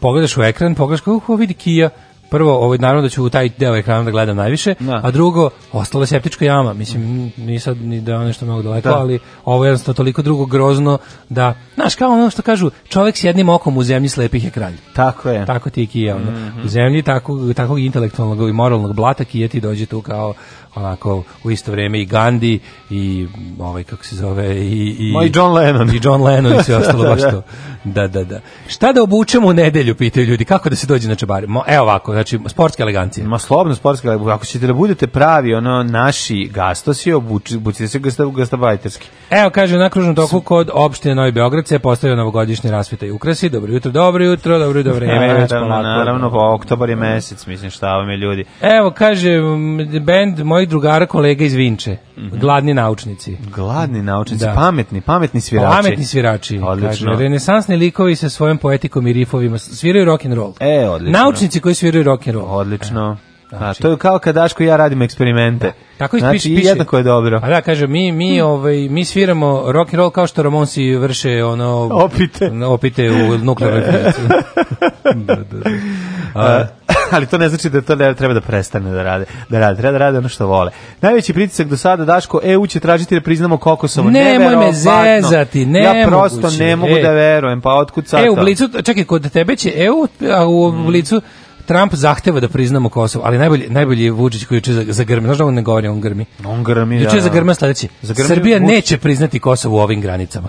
G: pogledaš u ekran, pogledaš kako uh, vidi Kija, prvo, ovaj, naravno da ću u taj deo ekrana da gledam najviše,
E: Da.
G: a drugo, ostala septička jama, mislim, ni sad ni da je nešto mnogo daleko,
E: Da.
G: ali ovo je jednostavno toliko drugo grozno da, znaš, kao ono što kažu, čovek s jednim okom u zemlji slepih je kralj.
E: Tako je.
G: Tako ti je Kija, ono.
E: Mhm.
G: U zemlji takvog, takvog intelektualnog i moralnog blata Kija ti dođe tu kao onako u isto vrijeme i Gandhi i ovaj kako se zove i i
E: Ma i John Lennon.
G: i John Lennon i sve ostalo
E: Da,
G: baš
E: da.
G: to. Da, da, da. Šta da obučemo u nedelju, pitaju ljudi, kako da se dođe na čebare? Mo- evo ovako, znači, sportska elegancija.
E: Ma slobodno sportska, ali ako ćete da budete pravi, ono, naši gastosi, obuči- obucite se gasta, gastabajterski.
G: Evo, kaže, na kružnom toku kod opštine Novi Beograd se postavio novogodišnje rasvite i ukrasi. Dobro jutro, dobro jutro, dobro jutro, vreme. već
E: naravno,
G: polako.
E: naravno, pa oktobar je mesec, mislim, šta vam je ljudi.
G: Evo, kaže, m, bend mojih drugara, kolega iz Vinče. Gladni naučnici.
E: Mhm. Gladni naučnici,
G: Da.
E: pametni, pametni svirači.
G: Pametni svirači.
E: Odlično.
G: Kaže, renesansni likovi sa svojom poetikom i rifovima sviraju rock and roll.
E: E, odlično.
G: Naučnici koji sviraju rock and roll. E, znači-
E: Odlično. A, to je kao kad Daško i ja radim eksperimente.
G: Tako
E: znači,
G: ispiše-
E: i
G: piše.
E: jednako je dobro. Hm.
G: A da, kaže, mi, mi, ovaj, mi sviramo rock and roll kao što Ramonsi vrše ono...
E: Opite.
G: Opite u nuklearnoj fizici. da, da, da.
E: A, ali to ne znači da to ne treba da prestane da rade. Da rade, treba da rade ono što vole. Najveći pritisak do sada, Daško, EU će tražiti da priznamo Kokosovo.
G: Nemoj me
E: Neverovatno.
G: zezati,
E: Ja prosto
G: nemoguće.
E: ne mogu
G: E.
E: da verujem, pa otkud sad
G: E, u
E: to? Hm.
G: Blicu, čekaj, kod tebe će EU, a u Blicu Trump zahteva da priznamo Kosovo, ali najbolji, najbolji je Vučić koji juče za- zagrmi. Znaš da on ne govori, on grmi.
E: On grmi,
G: Juče
E: da,
G: je
E: da.
G: zagrmio sledeće.
E: Zagrmio
G: Srbija
E: Vučić.
G: neće priznati Kosovo u ovim granicama.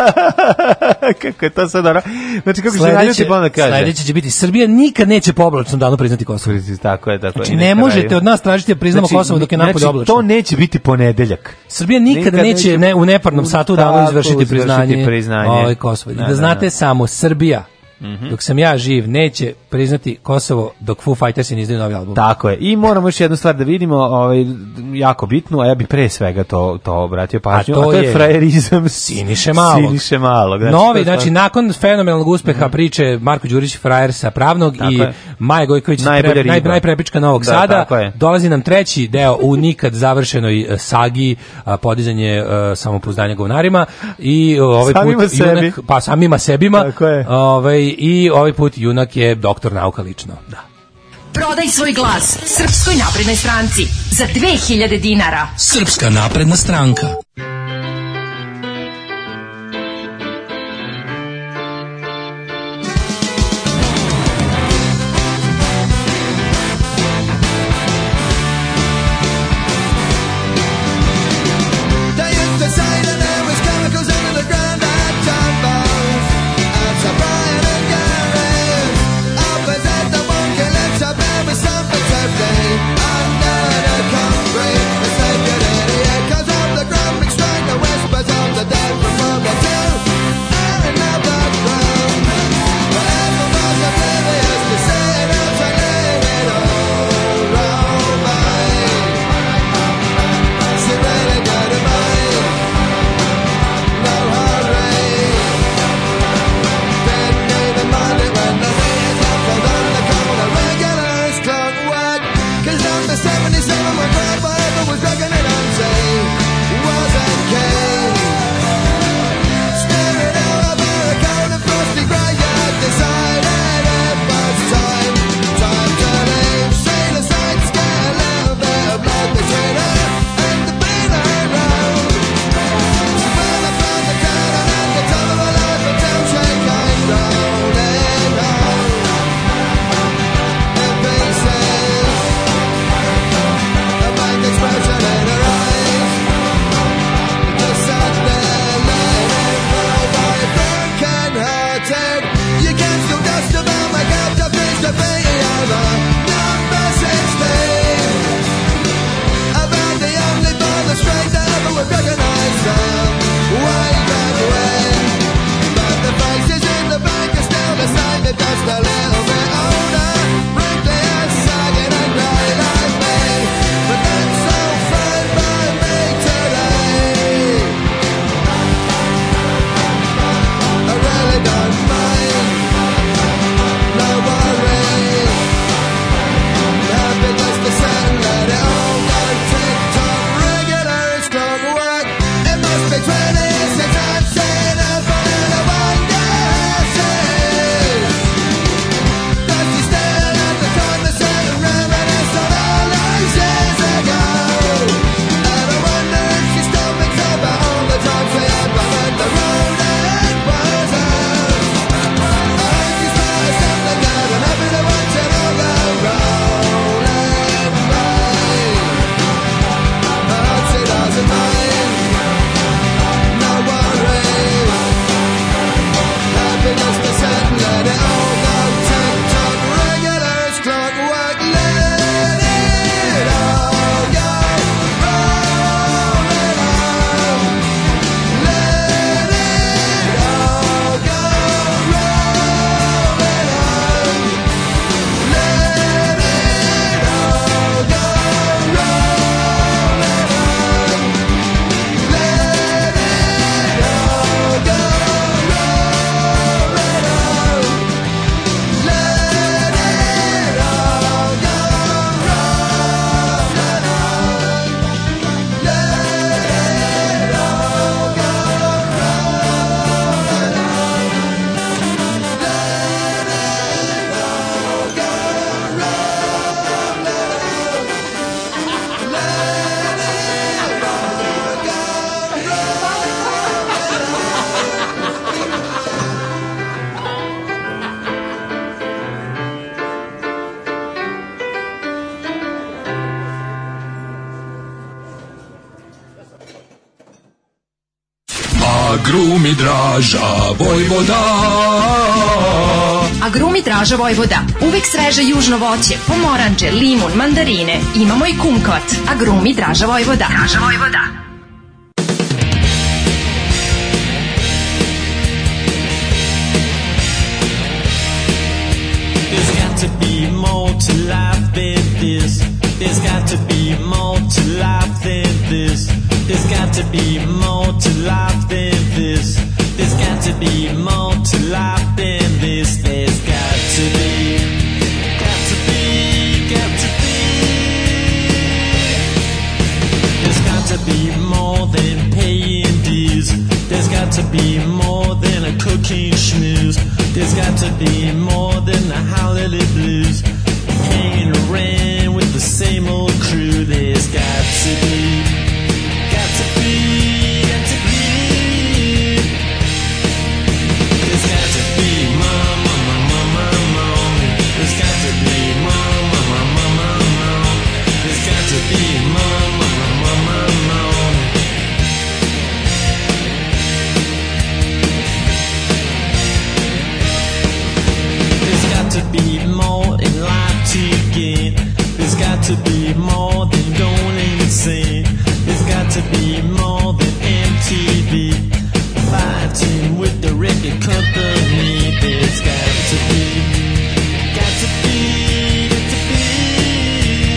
E: kako je to sad ono? Znači, kako se
G: Sledeće,
E: naljuti, pa onda kaže.
G: sledeće će biti Srbija nikad neće po oblačnom danu priznati Kosovo.
E: Tako je, tako je.
G: Znači,
E: I na
G: ne
E: kraju-
G: možete od nas tražiti da priznamo
E: Znači,
G: Kosovo dok je napolje
E: znači,
G: oblačno.
E: to neće biti ponedeljak.
G: Srbija nikada
E: Nikad
G: neće
E: neće-
G: ne, u neparnom satu danu
E: Tako,
G: izvršiti
E: izvršiti
G: priznanje,
E: priznanje.
G: ovaj Kosovo. I Da,
E: Da, da,
G: znate
E: da.
G: samo, Srbija,
E: Mhm.
G: dok sam ja živ, neće priznati Kosovo dok Foo Fightersi ne izdaju novi album.
E: Tako je. I moramo još jednu stvar da vidimo, ovaj jako bitnu, a ja bih pre svega to to obratio pažnju, a to, je, frajerizam
G: Siniše Malog.
E: Siniše Malog, znači, to
G: Novi,
E: je
G: znači,
E: stvar-
G: nakon fenomenalnog uspeha priče Marko Đurić frajer sa pravnog
E: Tako
G: i
E: je.
G: Maja Gojković iz
E: Najbolja
G: pre, naj,
E: riba.
G: najprepička Novog
E: Da,
G: Sada,
E: tako je.
G: dolazi nam treći deo u nikad završenoj eh, sagi a, podizanje eh, samopouzdanja govnarima i eh, ovaj put
E: Samima sebi.
G: junak, pa samima sebima
E: Tako je.
G: ovaj, i ovaj put junak je doktor nauka lično. Da.
D: Prodaj svoj glas Srpskoj naprednoj stranci za 2000 dinara.
G: Srpska napredna stranka.
F: They used to say that there was chemicals under the ground at Jumbo's. And Sir Brian and Gary Others at the monkey lips up there with some perception Under the concrete, the sacred idiot comes up the ground
A: A grumi draža Vojvoda
D: A grumi draža Vojvoda. Uvek sveže južno voće, pomoranđe, limun, mandarine. Imamo i kumkot. A grumi draža Vojvoda. Draža Vojvoda.
F: There's got to be more to life than this. There's got to be more to life than this. There's got to be more to life than this. There's got to be more to life than this. There's got to be. Got to be. Got to be. There's got to be more than paying dues. There's got to be more than a cooking snooze. There's got to be more than the holiday blues. Hanging around with the same old crew. There's got to be. Got to be. Got to be. There's got to be more, more, more, more, more, more. There's got to be more, more, more, more, more, more. There's got to be more, more, more, more, more, more. There's got to be more in life to get. There's got to be more than going insane. There's got to be more than MTV. Fighting with the record company. There's got to be. Got to be. Got to be.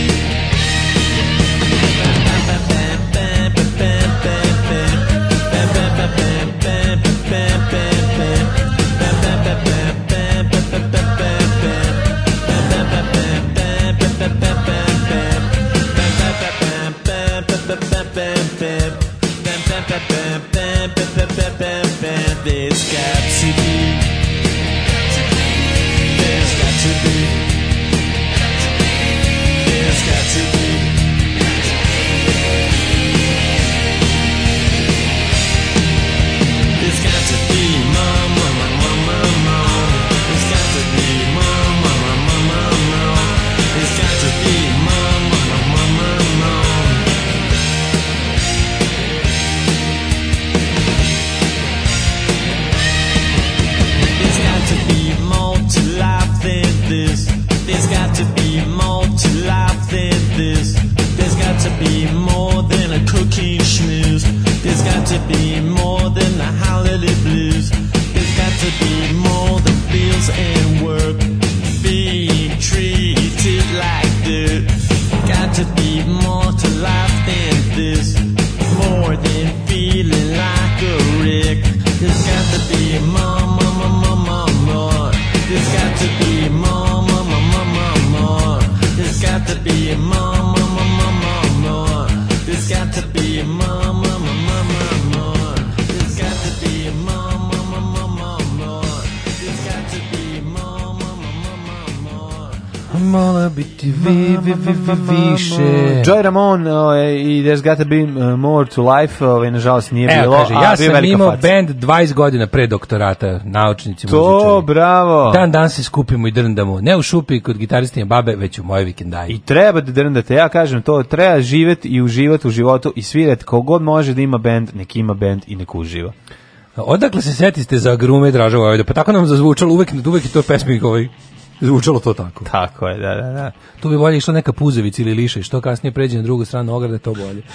F: There's got to be. There's got to be. There's got to be. There's got to be mom, mom, mom, mom, mom, mom. There's got to be mom, mom, mom, mom, mom, mom. There's got to be mom, mom, mom, mom, mom, mom. There's got to be more to life than this. There's got to be more to life than this. There's got to be more than a cooking snooze. There's got to be more than the holiday blues. There's got to be more than bills and work. Being treated like dirt. Got to be more to life than this. More than feeling like a wreck. There's got to be more, more, more, more, more, more. There's got to be more, more, more, more, more, more. There's got to be more, more, more, more, more, more. There's got to be more, more, more, more, more, more. There's got to be more, more, more, more, more, more. There's got to be more, more, more, more, more, more.
G: Mala biti vi, vi, vi, vi, više.
E: Joy Ramon ovaj, i There's Gotta Be uh, More to Life, ovaj, nažalost nije
G: Evo,
E: bilo,
G: kaže,
E: a
G: ja
E: bio je
G: sam
E: velika
G: imao
E: faca.
G: band 20 godina pre doktorata, naučnici,
E: To, bravo.
G: Dan dan se skupimo i drndamo, ne u šupi kod gitaristinje babe, već u moje vikendaji.
E: I treba da drndate, ja kažem to, treba živjeti i uživati u životu i svirati kogod može da ima band, nek ima band i nek uživa.
G: Odakle se setiste za grume Draža Vojvoda? Pa tako nam zazvučalo uvek, uvek je to pesmi ovaj, zvučalo to tako.
E: Tako je, da, da, da.
G: Tu bi bolje išla neka puzevica ili liša i što kasnije pređe na drugu stranu ograde, to bolje.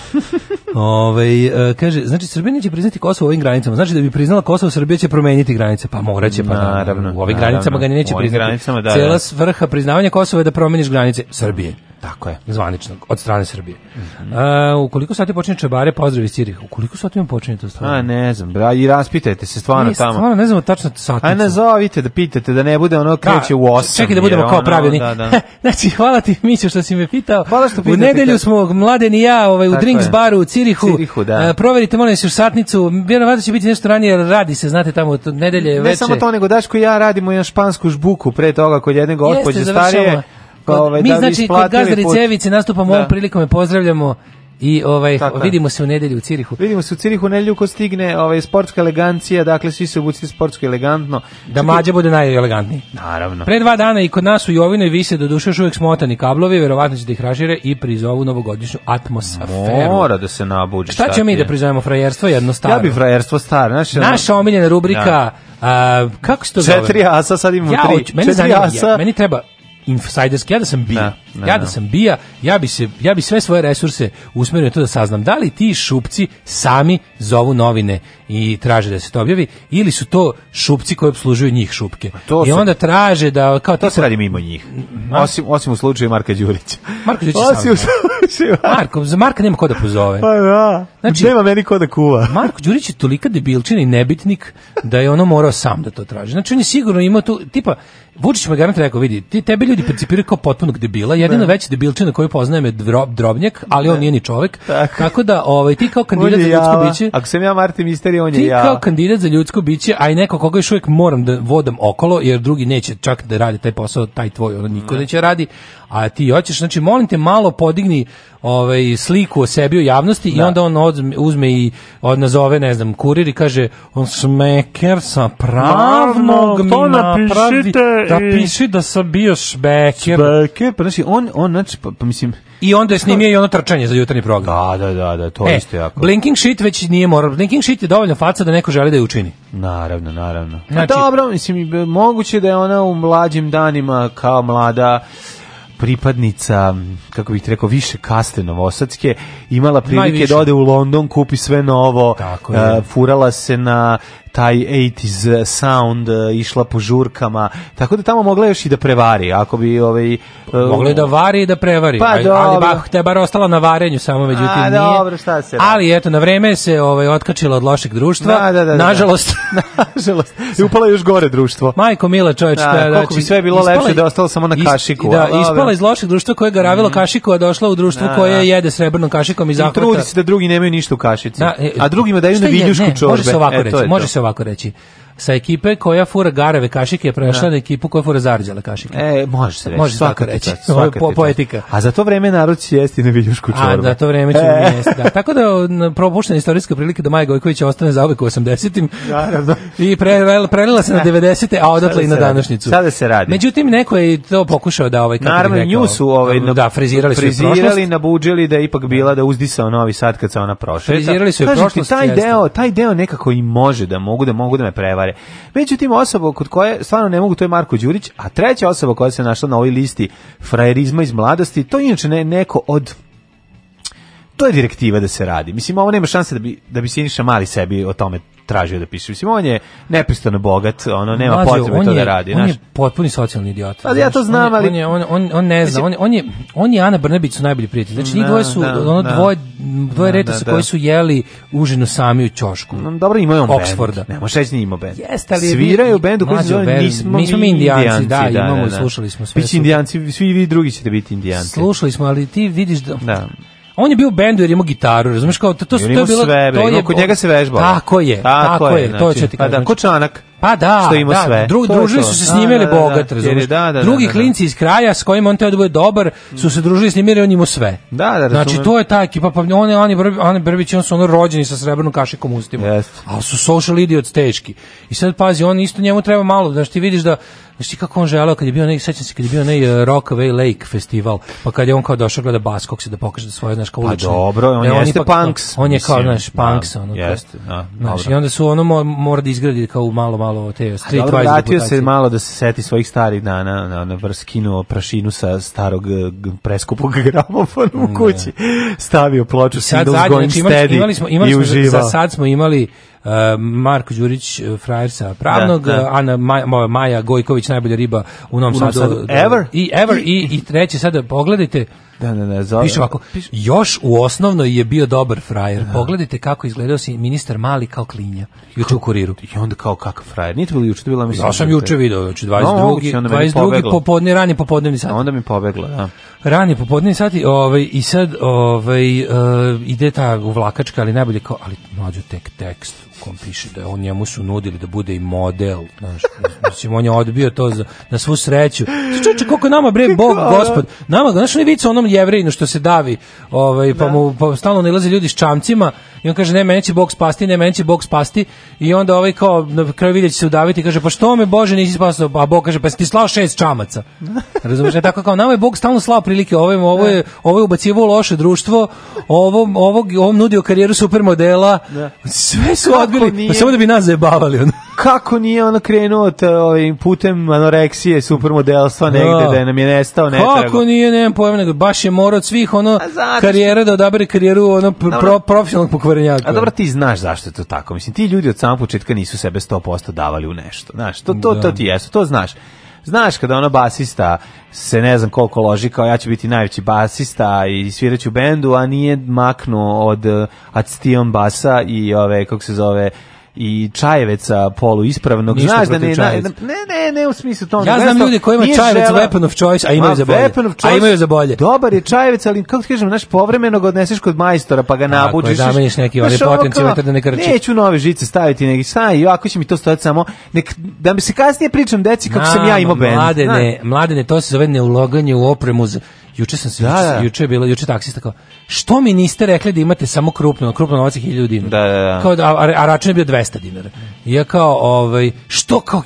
G: Ovaj e, kaže, znači Srbija neće priznati Kosovo ovim granicama. Znači da bi priznala Kosovo, Srbija će promeniti granice. Pa moraće, pa naravno.
E: Naravno,
G: U ovim
E: naravno.
G: granicama ga neće
E: U ovim
G: priznati.
E: granicama, da,
G: Cela
E: da.
G: svrha priznavanja Kosova je da promeniš granice Srbije.
E: Tako je. Mhm.
G: Zvanično, od strane Srbije. A, ukoliko sati počinje čebare, pozdrav iz Cirih. Ukoliko sati vam počinje to stvarno?
E: A ne znam, bra, i raspitajte se stvarno
G: Ne,
E: tamo.
G: stvarno ne znamo tačno
E: Aj
G: satnicu.
E: nazovite da pitate da ne bude ono kreće u 8.
G: Pa Čekaj da budemo
E: jer
G: kao
E: ono,
G: pravi. oni.
E: Da, da.
G: znači, hvala ti, Mićo, što si me pitao. Hvala
E: što
G: U
E: pitate,
G: nedelju
E: tako.
G: smo, mladen i ja, ovaj, u
E: Tako
G: Drinks
E: je.
G: baru u Cirihu.
E: Cirihu, da.
G: E, proverite, molim vas, još satnicu. Vjerovatno će biti nešto ranije, jer radi se, znate, tamo od nedelje
E: Ne
G: veče.
E: samo to, nego Daško i ja radimo jedan špansku žbuku pre toga kod jedne gospođe
G: završavamo.
E: starije.
G: Kod-
E: ovaj,
G: mi
E: da bi
G: znači kod
E: isplatili
G: Gazdaricevice
E: put.
G: nastupamo
E: Da.
G: ovom prilikom i pozdravljamo I ovaj,
E: Tako je.
G: vidimo se u nedelju u Cirihu.
E: Vidimo se u Cirihu nedelju ko stigne ovaj, sportska elegancija, dakle svi se obucite sportski elegantno.
G: Da mađe bude najelegantniji.
E: Naravno.
G: Pre dva dana i kod nas u Jovinoj vise do duše još uvijek smotani kablovi, verovatno će da ih ražire i prizovu novogodišnju atmosferu.
E: Mora da se nabuđe.
G: Šta ćemo mi da prizovemo frajerstvo jedno staro?
E: Ja bi frajerstvo staro. Znaš, ono-
G: Naša omiljena rubrika, a, kako se to zove?
E: Četiri asa, sad imamo
G: ja,
E: tri.
G: hoću- Mene
E: Četiri
G: zanima,
E: asa.
G: ja, meni treba insiderski, ja da sam bija,
E: Da, da,
G: ja da
E: da.
G: sam bija, ja bi, se, ja bi sve svoje resurse usmerio na to da saznam da li ti šupci sami zovu novine i traže da se to objavi ili su to šupci koji obslužuju njih šupke.
E: Pa to
G: I
E: su-
G: onda traže da kao
E: To se radi mimo njih. Osim, osim u slučaju Marka Đurića.
G: Marko Đurić je
E: Osim u
G: sam.
E: slučaju...
G: Marko, za Marka nema ko da pozove.
E: Pa da.
G: Znači-
E: nema meni ko da kuva.
G: Marko Đurić je tolika debilčina i nebitnik da je ono morao sam da to traži. Znači on je sigurno imao tu, tipa, Vučić mu je garant rekao, vidi, ti, tebe ljudi percipiraju kao potpunog debila, jedina veća debilčina koju poznajem je drob, drobnjak, ali on nije ni čovek. Tako, da, ovaj, ti kao kandidat
E: On
G: za
E: je
G: ljudsko
E: java.
G: biće,
E: Ako sam ja Marti Misterija, on je
G: ti kao
E: ja.
G: kandidat za ljudsko biće, a i neko koga još uvijek moram da vodam okolo, jer drugi neće čak da radi taj posao, taj tvoj, ono niko neće radi, a ti hoćeš, znači molim te malo podigni ovaj, sliku o sebi u javnosti i
E: Da.
G: onda on odzme- uzme i od nazove, ne znam, kurir i kaže, on šmeker sa pravnog mi
E: Naravno, to
G: napravi,
E: napišite
G: da
E: i-
G: piši da sam bio šmeker.
E: Beke, pa znači, on, on, znači, pa, pa mislim...
G: I onda je snimio i ono trčanje za jutarnji program.
E: Da, da, da, da, to
G: E,
E: isto jako.
G: blinking shit već nije morao. Blinking shit je dovoljno faca da neko želi da je učini.
E: Naravno, naravno.
G: Znači-
E: Znači, dobro, mislim, i be- moguće da je ona u mlađim danima kao mlada pripadnica, kako bih ti rekao, više kaste novosadske, imala prilike
G: Najviše.
E: da ode u London, kupi sve novo,
G: Tako je.
E: e, furala se na taj 80s sound, e, išla po žurkama, tako da tamo mogla još i da prevari, ako bi ovaj... e,
G: Moglo je da vari i da prevari.
E: Pa
G: ali, ali
E: dobro.
G: bah, te bar ostala na varenju samo, međutim
E: A,
G: nije.
E: dobro, šta se radi?
G: Ali eto, na vreme se ovaj, otkačila od lošeg društva.
E: Da, da, da, da.
G: Nažalost,
E: Nažalost, i upala još gore društvo.
G: majko mila čoveč.
E: Da, koliko bi sve bilo
G: znači, ispala
E: lepše
G: je-
E: da je ostalo samo na
G: is-
E: kašiku,
G: Da,
E: ali dobro. Mhm.
G: ispala iz lošeg društva koje je garavilo kašiku, a došla u društvo
E: Da,
G: koje
E: da.
G: jede srebrnom kašikom i
E: I
G: zahvata.
E: trudi se da drugi nemaju ništa u kašici.
G: Da, e,
E: a drugima daju
G: šta
E: na
G: je-
E: viljušku
G: ne,
E: čorbe.
G: Može se ovako
E: E, to
G: reći,
E: je
G: može
E: to.
G: se ovako reći. Sa ekipe koja fura garave kašike je prešla
E: Da.
G: na ekipu koja fura zarđale kašike.
E: E, može se reći.
G: Može se
E: svaka
G: tako
E: ti
G: reći.
E: čast,
G: Ovo je
E: svaka
G: po-
E: ti čast.
G: poetika.
E: A za to vreme narod će jesti na viljušku čorbe. E.
G: A, da, to vreme ćemo mi jesti, da. Tako da na- propuštena istorijska prilika da Maja Gojković ostane zauvek u 80-im.
E: Naravno.
G: I pre, prelila se na 90-te, a odatle
E: Sada
G: i na
E: se radi.
G: današnjicu.
E: Sada se radi.
G: Međutim, neko je i to pokušao da ovaj... kako bih
E: Naravno,
G: rekao,
E: nju su ovaj, na-
G: da, frizirali su i
E: frizirali,
G: prošlost.
E: nabuđili da je ipak bila da uzdisao novi sad kad se ona prošeta.
G: Frizirali su i
E: Kažem ti,
G: prošlost,
E: Taj
G: jeste.
E: deo, taj deo nekako i može da mogu da mogu da me prevare. Međutim, osoba kod koje stvarno ne mogu, to je Marko Đurić, a treća osoba koja se našla na ovoj listi frajerizma iz mladosti, to je inače ne, neko od to je direktiva da se radi. Mislim, ovo nema šanse da bi, da bi Siniša Mali sebi o tome tražio da piše. Mislim, on je nepristano bogat, ono, nema
G: Mlađo,
E: potrebe
G: on
E: to
G: je-
E: da radi.
G: On
E: znaš.
G: je potpuni socijalni idiot.
E: Pa ja to
G: znaš, on
E: znam,
G: je-
E: ali-
G: On, je, on, on, on ne zna,
E: Mislim-
G: on, je- on, je, on i Ana Brnebić su najbolji prijatelji. Znači, njih
E: Da,
G: dvoje su,
E: da,
G: ono,
E: da.
G: dvoje, dvoje
E: Da,
G: reta
E: da,
G: su
E: da.
G: koji su jeli užinu sami u ćošku.
E: Dobro, imao je on
G: Oxforda.
E: bend. Ne može reći nije imao bend.
G: Jeste, ali-
E: Sviraju u bendu koji se
G: Mlađo,
E: zove
G: veruj,
E: Nismo
G: mi smo mi Indijanci, da, imamo i slušali smo sve
E: Biće
G: super.
E: indijanci, svi vi drugi ćete biti indijanci.
G: Slušali smo, ali ti vidiš da...
E: Da.
G: On je bio u bendu jer je imao gitaru, razumeš kao to, to,
E: Jer
G: to je
E: imao
G: bilo to
E: sve, bre, imao- kod njega se vežbalo.
G: Tako je, tako, je, to će ti
E: Pa da,
G: kažem.
E: ko čanak.
G: Pa da,
E: što ima
G: da,
E: sve.
G: dru-
E: To je
G: družili
E: to.
G: su se
E: Da,
G: snimili
E: da, da, da.
G: bogat,
E: Jer je-
G: razumeš.
E: da, da, da,
G: Drugi
E: da.
G: klinci iz kraja s kojim on teo da bude dobar, su se družili i snimili, on imao sve.
E: Da, da,
G: Znači,
E: razumem.
G: to je ta ekipa, pa oni, oni, Brbi- oni Brbić, on su ono rođeni sa srebrnom kašikom u ustima.
E: Jeste.
G: Ali su social idiots teški. I sad pazi, on isto njemu treba malo, znači ti vidiš da Znaš ti kako on želeo kad je bio onaj, sećam se kad je bio onaj e, Rockaway Lake festival, pa kad je on kao došao gleda Baskog se da pokaže da svoje, znaš, kao
E: Pa
G: ulične.
E: dobro, on
G: Ne,
E: jeste
G: ipak-
E: punks,
G: On je kao,
E: mislim,
G: znaš, punks,
E: da,
G: ono. kao-
E: jeste, da,
G: znaš,
E: dobro.
G: i onda su ono mo- mora da izgradi kao malo, malo te street
E: Dobro, vratio se malo da se seti svojih starih dana, na na vrh skinuo prašinu sa starog eh, g- preskupog gramofona u kući. Stavio ploču
G: Mm, Sad
E: Singles
G: zadnje,
E: Going
G: znači, imali,
E: Steady
G: imali smo, imali
E: i
G: smo, za,
E: uživao.
G: za sad smo imali uh, Marko Đurić, uh, frajer sa Pravnog,
E: Da, da.
G: uh, Ana Maja, moja Maja Gojković, najbolja riba u Novom
E: U Novom
G: Sadu.
E: Sadu.
G: Da,
E: Ever?
G: I Ever, i, i treće, sada pogledajte,
E: Da, da, da, za-
G: Piše ovako, još u osnovnoj je bio dobar frajer. Pogledajte kako izgledao si ministar Mali kao klinja. Juče u kuriru.
E: I onda kao kakav frajer. Nije to bilo juče, to je bila mislim.
G: Ja sam juče video, znači
E: No, moguće,
G: 22.
E: onda meni
G: 22.
E: pobeglo.
G: popodne, rani popodnevni sat.
E: A Onda mi pobegla, da.
G: Rani popodnevni sati, ovaj i sad ovaj e, ide ta vlakačka, ali najbolje kao ali mlađu tek tekst u kom piše da on njemu su nudili da bude i model, znaš. Mislim, on je odbio to za, na svu sreću. Čoče, koliko je nama, bre, Bog, gospod, nama, znaš, on je vica onom jevrejinu što se davi, ovaj, pa mu pa stalno nalaze ljudi s čamcima i on kaže, ne, meni će Bog spasti, ne, meni će Bog spasti i onda ovaj kao, na kraju vidjet će se udaviti i kaže, pa što me, Bože, nisi spasao, a Bog kaže, pa si ti slao šest čamaca. Razumeš, E, tako kao, nama je Bog stalno slao prilike, ovo je, ovo je, ovo je ubacivao u loše društvo, ovo, ovog, ovom nudio karijeru supermodela, sve su
E: Kako
G: odbili,
E: nije?
G: samo da bi nas zajebavali. Ono.
E: Kako nije ono krenuo t- ovim putem anoreksije, supermodelstva negde, da je nam je nestao netrago.
G: Kako nije, nemam pojma, nego baš je morao od svih ono
E: zato
G: karijera da odabere karijeru ono pr- pro, profesionalnog pokvarenjaka.
E: A dobro, ti znaš zašto je to tako. Mislim, ti ljudi od samog početka nisu sebe 100% davali u nešto. Znaš, to, to, to ti jesu, to znaš. Znaš kada ono basista se ne znam koliko loži kao ja ću biti najveći basista i sviraću u bendu, a nije maknuo od eh, Action basa i ove, kako se zove, i Čajeveca polu ispravnog.
G: Ništa
E: znaš da
G: protiv
E: ne,
G: Čajevca.
E: ne, ne, ne, u smislu Ono, to.
G: Ja znam ljude koji ima Čajevec weapon of choice, a imaju za bolje. A imaju za bolje.
E: Dobar je Čajevec, ali kako ti kažem, znaš, povremeno ga odneseš kod majstora, pa ga
G: Tako je,
E: nabuđiš.
G: zameniš neki
E: Znaš,
G: onaj
E: ono
G: potencijalni
E: kao,
G: kad da ne krči.
E: Neću nove žice staviti, nego sam i ako će mi to stojati samo, nek, da mi se kasnije pričam deci kako sam ja imao bend.
G: Mlade
E: Znaš.
G: ne, mlade ne, to se zove neulaganje u opremu. za- Juče sam se, juče,
E: da.
G: juče je bilo, juče taksista kao, što mi niste rekli da imate samo krupno, krupno novac je 1000 dinara.
E: Da, da, da.
G: Kao, da- a, a račun je bio 200 dinara. I ja kao, ovaj, što kao,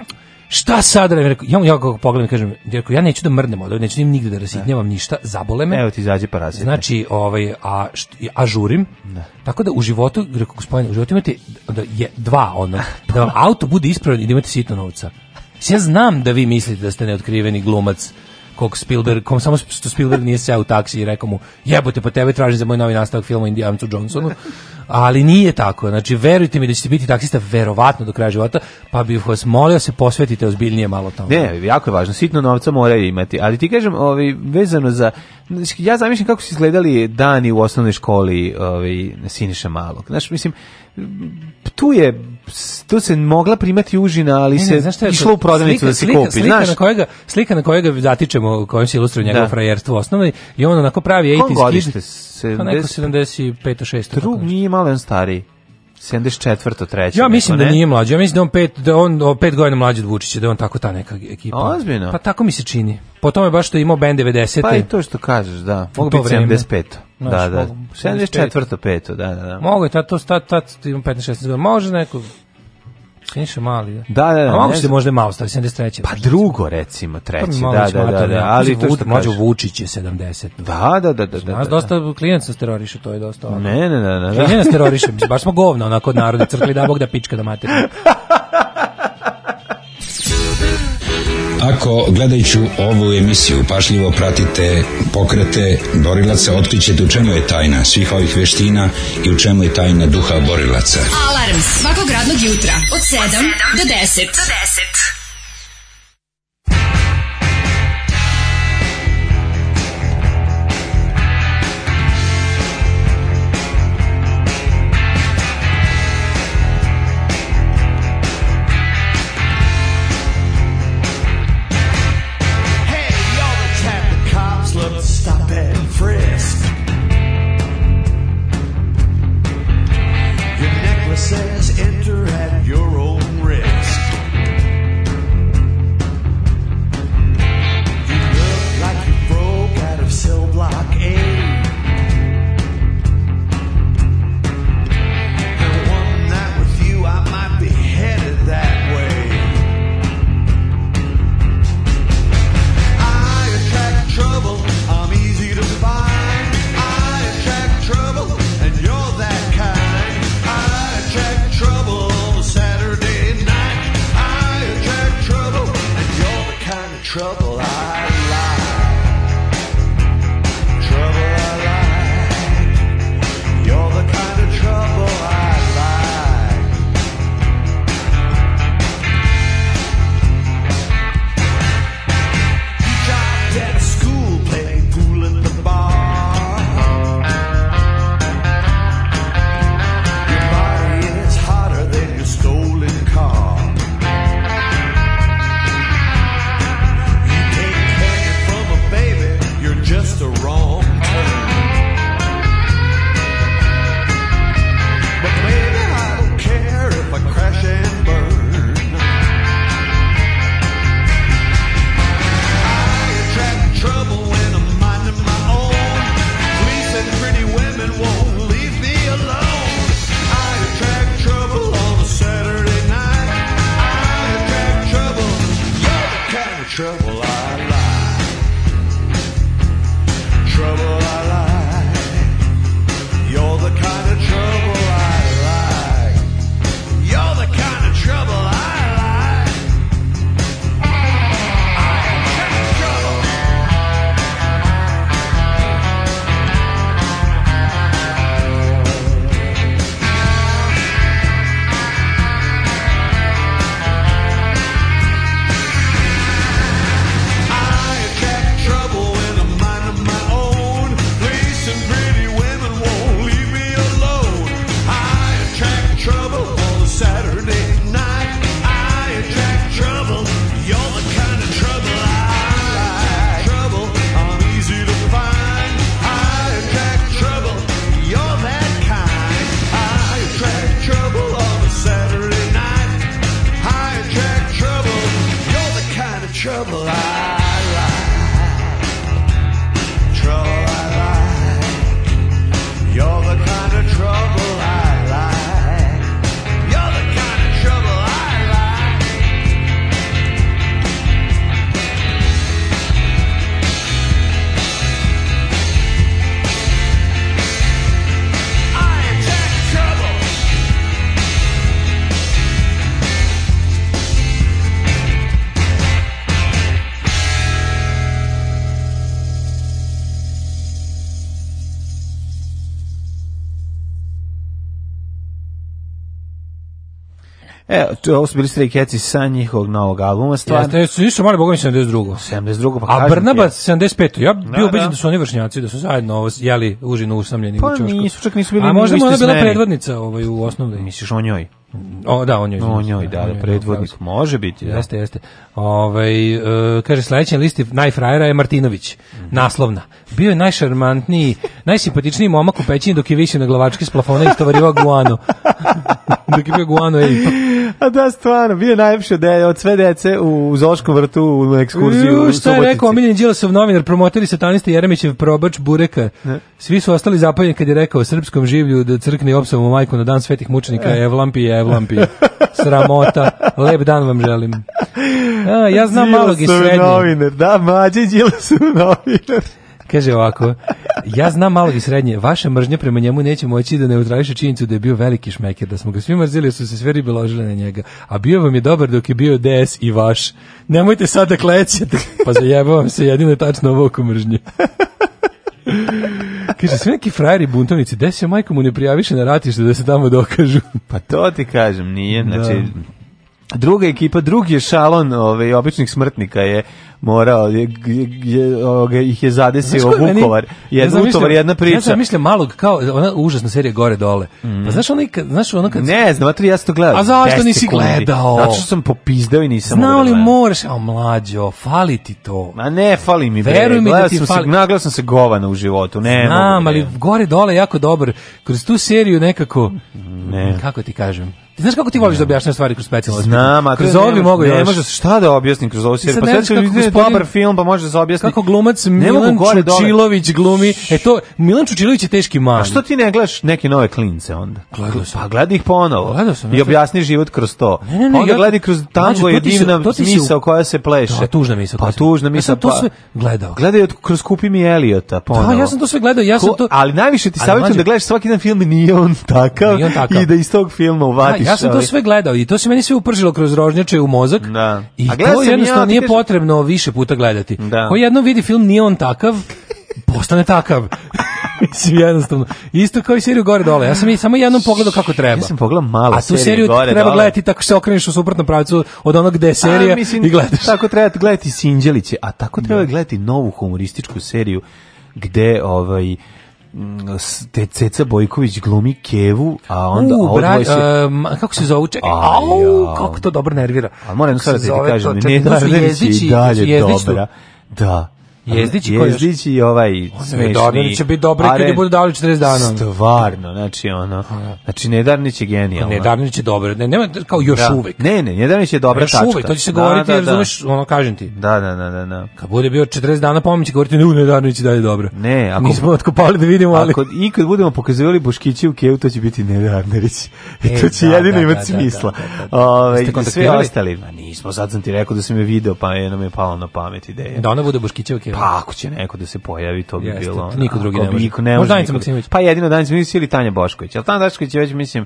G: šta sad da radim? Rekao, ja, ja kako pogledam i kažem, ja, rekao, ja neću da mrnem odavde, neću im nigde da rasitnjavam ništa, zabole me.
E: Evo ti izađi pa parazit.
G: Znači, ovaj, a, št- a žurim. Tako da u životu, rekao gospodin, u životu imate da je, dva, ono, da vam auto bude ispravan i da imate sitno novca. Mislim, Ja znam da vi mislite da ste neotkriveni glumac kog Spielberg, kom samo što Spielberg nije seo u taksi i rekao mu jebote po tebe tražim za moj novi nastavak filma Indijancu Johnsonu, ali nije tako. Znači, verujte mi da ćete biti taksista verovatno do kraja života, pa bih vas molio da se posvetite ozbiljnije malo tamo.
E: Ne, jako je važno, sitno novca moraju imati, ali ti kažem, ovaj, vezano za, znači, ja zamišljam kako su izgledali dani u osnovnoj školi ovaj, Siniša Malog. Znaš, mislim, tu je, tu se mogla primati užina, ali se
G: znaš šta je to?
E: išlo u prodavnicu
G: Slika-
E: da se
G: slika-
E: kupi,
G: slika
E: znaš.
G: Na kojega, slika na kojega zatičemo, kojom se ilustruje njegovo
E: Da.
G: frajerstvo osnovno i on onako pravi
E: Kom
G: 80s
E: godište?
G: kid. Pa neko
E: 70?
G: 75. 6.
E: Drug nije malo on stariji. 74. 3.
G: Ja mislim da nije mlađi, ja mislim da on pet, da on o, pet godina mlađi od Vučića, da je on tako ta neka ekipa.
E: Ozbiljno?
G: Pa tako mi se čini. Po tome baš što je imao band 90.
E: Pa i to što kažeš, da.
G: U
E: Mogu
G: to
E: biti
G: vreme.
E: 75. Da,
G: Znaš,
E: da.
G: mogu-
E: 74. 5. Da, da, da.
G: Mogu je, tad, to, tad, tad imam 15-16 godina. Može neko... Siniša mali, da.
E: Da, da, da.
G: A mogu
E: ne
G: se
E: znam.
G: možda i malo staviti, 73.
E: Pa drugo, recimo,
G: To mi
E: treći.
G: malo
E: Da,
G: već
E: da, da,
G: smatra,
E: da. Ali to
G: Vuč-
E: što
G: Mlađo
E: kažeš.
G: Vučić je 70.
E: Da, da, da, da. da,
G: Znaš,
E: da.
G: dosta klinaca nas teroriše, to je dosta. ovako.
E: Ne, ne, ne, ne.
G: Ja ne
E: da.
G: nas teroriše, mislim, baš smo govna onako od naroda, crkli da Bog da pička da mater.
R: Ako gledajući ovu emisiju pašljivo pratite pokrete borilaca, otkrićete u čemu je tajna svih ovih veština i u čemu je tajna duha borilaca.
D: Alarm svakog radnog jutra od 7 do 10. Do 10.
F: Hey, you're the traffic cops, let's stop and frisk. Your necklace says enter at your own risk. You look like you broke out of cell block A. And one night with you, I might be headed that way. I attract trouble. I'm easy to find. I attract trouble, and you're that kind. I attract trouble.
M: trouble on a Saturday night. I attract trouble. You're the kind of trouble I like. Trouble, I'm easy to find. I attract trouble. You're that kind. I attract trouble on a Saturday night. I attract trouble. You're the kind of trouble I like. Trouble I like. You're the kind of trouble I like. You're the kind of trouble I like. I attack trouble.
E: E, to, ovo su bili Stray Cats sa njihovog novog albuma, stvarno.
G: Jeste, jesu, nisu mali bogovi 72.
E: 72. Pa
G: A
E: kažem ti,
G: Brnaba 75. Ja bio
E: da.
G: ubeđen da. su oni vršnjaci, da su zajedno ovo jeli užinu usamljeni
E: Pa
G: u čošku.
E: nisu, čak nisu bili
G: A
E: ni u
G: možda mu
E: istoj
G: ona bila
E: smeni.
G: predvodnica ovaj, u osnovnoj.
E: Misliš o njoj?
G: O, da, on joj.
E: O njoj, da, da, predvodnik. Može biti, da.
G: Jeste, jeste. Ovaj e, kaže, sledeći na listi najfrajera je Martinović,
E: Mhm.
G: naslovna. Bio je najšarmantniji, najsimpatičniji momak u pećini dok je više na glavački s plafona i istovarivao guano. dok je bio guano, ej.
E: A da, stvarno, bio je najlepši od, de- od sve dece u Zološkom vrtu u ekskurziju u
G: Ju, šta je
E: Subotici.
G: rekao omiljeni Đilasov novinar, promoteri sataniste Jeremićev probač Bureka. Svi su ostali zapaljeni kad je rekao srpskom življu da crkne opsovom majku na dan svetih
E: E.
G: mučenika Evlampije, Evlampije. Sramota. Lep dan vam želim. A, ja znam malog i
E: Đilasov
G: srednjeg.
E: novinar, da, mađe Đilasov novinar.
G: Kaže ovako, ja znam malog i srednje, vaša mržnja prema njemu neće moći da neutrališe činjenicu da je bio veliki šmeker, da smo ga svi mrzili, jer su se sve ribe ložile na njega, a bio vam je dobar dok je bio DS i vaš. Nemojte sad da klećete, pa zajebavam se, jedino je tačno ovo oko mržnje. Kaže, svi neki frajeri buntovnici, gde se majko mu ne prijaviše na ratište da se tamo dokažu?
E: Pa to ti kažem, nije, znači... Druga ekipa, drugi je šalon ovaj, običnih smrtnika je morao, je, je, je, ovoga, ih je zadesio
G: Znaš ko je meni-
E: Vukovar.
G: ja
E: Je,
G: zamišljam-
E: Vukovar jedna priča. Mhm.
G: Ja zamišljam malog kao ona užasna serija gore dole. Pa znaš onaj kad- znaš ono kad
E: Ne znam, a ja sam to gledao.
G: A zašto
E: 10
G: nisi
E: sekundi.
G: gledao?
E: Zato što sam popizdeo i nisam
G: Znao
E: mogao da
G: li
E: gledam.
G: moraš, a mlađo, fali ti to.
E: Ma ne, fali mi. bre.
G: Veruj mi da
E: Gledao
G: ti
E: sam se-
G: fali.
E: Nagledao sam se govana u životu. Ne,
G: Znam,
E: mogu, ne.
G: ali gore dole jako dobar. Kroz tu seriju nekako,
E: Ne.
G: kako ti kažem, ti znaš kako ti voliš da objašnjaš stvari kroz specijalno
E: Znam, a to
G: kroz
E: ne
G: ovo bi
E: može-
G: mogo
E: Ne
G: još.
E: može se šta da objasnim kroz ovu
G: Ti sad
E: seriju. Pa
G: ne
E: sad
G: znaš
E: ću
G: kako
E: vidjeti
G: gospodin-
E: dobar film, pa može da se objasni.
G: Kako glumac
E: Ne mogu
G: Milan
E: gore dole.
G: Čučilović glumi. E to, Milan Čučilović je teški mali.
E: A što ti ne gledaš neke nove klince onda?
G: Gledao sam.
E: Pa gledaj ih ponovo.
G: Gledao sam, ja
E: I
G: sam-
E: objasni život kroz to.
G: Ne, ne, ne,
E: Pa onda
G: ja-
E: gledaj kroz
G: Mlađo,
E: tango
G: to
E: je
G: ti se-
E: divna
G: to ti se-
E: misao koja se pleše.
G: Da, tužna misao koja
E: Pa
G: se-
E: tužna
G: Ja
E: misao.
G: sam to
E: pa-
G: sve gledao.
E: Gledaj od- kroz Kupi mi Eliota ponovo.
G: Pa, ja sam to sve gledao, ja sam
E: Ko-
G: to...
E: Ali najviše ti
G: Ali
E: savjetujem
G: mlađe-
E: da gledaš svaki dan film i nije on takav,
G: Nije on takav.
E: i da iz tog filma
G: Da,
E: uvatiš.
G: ja sam to
E: ovaj-
G: sve gledao i to se meni sve upržilo kroz rožnjače u mozak.
E: Da.
G: I
E: A gledao
G: to
E: sam
G: jednostavno
E: ja, ti
G: nije
E: kažem-
G: potrebno više puta gledati.
E: Da.
G: Ko jednom vidi film, nije on takav, postane takav. Mislim, jednostavno. Isto kao i seriju gore dole. Ja sam i samo jednom pogledao kako treba.
E: Ja sam pogledao malo
G: A tu
E: serije
G: seriju
E: gore,
G: treba
E: dole.
G: gledati tako što se okreneš u suprotnom pravcu od onog gde je serija
E: A, mislim,
G: i gledaš.
E: Tako treba gledati Sinđeliće, a tako treba gledati novu humorističku seriju gde ovaj mm, s- te Ceca Bojković glumi Kevu, a onda a
G: U,
E: ovo
G: bra,
E: dvoje se...
G: um, a kako se zove? Čekaj,
E: Aj,
G: au,
E: jao.
G: kako to dobro nervira.
E: A moram
G: Kako se
E: sad da ti
G: zove to?
E: kažem,
G: Čekaj,
E: ne
G: to su
E: da
G: Jezdić i-
E: i dalje
G: Jezdić tu.
E: dobra. Da.
G: Jezdić i ko još?
E: Jezdić i ovaj smešni.
G: Nedarnić će biti dobar kad je
E: Aren.
G: budu davali 40 dana. ono.
E: Stvarno, znači ono. Znači Nedarnić je genijalno.
G: Nedarnić je dobar. Ne, nema kao još
E: Da.
G: uvek.
E: Ne, ne, Nedarnić je dobra
G: Još
E: tačka.
G: uvek, to će se
E: Da,
G: govoriti,
E: da,
G: jer
E: da.
G: razumeš, ono kažem ti.
E: Da, da, da, da, da.
G: Kad bude bio 40 dana pomoći, govoriti, ne, ne, Darnić dalje dobro.
E: Ne, ako
G: Mi smo otkopali da vidimo, ali...
E: Ako i kad budemo pokazivali Boškiće u Kevu, to će biti Nedarnerić. I
G: E,
E: to će
G: da,
E: jedino
G: da,
E: imati
G: da, da,
E: smisla.
G: da, da, da.
E: Ovaj,
G: Jeste
E: sve
G: kontaktirali?
E: ostali, ma nismo, sad sam ti rekao da sam je video, pa je nam je palo na pamet ideja.
G: Da ona bude Boškićeva keva.
E: Pa ako će neko da se pojavi, to bi
G: Jeste,
E: bilo. ono,
G: niko drugi
E: ako
G: ne
E: bi
G: može.
E: Niko ne
G: Možda
E: može.
G: Danica
E: niko-
G: Maksimović.
E: Pa jedino Danica Maksimović ili Tanja Bošković. Ali Tanja Bošković je već, mislim...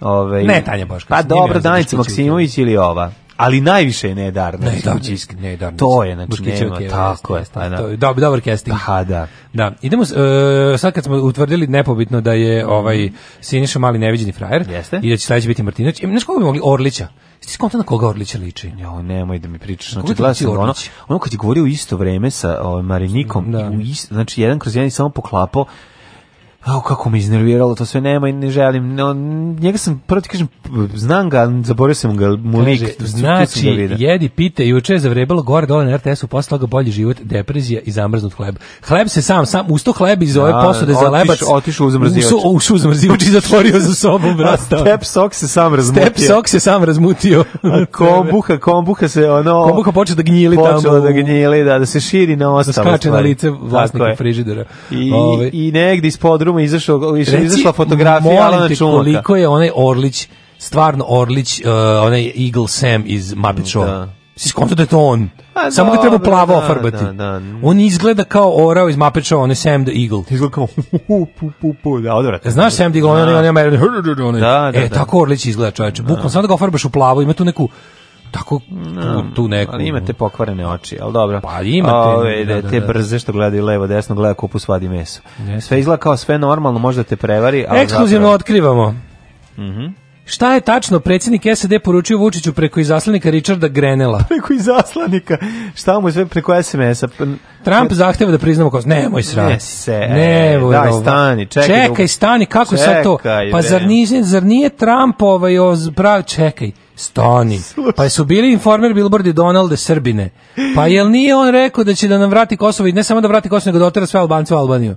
E: Ovaj,
G: Ne, Tanja Bošković,
E: Pa
G: nije
E: dobro,
G: Danica
E: Danica
G: Bošković.
E: Maksimović ili ova. Ali najviše je Nedarnerić.
G: Nedarnić,
E: Kućisk.
G: Nedarnić.
E: To je, znači,
G: Boškićeva
E: nema,
G: keva,
E: tako je.
G: jeste,
E: pa
G: jeste,
E: da.
G: to je dobar- dobar casting.
E: Pa da.
G: Da, idemo, s- e, sad kad smo utvrdili nepobitno da je ovaj Siniša mali neviđeni frajer
E: Mhm. Jeste.
G: i da će sledeći biti Martinović, e, znaš kako bi mogli Orlića? Jesi skontan na koga Orlića liči?
E: Jo, nemoj da mi pričaš.
G: Kako ti
E: Znači, gledao
G: liči
E: sam ono,
G: Orlić?
E: ono kad je govorio u isto vreme sa ovaj, Marinikom,
G: Da.
E: i u isto, znači, jedan kroz jedan je samo poklapao Au, kako me iznerviralo, to sve nema i ne želim. No, njega sam, prvo ti kažem, p- znam ga, ali zaboravio sam ga, mu lik.
G: Kaže,
E: tu sam
G: znači,
E: ga vidio.
G: jedi, pite, juče je zavrebalo gore dole na RTS-u, posle toga bolji život, depresija i zamrznut hleb. Hleb se sam, sam, usto hleb iz ove
E: Da,
G: posude za
E: otišao-
G: lebac.
E: otišao u zamrzivač.
G: Uso- Ušao u zamrzivač i zatvorio za sobom,
E: A
G: brata.
E: Step sok se sam razmutio.
G: Step sok se sam razmutio.
E: A kombuha, kombuha se ono...
G: Kombuha počeo da gnjili tamo
E: Počela da
G: u-
E: gnjili, da, da se širi na ostalo.
G: skače na lice vlasniku frižidera.
E: I,
G: Ovaj.
E: I negdje iz podruma izašao, izašla,
G: Reci,
E: izašla fotografija
G: molim
E: Alana
G: te,
E: Čumaka.
G: koliko je onaj Orlić, stvarno Orlić, uh, onaj Eagle Sam iz Muppet Show. Da. Si skonto da je to on.
E: A,
G: Samo ga treba
E: Pa dobro,
G: plavo
E: da,
G: ofarbati.
E: da, da.
G: On izgleda kao orao iz Muppet Show, on je Sam the Eagle.
E: Izgleda kao pu, pu, pu, pu, da, odvratno.
G: Znaš Sam the Eagle, on je onaj onaj-
E: Da, da,
G: E,
E: da.
G: tako Orlić izgleda čoveče. Bukvalno, samo da ga ofarbaš u plavo, ima tu neku tako tu, tu neku.
E: Ali imate pokvarene oči, ali dobro.
G: Pa imate,
E: Ove,
G: da,
E: da,
G: da,
E: te
G: da.
E: brze što gledaju levo, desno, gleda kupu svadi meso.
G: Jeste.
E: Sve izgleda kao sve normalno, možda te prevari. Ali
G: Ekskluzivno
E: zapravo-
G: otkrivamo.
E: Mhm.
G: Šta je tačno predsjednik SAD poručio Vučiću preko izaslanika Richarda Grenela?
E: Preko izaslanika. Šta mu je sve preko SMS-a? P-
G: Trump zahteva da priznamo kao nemoj srati.
E: Ne se, e,
G: nemoj,
E: daj,
G: ovo.
E: stani, čekaj da-
G: Čekaj, stani, kako sad to?
E: Čekaj,
G: Pa
E: bre.
G: zar nije, zar nije Trump ovaj oz- prav, čekaj, stani. Pa su bili informer Billboardi Donalde Srbine. Pa jel nije on rekao da će da nam vrati Kosovo i ne samo da vrati Kosovo, nego da otera sve Albance u Albaniju?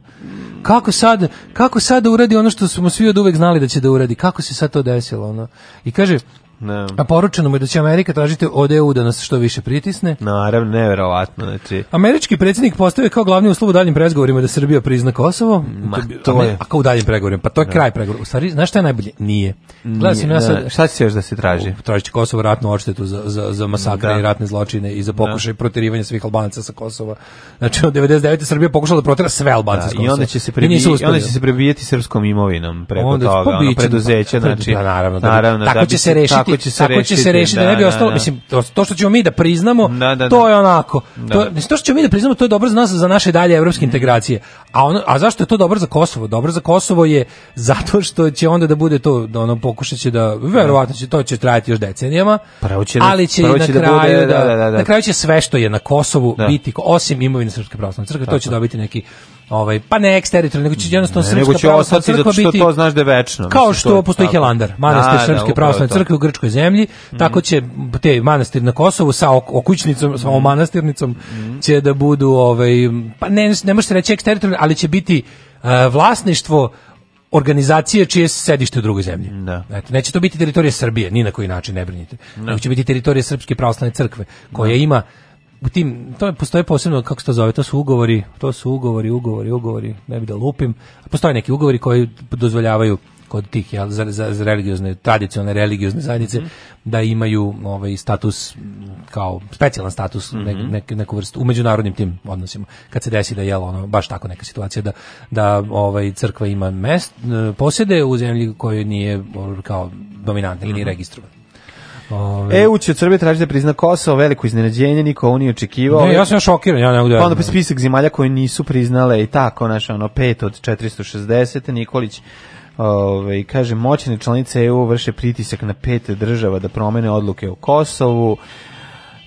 G: Kako sad, kako sad da uradi ono što smo svi od uvek znali da će da uradi? Kako se sad to desilo? Ono? I kaže,
E: Ne.
G: a poručeno mu je da će Amerika tražiti od EU da nas što više pritisne.
E: Naravno, neverovatno. Znači,
G: Američki predsjednik postavio kao glavni uslov u daljim pregovorima da Srbija prizna Kosovo.
E: Ma,
G: bi-
E: to
G: a ne,
E: je.
G: A kao u daljim pregovorima, pa to je
E: Da.
G: kraj pregovora. U stvari, znaš šta je najbolje? Nije. Gledao sam
E: Nije,
G: ja
E: da.
G: sad...
E: Šta će još da se traži?
G: Tražit će Kosovo ratnu odštetu za, za, za masakre
E: Da.
G: i ratne zločine i za pokušaj proterivanja svih Albanaca sa Kosova. Znači, od 99. Srbija pokušala da protera sve Albance
E: Da,
G: s Kosova.
E: I onda će
G: I nisu
E: se prebijeti,
G: uspeli.
E: onda će se prebijeti srpskom imovinom preko
G: Onda- pa
E: toga, ono,
G: biće,
E: preduzeće,
G: pa, pa,
E: znači,
G: da, naravno, da bi-
E: naravno, da
G: tako
E: bi
G: će se rešiti,
E: tako će se rešiti,
G: rešiti, da, ne bi ostalo, mislim, to, to što ćemo mi da priznamo,
E: Da, da,
G: to
E: da.
G: je onako,
E: Da. Mm.
G: to, mislim, to što ćemo mi da priznamo, to je dobro za nas, za naše dalje evropske integracije, a, ono, a zašto je to dobro za Kosovo? Dobro za Kosovo je zato što će onda da bude to, da ono, pokušat će da, verovatno će, to će trajati još decenijama,
E: Pa, Prvo će da-
G: ali će i
E: prvo
G: na
E: će da
G: kraju,
E: bude- da, da, da, da.
G: na kraju će sve što je na Kosovu
E: Da.
G: biti, ko- osim imovine Srpske pravoslavne crkve, to će
E: Tako.
G: dobiti neki ovaj pa ne eksteritorijalni nego će jednostavno
E: Ne, nego
G: Srpska
E: će
G: pravoslavna
E: ostati
G: crkva
E: zato što
G: biti-
E: to znaš da je večno.
G: Kao
E: Mislim, to
G: što
E: je
G: postoji
E: tako.
G: Hilandar, manastir
E: Da, da,
G: Srpske
E: upravo
G: pravoslavne
E: to.
G: crkve dakle, u Grčkoj zemlji, tako će te manastir na Kosovu sa ok- okućnicom, sa manastirnicom će da budu, ovaj, pa ne, ne može se reći eksteritorijalni, ali će biti eh, vlasništvo organizacije čije je sedište u drugoj zemlji.
E: Da.
G: Eto, neće to biti teritorija Srbije, ni na koji način, ne brinite. Nego će biti teritorija Srpske pravoslavne crkve, koja ima u tim, to je- postoje posebno, kako se to zove, to su ugovori, to su ugovori, ugovori, ugovori, ne bi da lupim. Postoje neki ugovori koji dozvoljavaju kod tih jel, za, za, za religiozne, tradicionalne religiozne zajednice da imaju ovaj status m, kao specijalan status ne-
E: Mhm.
G: nek- neku vrstu u međunarodnim tim odnosima kad se desi da je ono baš tako neka situacija da da ovaj crkva ima mest e, posjede u zemlji kojoj nije o, kao dominantna
E: Mhm.
G: ili registrovana. Ovaj,
E: EU će E, od Srbije tražiti da prizna Kosovo, veliko iznenađenje, niko ovo nije očekivao.
G: ne, ja sam šokiran, ja ne mogu da
E: Pa
G: verujem.
E: onda spisak zemalja koje nisu priznale i tako, naša ono, pet od 460, Nikolić Ove, kaže, moćne članice EU vrše pritisak na pet država da promene odluke o Kosovu.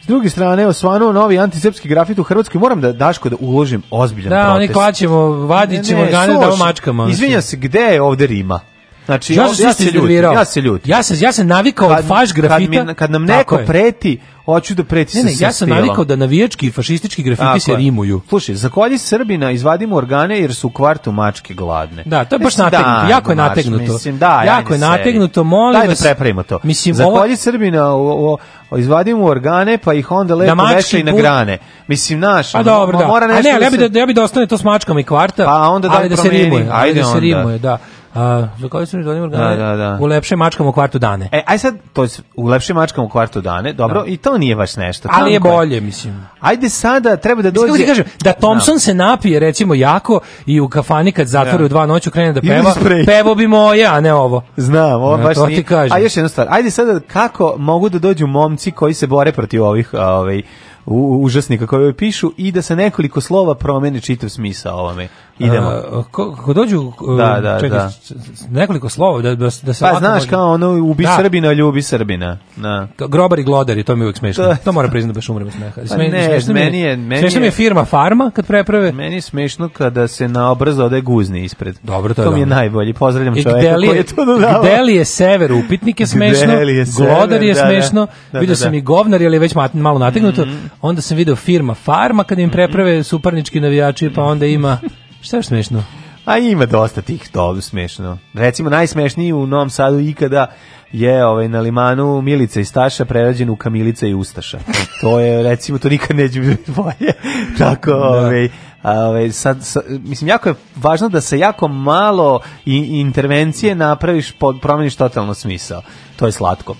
E: S druge strane, osvanuo novi antisrpski grafit u Hrvatskoj. Moram da, Daško, da uložim ozbiljan
G: Da, oni
E: protest.
G: klaćemo,
E: Ne,
G: vadit ćemo
E: ne,
G: organe da
E: slušaj,
G: ovo mačkama. ono
E: Izvinjam se, gde je ovde Rima? Znači,
G: Ja
E: ja,
G: sam se
E: ja,
G: isto
E: se ljutim,
G: iznervirao.
E: ja se ljutim.
G: Ja sam ja sam navikao od faš grafita.
E: Pa Kad, mi, kad nam
G: Tako
E: neko
G: je.
E: preti, hoću da preti
G: Ne, ne,
E: sa
G: ja sam
E: stilom.
G: navikao da navijački i fašistički grafiti
E: Tako
G: se
E: je.
G: rimuju.
E: Slušaj, zakolji Srbina, izvadimo organe jer su u kvartu mačke gladne.
G: Da, to je baš
E: Mislim,
G: nategnuto,
E: da,
G: jako je
E: maš,
G: nategnuto.
E: Mislim, da,
G: Jako je
E: ajde seri.
G: nategnuto, molim
E: Daj
G: vas.
E: da prepravimo to.
G: Mislim,
E: zakolji
G: ovo-
E: Srbina, o, o, o, izvadimo organe pa ih onda lepo
G: mački
E: vešaj na
G: bu-
E: grane. Mislim, naš,
G: Pa
E: ono,
G: dobro, da.
E: mora
G: A
E: nešto
G: ne, ali ja
E: se-
G: bi da, ja bi da ostane to s mačkama i kvarta,
E: Pa onda daj
G: ali da se
E: promeni.
G: rimuje, ali
E: Ajde
G: da se
E: onda.
G: rimuje, da. A, za koje su mi donijeli organe?
E: Da, da, da.
G: U lepše mačkama u kvartu dane.
E: E, aj sad, to je s- u lepšim mačkama u kvartu dane, dobro, i to nije baš nešto.
G: ali je
E: Tanko
G: bolje, mislim.
E: Ajde sada, treba da dođe...
G: Mislim, Kako ti kažem, da Thompson se napije recimo jako i u kafani kad zatvori
E: Da.
G: u dva noću krene da
E: Ili
G: peva,
E: sprej.
G: pevo bi moje, a ne ovo.
E: Znam, ovo
G: Ne,
E: baš
G: to
E: nije.
G: ti kažem.
E: A još jedna stvar, ajde sada kako mogu da dođu momci koji se bore protiv ovih ovaj, u- u- užasnika koji ovo pišu i da se nekoliko slova promeni čitav smisao ovome. Idemo.
G: A, ko, ko dođu uh,
E: Da, da,
G: čekaj,
E: da.
G: s- s- nekoliko slova da, da, da se
E: Pa
G: lako
E: znaš
G: može-
E: kao ono ubi
G: Da.
E: Srbina, ljubi Srbina. Da.
G: Ka- grobar i glodar i to mi je uvijek smešno.
E: Da.
G: To mora priznati baš umrem od smeha.
E: Pa
G: Sme-
E: ne,
G: smešno mi
E: meni je- meni
G: smešno mi
E: je-
G: je firma Farma kad preprave.
E: Meni je smešno kada se na obraz ode guzni ispred. Dobro,
G: to je
E: to mi je
G: dobro.
E: najbolji. Pozdravljam
G: I
E: čoveka
G: gde li
E: koji
G: je,
E: je to dodavao.
G: gde li je sever upitnik je
E: Gde
G: smešno,
E: li je sever,
G: glodar je
E: da, da.
G: smešno,
E: Da,
G: vidio
E: da,
G: sam
E: da. Mm-hmm.
G: i govnar, ali je već mat- malo nategnuto, onda sam video firma Farma kad im preprave suparnički navijači, pa onda ima, šta je još smešno?
E: A ima dosta tih to smešno. Recimo najsmešniji u Novom Sadu ikada je ovaj na limanu Milica i Staša prerađen u Kamilica i Ustaša. To je recimo to nikad neće biti bolje. Tako, ovaj a, ovaj, sad, sa- mislim, jako je važno da se jako malo i, i intervencije napraviš, pod, promeniš totalno smisao. To je slatko.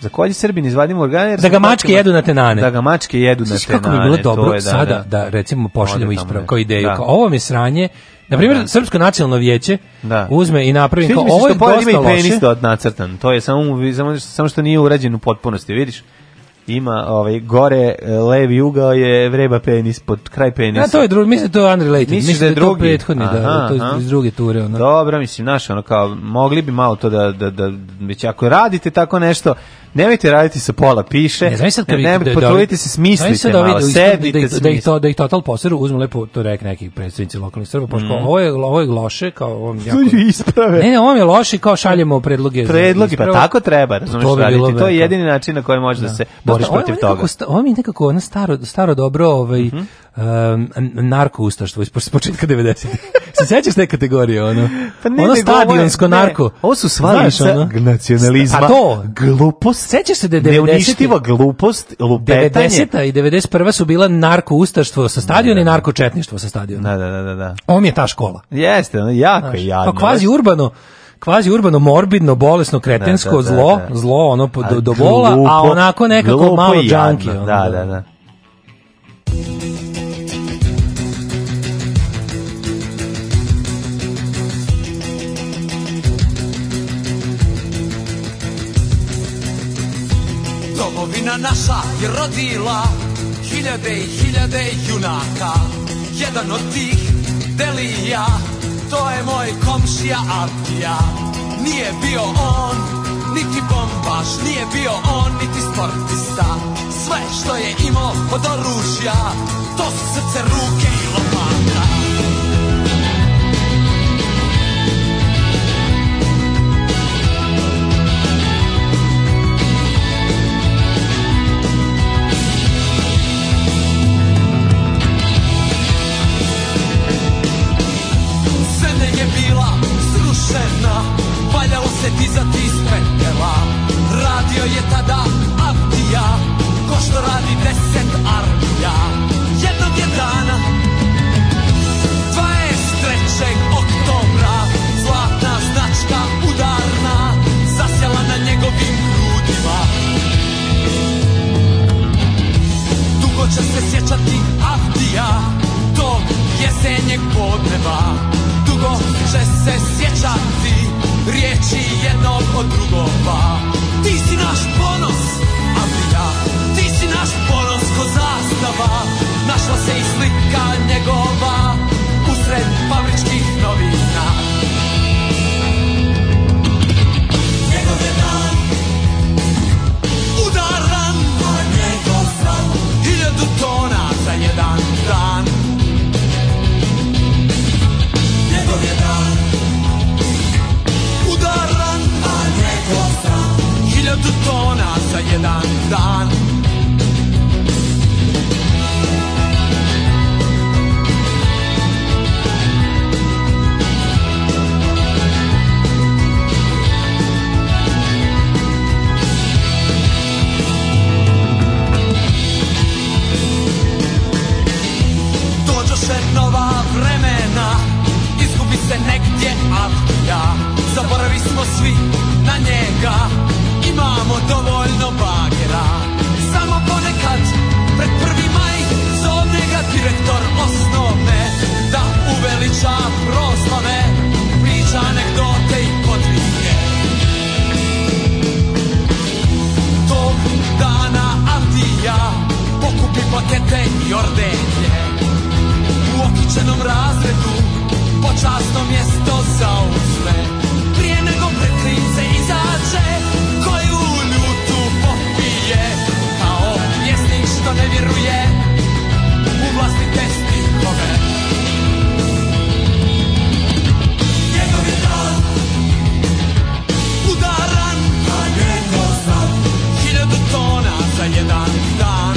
E: Za kolji Srbin izvadimo organe... jer
G: Da ga
E: smo-
G: mačke jedu na tenane.
E: Da ga mačke jedu na
G: Znaš
E: tenane.
G: kako bi bilo dobro
E: to je, da,
G: sada da,
E: da.
G: recimo pošaljemo
E: Ode tamo,
G: isprav
E: da.
G: kao ideju.
E: Da.
G: Kao, ovo mi je sranje. Na primjer,
E: Da.
G: Srpsko nacionalno vijeće uzme i napravi
E: Sviđa
G: kao
E: mi se
G: ovo je
E: što pored
G: dosta
E: ima i
G: loše.
E: penis od nacrtan. To je samo samo samo što nije urađen u potpunosti, vidiš? Ima ovaj gore e, levi ugao je vreba penis pod kraj penisa.
G: Da, to je drugi, mislim da je to unrelated.
E: Misliš
G: Mislim da je to prethodni, da, da,
E: Aha,
G: to
E: aha.
G: je iz druge ture. Ono.
E: Dobro, mislim, znaš, ono kao, mogli bi malo to da, da, da, već ako radite tako nešto, nemojte radite sa pola piše,
G: Ne, znam E, sad kad
E: ne, nemojte,
G: da- da-
E: potrudite se,
G: znaš
E: smislite
G: sad da ovi-
E: malo,
G: da-
E: sedite,
G: da, da, da, ih
E: smislite.
G: to, da ih total poseru, uzmu lepo, to rek neki predstavnici lokalnih Srba, pošto
E: Mm.
G: kao, ovo, je, ovo je loše, kao ovo je jako...
E: To je isprave.
G: Ne, ne, ovo je loše, kao šaljemo predloge. za
E: Predlogi, pa
G: ispravu.
E: tako treba, razumiješ,
G: bi bilo
E: raditi. To je
G: veliko.
E: jedini način na koji možeš da, se
G: Da,
E: boriš
G: ovo je
E: protiv
G: nekako
E: toga. Mhm.
G: sta- ovo mi je nekako ono staro, staro dobro ovaj, um, narko-ustaštvo iz poč- početka 90. Se sećaš te kategorije? Ono, ono
E: nego ovo je-
G: stadionsko
E: Pa ne,
G: narko.
E: Ovo su sva
G: Znaš,
E: lica
G: ono?
E: nacionalizma.
G: A to?
E: Glupost.
G: Sećaš se da je 90.
E: Neuništiva glupost, lupetanje.
G: 90. i 91. su bila narko-ustaštvo sa stadiona i narko-četništvo sa stadiona.
E: Da, da, da, da, da.
G: Ovo mi je ta škola.
E: Jeste, ono, jako je jadno.
G: Pa kvazi urbano, kvazi urbano, morbidno, bolesno, kretensko,
E: Da, da, da,
G: zlo,
E: da.
G: zlo, ono, po- do,
E: A
G: do bola, a
E: glupo-
G: onako nekako
E: glupo
G: malo
E: i jadno,
G: džanki. ono,
E: Da, da, da.
S: Domovina naša je rodila hiljade i hiljade junaka. Jedan od tih delija, to je moj komšija Abdija. Nije bio on, niti bombaš, nije bio on, niti sportista. Sve što je imao od oružja, to su srce, ruke i lopata. Zemlja je bila srušena, valjalo se dizati iz pepela. Radio je tada Avdija, ko što radi deset armija. Jednog je dana, 23. oktobra, zlatna značka udarna, zasjela na njegovim grudima. Dugo će se sjećati Avdija Tog jesenjeg podneba Dugo će se sjećati Riječi jednog od drugova Ti si naš ponos Avdija Ti si naš ponos ko zastava Našla se i slika njegova Usred fabričkih novina Njegov je dan Udaran Pa njegov san Hiljadu tona za jedan dan Njegov je dan Udaran Pa njegov san Hiljadu tona za jedan dan Dođoše nova vremena Izgubi se negdje Avdija Zaboravi smo svi na njega Imamo dovoljno bagera Samo ponekad Pred prvi maj Zovne ga direktor osnovne Da uveliča proslave Priča anegdote i podvige tog dana Avdija Pokupi pakete i ordenje U okičenom razredu časno mjesto zauzme Prije nego prekrince izađe Koju ljutu popije Kao pjesnik što ne vjeruje U vlastite stihove Njegov je dan Udaran A njegov sam Hiljadu tona za jedan dan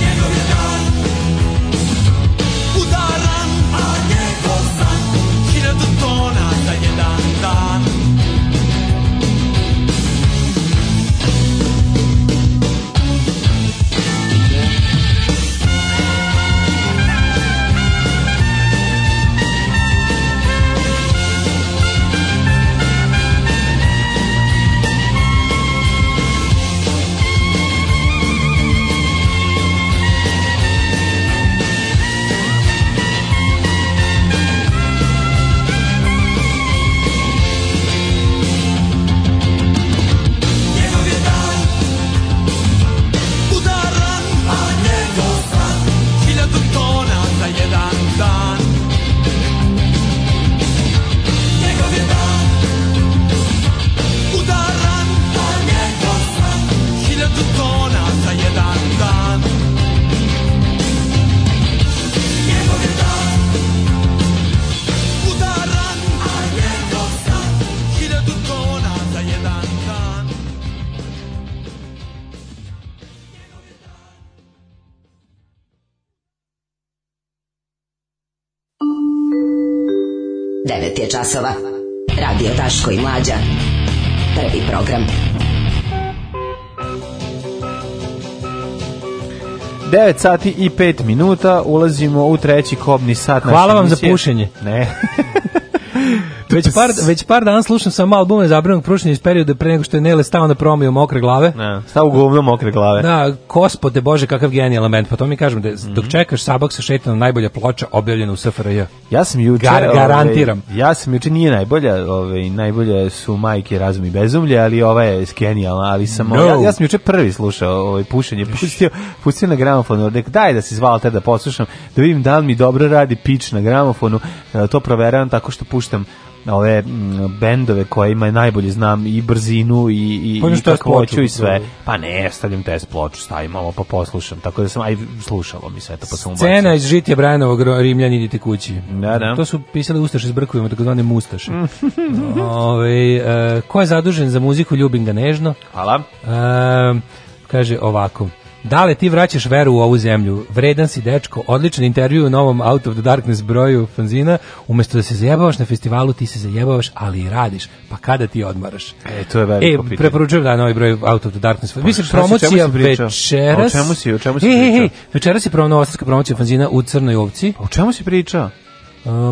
S: Njegov je dan udaran, a njegov san hiljadu tona za jedan dan. Njegov je dan udaran, a njegov san hiljadu tona za jedan dan. Njegov je dan udaran, a njegov san hiljadu tona za jedan dan. Njegov je dan udaran, a njegov san hiljadu tona za jedan dan.
D: Devet je časova. Radio Daško i Mlađa. Prvi program.
E: 9 sati i 5 minuta, ulazimo u treći kobni sat. naše
G: Hvala vam za
E: emisije.
G: pušenje.
E: Ne.
G: Već par, već par dana slušam samo albume zabranog prušenja iz perioda pre nego što je Nele stao na promiju mokre glave.
E: Ne, stav u govno mokre glave.
G: Da, gospode bože, kakav genijalan band. Pa to mi kažem, da, dok
E: Mhm.
G: čekaš Sabak sa šetanom, najbolja ploča objavljena u SFRJ.
E: Ja sam juče...
G: Gar-
E: ovaj,
G: garantiram.
E: ja sam juče, nije najbolja, ovaj, najbolje su majke razum i bezumlje, ali ova je genijalna, ali sam...
G: No.
E: Ja, ja sam juče prvi slušao ovaj, pušenje, pustio, pustio na gramofonu, nek daj da se zvala te da poslušam, da vidim da li mi dobro radi pič na gramofonu, E, to proveravam tako što puštam ove mm, bendove koje ima najbolje znam i brzinu i, i,
G: Pa
E: i
G: imaš test
E: kakvoću i
G: ploču,
E: sve.
G: da.
E: Pa ne, stavljam test ploču, stavim ovo pa poslušam. Tako da sam, aj, slušalo mi se, eto, pa sam ubacio.
G: Cena iz žitja Brajanovog ro- Rimljani idite kući.
E: Da, da.
G: To su pisali Ustaše s brkovima, takozvane Mustaše. Ove, e, ko je zadužen za muziku Ljubim ga nežno?
E: Hvala.
G: E, kaže ovako. Dale, ti vraćaš veru u ovu zemlju. Vredan si dečko, odličan intervju u novom Out of the Darkness broju fanzina. Umesto da se zajebavaš na festivalu, ti se zajebavaš, ali i radiš. Pa kada ti odmaraš?
E: E, to je veliko
G: E,
E: pitanje.
G: preporučujem da novi broj Out of the Darkness. Mislim,
E: šta si, o čemu si
G: promocija
E: pričao?
G: večeras...
E: O čemu si, o čemu si
G: Ej, ej,
E: pričao?
G: ej, Večeras je prvo novostarska promocija fanzina u Crnoj ovci. Uh,
E: O čemu si pričao?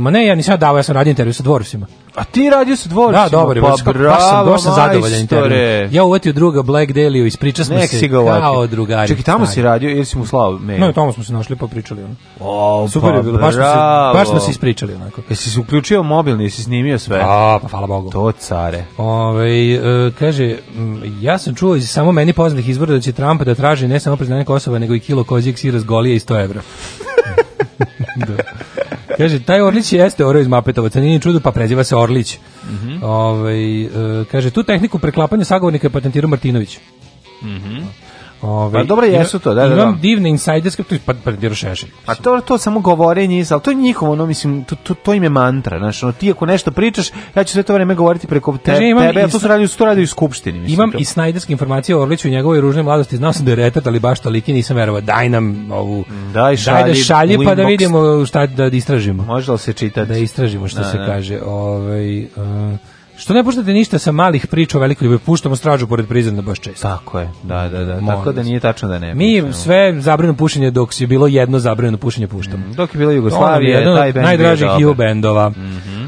G: ma ne, ja nisam ja davao, ja sam radio intervju sa dvorcima.
E: A ti radio sa dvorcima?
G: Da, dobar je,
E: Pa
G: baš, baš sam,
E: bravo,
G: baš sam zadovoljan
E: majstore.
G: intervju. Ja uvetio druga Black Daily, ispričao smo
E: Nek
G: se
E: si ga uvatio.
G: kao drugari.
E: Čekaj, tamo si
G: stari.
E: radio ili si mu slao mail?
G: No, tamo smo se našli pa pričali. ono.
E: O,
G: Super
E: pa
G: je bilo, baš smo se- baš smo
E: bravo.
G: se ispričali onako.
E: Jesi se uključio mobilni, jesi snimio sve?
G: A, pa hvala Bogu.
E: To care.
G: Ovaj, e, kaže, m, ja sam čuo iz samo meni poznatih izvora da će Trump da traži ne samo priznanje Kosova, nego i kilo kozijeg sira s golije i 100 evra. da. Kaže, taj Orlić jeste Oreo iz Mapetovaca, nije ni čudo, pa preziva se Orlić.
E: Mhm.
G: Ovaj, e, kaže, tu tehniku preklapanja sagovornika je patentirao Martinović. Ovaj,
E: Pa dobro,
G: ima-
E: jesu to, da, da,
G: Imam
E: da.
G: divne insajderske, tu je pa- patentirao Šešelj.
E: A to, to samo govorenje, iz- ali to je njihovo, ono, mislim, to, to, to im je mantra, znaš, ono, ti ako nešto pričaš, ja ću sve to vreme govoriti preko te,
G: Kaže, imam
E: tebe, a
G: i
E: to su
G: sna-
E: radili, su to radili u skupštini, mislim.
G: Imam
E: to.
G: i snajderske informacije o Orliću i njegovoj ružnoj mladosti. Znao sam da je retard, ali baš toliki nisam verovao. Daj nam ovu...
E: Daj,
G: da
E: šalji,
G: šalji
E: u
G: pa da
E: inbox.
G: vidimo šta da istražimo.
E: Može li se čitati?
G: Da istražimo što
E: Da,
G: se
E: da.
G: kaže. Ovaj, e, što ne puštate ništa sa malih priča o velikoj ljubavi, puštamo stražu pored prizemna baš često.
E: Tako je, da, da, da,
G: Molim
E: tako da
G: vas.
E: nije tačno da ne.
G: Mi
E: pričamo.
G: sve zabrano pušenje dok je bilo jedno zabrano pušenje puštamo.
E: Dok je bila
G: Ono je
E: Jugoslavija,
G: jedan od
E: taj band
G: najdražih
E: bio dobar. Mhm.
G: ju bendova.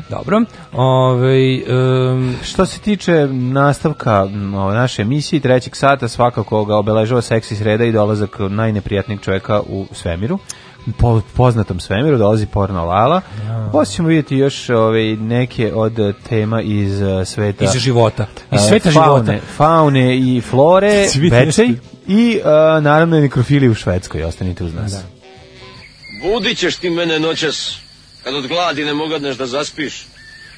G: Dobro. Ovaj, em,
E: Što se tiče nastavka m, ove naše emisije i trećeg sata, svakako ga obeležava seksi sreda i dolazak najneprijatnijeg čovjeka u svemiru. Po, poznatom svemiru dolazi porno lala. Poslije ćemo vidjeti još ove, neke od eh, tema iz eh, sveta...
G: iz života. Iz
E: eh,
G: sveta
E: faune,
G: života.
E: Faune i flore,
G: Svi
E: večej
G: nešto.
E: i eh, naravno nekrofili u Švedskoj. Ostanite uz nas.
H: Budit ćeš ti mene noćas, kad od gladi ne mogadneš da zaspiš.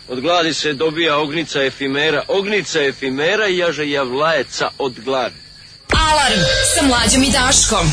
H: Od gladi se dobija ognica efimera, ognica efimera i jaže javlajeca od gladi.
M: Alarm sa mlađom i Daškom.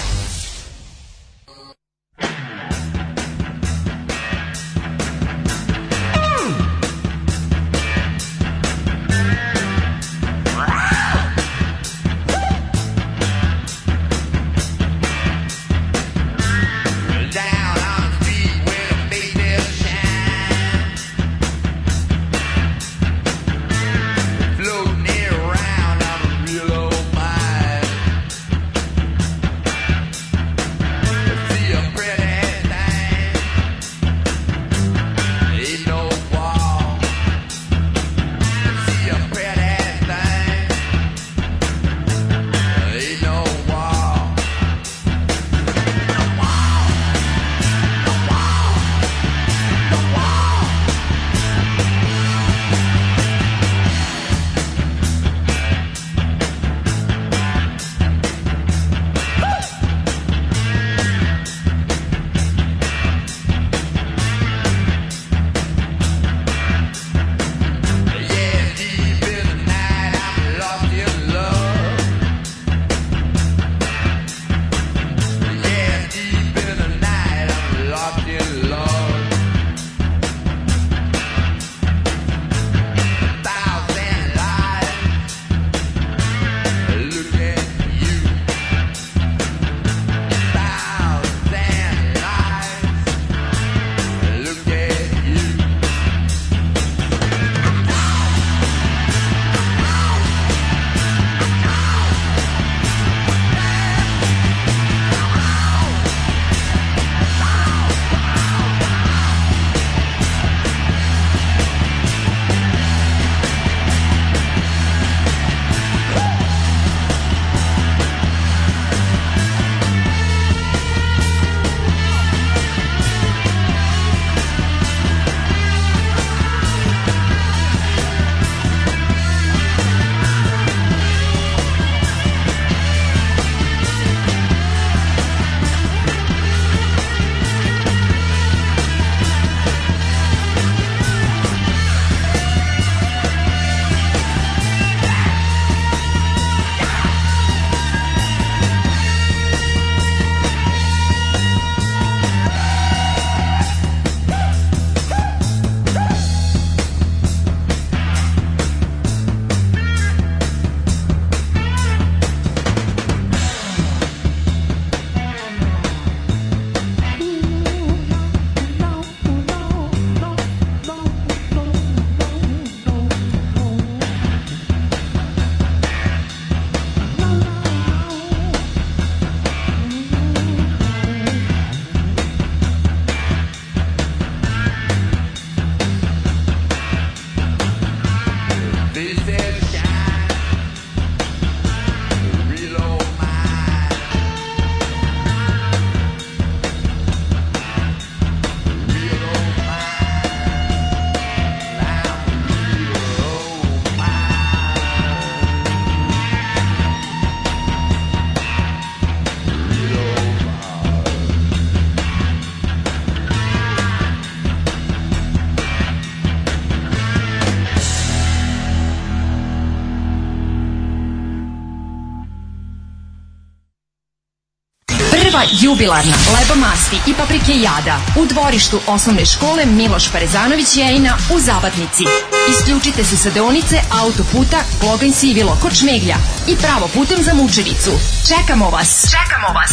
M: Prva jubilarna lebomasti i paprike jada u dvorištu osnovne škole Miloš Parezanović Jejina u Zabatnici. Isključite se sa deonice autoputa Kloganj Sivilo kod Šmeglja i pravo putem za Mučevicu. Čekamo vas! Mm. Čekamo vas!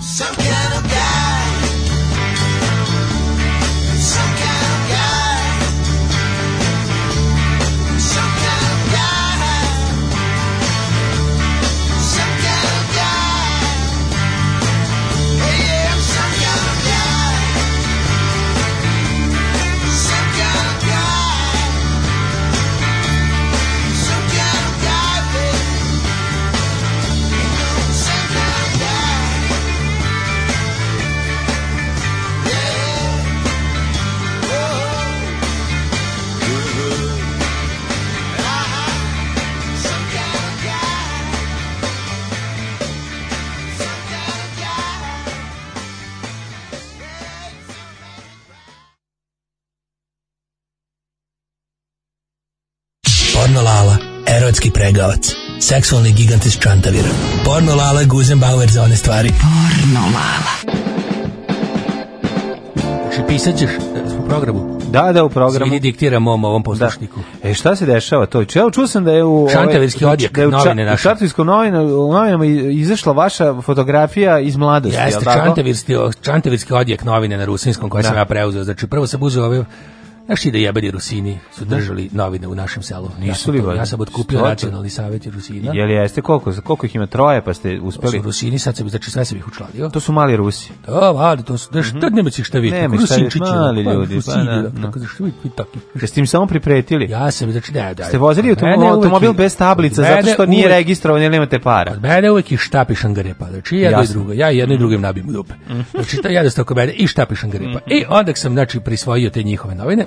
M: Some kind of guy. Some kind of guy. Some kind of guy. Some kind of guy. Hey, yeah, I'm some kind of guy. Some kind of guy. Some kind of guy, baby. Some kind of guy.
O: Porno Lala, erotski pregavac. Seksualni gigant iz Čantavira. Porno Lala je Guzenbauer za one stvari. Porno Lala.
G: Znači, pisat ćeš e, u programu.
E: Da, da, u programu.
G: Svini diktira mom ovom poslušniku.
E: E, šta se dešava to? Čeo, čuo sam da je u... ovaj-
G: Šantavirski odjek,
E: da je u ča-
G: novine naše.
E: U Šantavirskom novinu- u novinama i- izašla vaša fotografija iz mladosti, jel
G: Jeste,
E: tako?
G: čantavirski, čantavirski odjek novine na rusinskom koje sam
E: Da.
G: ja preuzeo. Znači, prvo sam uzeo ove... Znaš ti da jebeni Rusini su držali novine u našem selu? ja
E: Nisu
G: sam,
E: li
G: to-
E: valjda?
G: ja sam otkupio
E: Stote.
G: nacionalni savjet Rusina.
E: Jel jeste, koliko, koliko ih ima troje, pa ste uspeli?
G: To su Rusini, sad sam, znači sve sam ih učlanio.
E: To su mali Rusi.
G: Da, ali to su, znaš, tad nema cih šta vidjeti.
E: Mhm. Nema
G: kako
E: šta vidjeti,
G: Rusinčići,
E: mali
G: pa,
E: ljudi, pa
G: Rusini,
E: da,
G: da,
E: da.
G: tako, znaš, vidi, vidi, tako.
E: Jeste im samo pripretili?
G: Ja sam, znači, ne, da.
E: Ste vozili autom-
G: Mene uvek
E: automobil
G: je-
E: bez tablica
G: Mene
E: zato što nije
G: uvek-
E: registrovan jer nemate para.
G: Od mene uvek i štapi šangarepa. Znači, jedno i
E: Jasno. Mhm.
G: drugo. Ja jedno i drugim nabim u dupe. Znači, to jedu oko mene i štapi šangarepa. I onda sam, znači, prisvojio te njihove novine.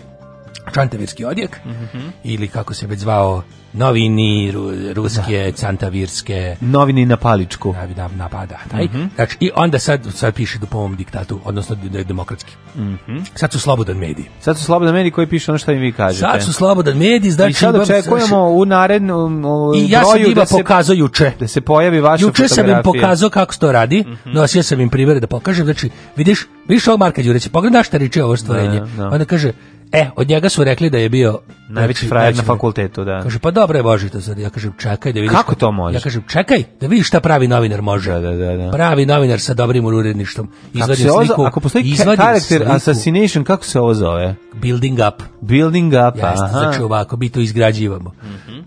G: Čantavirski odjek, Mhm. ili kako se već zvao, novini ru- ruske, cantavirske,
E: Novini na paličku.
G: Da,
E: Mhm.
G: da, napada. Taj. Znači, I onda sad, sad piše po ovom diktatu, odnosno de- demokratski.
E: Mhm.
G: Sad su slobodan medij.
E: Sad su slobodan mediji koji piše ono što im vi kažete.
G: Sad su slobodan medij, znači...
E: I sad
G: imam-
E: očekujemo u narednom o,
G: I ja sam
E: ovaj, broju
G: njima
E: da se,
G: pokazao juče.
E: da se pojavi vaša
G: Juče sam im
E: fotografija. Mhm.
G: pokazao kako se to radi, nosio sam im primere da pokažem, znači, vidiš, vidiš ovog Marka Đurića, pogledaj šta riče ovo stvorenje.
E: Da, da.
G: Onda kaže, e, od njega su rekli da je bio...
E: Najveći
G: znači,
E: frajer na
G: najveći
E: fakultetu, da.
G: Kaže, pa dobro je Boži to sad. Ja kažem, čekaj da vidiš.
E: Kako to može?
G: Ja kažem, čekaj da vidiš šta pravi novinar može.
E: Da, da, da.
G: Pravi novinar sa dobrim uredništvom.
E: Ako,
G: Izvadim
E: se ovo,
G: sliku.
E: ako postoji ka-
G: izvadim
E: character
G: sliku.
E: assassination, kako se ovo zove?
G: Building up.
E: Building up,
G: Jeste,
E: aha.
G: znači ovako, mi to izgrađivamo.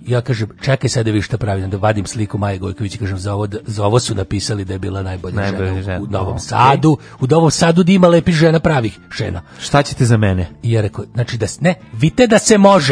G: Ja kažem, čekaj sad da vidiš šta pravi, onda vadim sliku Maje Gojković i kažem, za ovo, za ovo su napisali da je bila najbolja,
E: Najbolja
G: žena,
E: žena,
G: u, u Novom
E: ok.
G: Sadu, u Novom Sadu da ima lepih žena pravih žena.
E: Šta ćete za mene?
G: I ja rekao, znači da, s- ne, vidite da se može.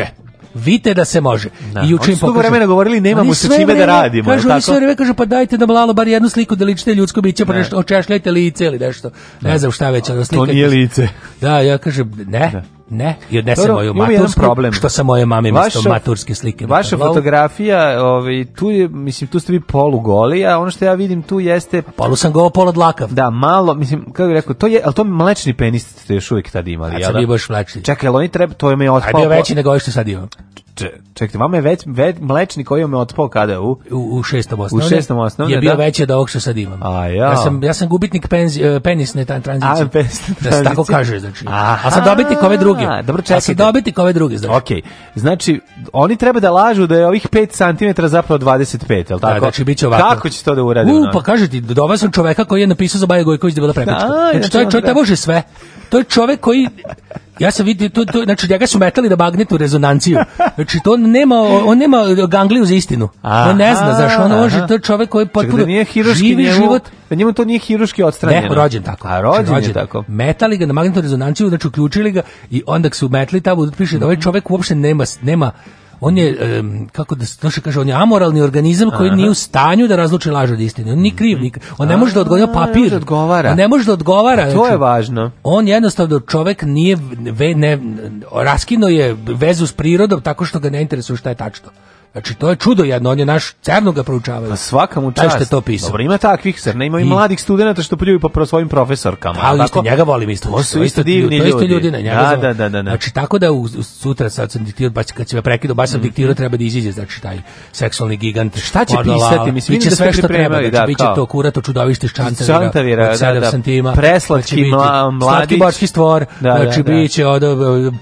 G: Vidite da se može.
E: Da.
G: I juče
E: Oni
G: im
E: su dugo
G: pokažem-
E: vremena govorili, nemamo
G: Oni
E: sa
G: sve
E: čime da
G: vreme
E: radimo, je
G: Kažu, oni
E: tako?
G: sve vreme kažu, pa dajte nam lalo bar jednu sliku da ličite ljudsko biće, pa
E: Ne.
G: nešto, očešljajte lice ili nešto. Ne, znam šta već, ono, ali
E: To
G: slikajte
E: nije
G: se.
E: lice.
G: Da, ja kažem, ne, ne. I odnesem
E: Dobro,
G: moju
E: imamo jedan
G: matursku,
E: problem.
G: što sa moje mame mesto
E: Vaša-
G: maturske slike.
E: Vaša
G: Wow.
E: fotografija, ovaj, tu je, mislim, tu ste vi polugoli, a ono što ja vidim tu jeste...
G: Polu sam go pola dlakav.
E: Da, malo, mislim, kako bih rekao, to je, ali to mlečni penis ste još uvijek tad imali,
G: Kad
E: jel
G: sam
E: da?
G: bio baš mlečni.
E: Čekaj, ali oni treba, to je me
G: A je
E: otpao...
G: bio veći nego ovo što sad imam.
E: Če- Čekajte, vama je već, već mlečni koji vam je otpao kada u...
G: U, u šestom osnovne.
E: U šestom osnovne,
G: Je bio
E: da.
G: veći od ovog što sad imam.
E: A
G: Ja sam, ja sam gubitnik penzi, e, penisne tan- tranzicije.
E: A, penisne
G: Da se tako
E: tranzicije.
G: kaže, znači.
E: Aha.
G: A sam dobitnik ove druge.
E: Dobro,
G: A sam
E: čekajte.
G: dobitnik ove druge, znači.
E: Ok, znači, oni treba da lažu da je ovih 5 cm zapravo 25, jel tako?
G: Da, znači biće ovako.
E: Kako će to da urade?
G: U,
E: ono?
G: pa kaže ti, doveo sam čoveka koji je napisao za Baja Gojković da je bila prepička.
E: Da, ja
G: znači, to
E: sam
G: je čovjek,
E: rekao.
G: taj može sve. To je čovek koji, ja sam vidio, to, to, znači, njega su metali na magnetnu rezonanciju. Znači, to on nema, on nema gangliju za istinu. on ne zna,
E: Aha,
G: znaš, on može,
E: aha.
G: to je čovek koji
E: Čekaj,
G: potpuno
E: da nije hiruški
G: živi
E: njemu,
G: život.
E: Da njemu to nije hiruški odstranjeno.
G: Ne, rođen tako.
E: A rođen,
G: Znači,
E: je tako.
G: Metali ga na magnetnu rezonanciju, znači uključili ga i onda su metli tamo, piše da
E: Mhm.
G: ovaj čovek uopšte nema, nema on je, em, kako da se to se kaže, on je amoralni organizam koji nije u stanju da razluči laž od istine. On ni kriv, ni kriv. On ne može da odgovara
E: Mhm. A,
G: na
E: ne može
G: papir.
E: da odgovara.
G: On ne može da odgovara.
E: To
G: znači,
E: je važno.
G: On jednostavno čovek nije, ve, ne, raskino je vezu s prirodom tako što ga ne interesuje šta je tačno. Znači, to je čudo jedno, on je naš, cerno ga proučavaju.
E: Pa svaka mu
G: Taj
E: čast.
G: što je to pisao.
E: Dobro, ima takvih, zar ne? Ima i,
G: I- Pa,
E: mladih studenta što pljuju po pro- svojim profesorkama.
G: Ali
E: jel
G: isto
E: tako?
G: njega volim isto.
E: To su isto divni
G: To isto
E: ljudi.
G: ljudi na njega.
E: Da,
G: znam.
E: da, da, da, da.
G: Znači tako da u, u- sutra sad sam diktirao, baš kad se me prekidao, baš sam diktirao, treba da iziđe, znači taj seksualni gigant.
E: Mhm. Šta će pisati? Mislim,
G: biće
E: vidim da ste
G: sve što treba,
E: pripremili,
G: znači,
E: da,
G: biće
E: kao.
G: to kurato čudovište iz Čantavira.
E: Čantavira,
G: od
E: da,
G: sedam
E: da.
G: santima.
E: Preslatki
G: Znači, biće
E: mla- mladić.
G: Slatki bočki stvor,
E: Da, da,
G: znači
E: da.
G: biće, od,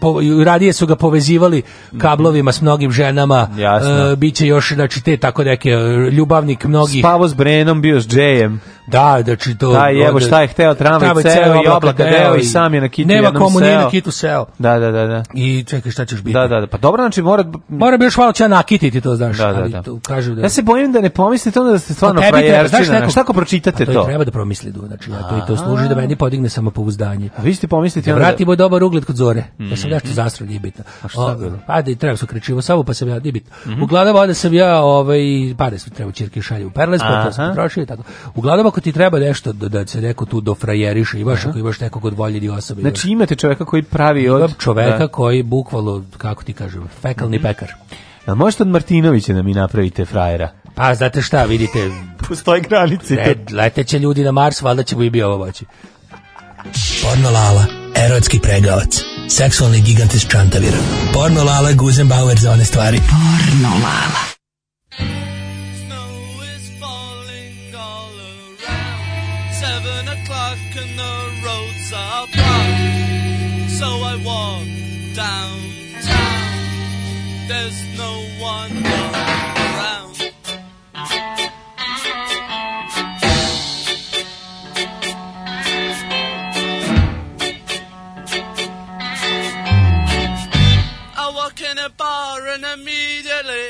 G: po, radije su ga povezivali kablovima s mnogim ženama,
E: Mhm. Jasno.
G: e, biće još, znači te tako neke e, ljubavnik mnogih
E: Spavo s Brenom, bio s Džejem.
G: Da, da či to...
E: Da, jevo, šta je hteo, tramvaj
G: Tramvaj
E: ceo i oblaka deo i sam je na kitu
G: Nema
E: jednom
G: komu, nije
E: seo.
G: na kitu seo.
E: Da, da, da, da.
G: I čekaj, šta ćeš biti?
E: Da, da, da. Pa dobro, znači mora...
G: Mora bi još malo će nakititi to, znaš.
E: Da, da,
G: ali
E: da.
G: to kažu da...
E: Ja se bojim da ne pomislite onda da ste stvarno
G: Pa
E: pa
G: tebi treba,
E: frajerčina.
G: znaš, neko-
E: Šta ako pročitate
G: A
E: to?
G: to i treba da promisli, du, znači, ja to, i to služi da meni podigne samopouzdanje.
E: A vi ste pomisliti
G: Da
E: onda...
G: vratimo dobar ugled kod zore. Ja sam nešto zastro, nije bitno. A
E: Mm. šta Mhm. je bilo?
G: Pa da i treba su krečivo samo, pa sam ja, nije bitno. Uglavnom, onda sam ja, ovaj, pare su treba čirke šalje u Perles, pa to sam
E: Aha.
G: potrošio i tako. Uglavnom, ako ti treba nešto da, da se neko tu dofrajeriše, imaš, ako imaš nekog od voljenih osoba. imaš-
E: Znači imate čoveka koji pravi od...
G: imam čoveka
E: Da. Mhm.
G: koji bukvalo, kako ti kažem, fekalni pekar.
E: A možete od Martinovića da mi napravite frajera?
G: Pa znate šta, vidite,
E: Postoje granice.
G: red, leteće ljudi na Mars, valjda ćemo i bi ovo moći.
T: Porno Lala, erotski pregavac. Seksualni gigant iz Čantavira. Porno Lala, Guzenbauer za one stvari. Porno Lala.
M: Seven o'clock and the roads are blocked. So I walk downtown. There's no one around. I walk in a bar and immediately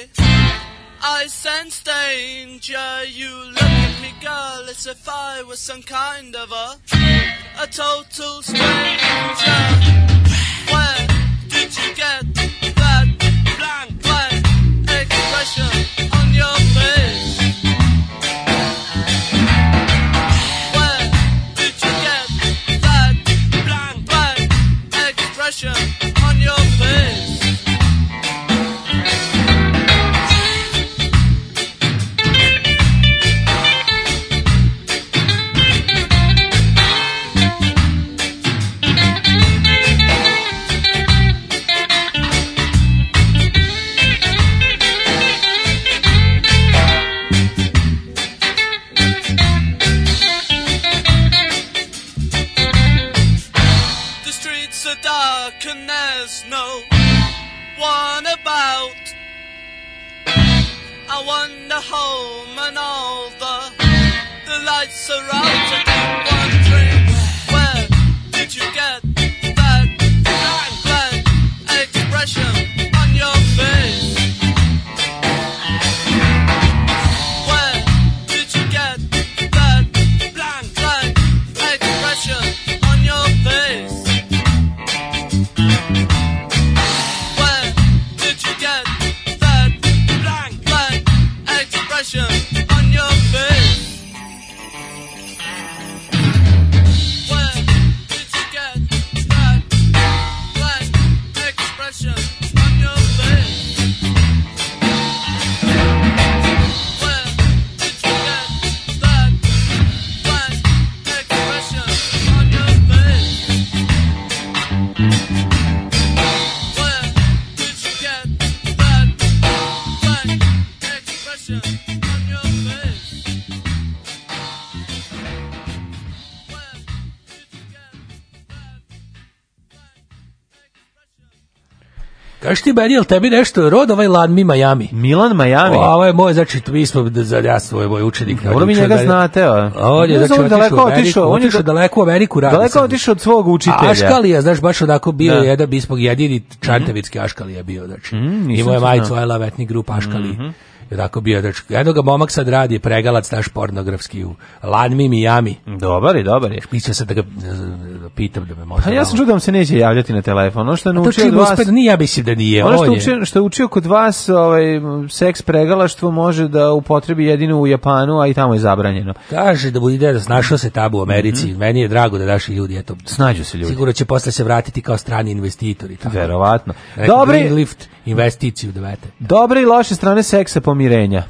M: I sense danger. You look at me, girl, as if I was some kind of a a total stranger. Where did you get that blank, blank expression on your face? Where did you get that blank, blank expression on your face? The streets are dark and there's no one about. I wander home and all the the lights are out. I keep wondering where did you get that blank, blank expression on your face? Where did you get that blank, blank expression on your face? Where did you get that blank, blank expression on your face? Where did you get that blank expression on your face? Where did you get that blank expression on your face? Where did you get that blank expression on your face?
G: Kaži ti meni, jel tebi nešto rod ovaj Lan Mi Miami?
E: Milan Miami?
G: O, ovo je moj, znači, mi smo, da- za ja svoj moj učenik.
E: Dobro mi
G: Učio
E: njega
G: da-
E: znate, a?
G: A on je,
E: Ne
G: znači,
E: znam,
G: otišao u Ameriku,
E: on je
G: otišao daleko u Ameriku, radi
E: Daleko
G: sad.
E: otišao od svog učitelja.
G: A Aškalija, znaš, baš onako bio
E: Da.
G: je jedan ispog jedini čantavitski Aškalija bio, znači.
E: Mm, nisam
G: Imao je
E: to
G: majicu
E: znao. Mhm.
G: I love etnik grup Aškali. I onako bio, znači, jedno ga momak sad radi, pregalac naš pornografski u Lanmi, Miami.
E: Dobar je, dobar je.
G: Mislio sam da ga e, pitam da me može. Pa
E: Pa ja sam čuo da vam se neće javljati na telefon. Ono što je
G: To
E: naučio od
G: čim
E: vas...
G: uspet, nije, ja mislim da nije.
E: Ono što,
G: on je-
E: učio, što je učio kod vas, ovaj, seks pregalaštvo može da upotrebi jedino u Japanu, a i tamo je zabranjeno.
G: Kaže da budi dedas, našao se tabu u Americi. Meni je drago da naši ljudi, eto,
E: Mhm. snađu se ljudi.
G: Sigurno će posle se vratiti kao strani investitori. Tako.
E: Verovatno.
G: Rekao,
E: Dobri-
G: Green lift, investiciju dovete.
E: Dobre i loše strane seksa pomirenja.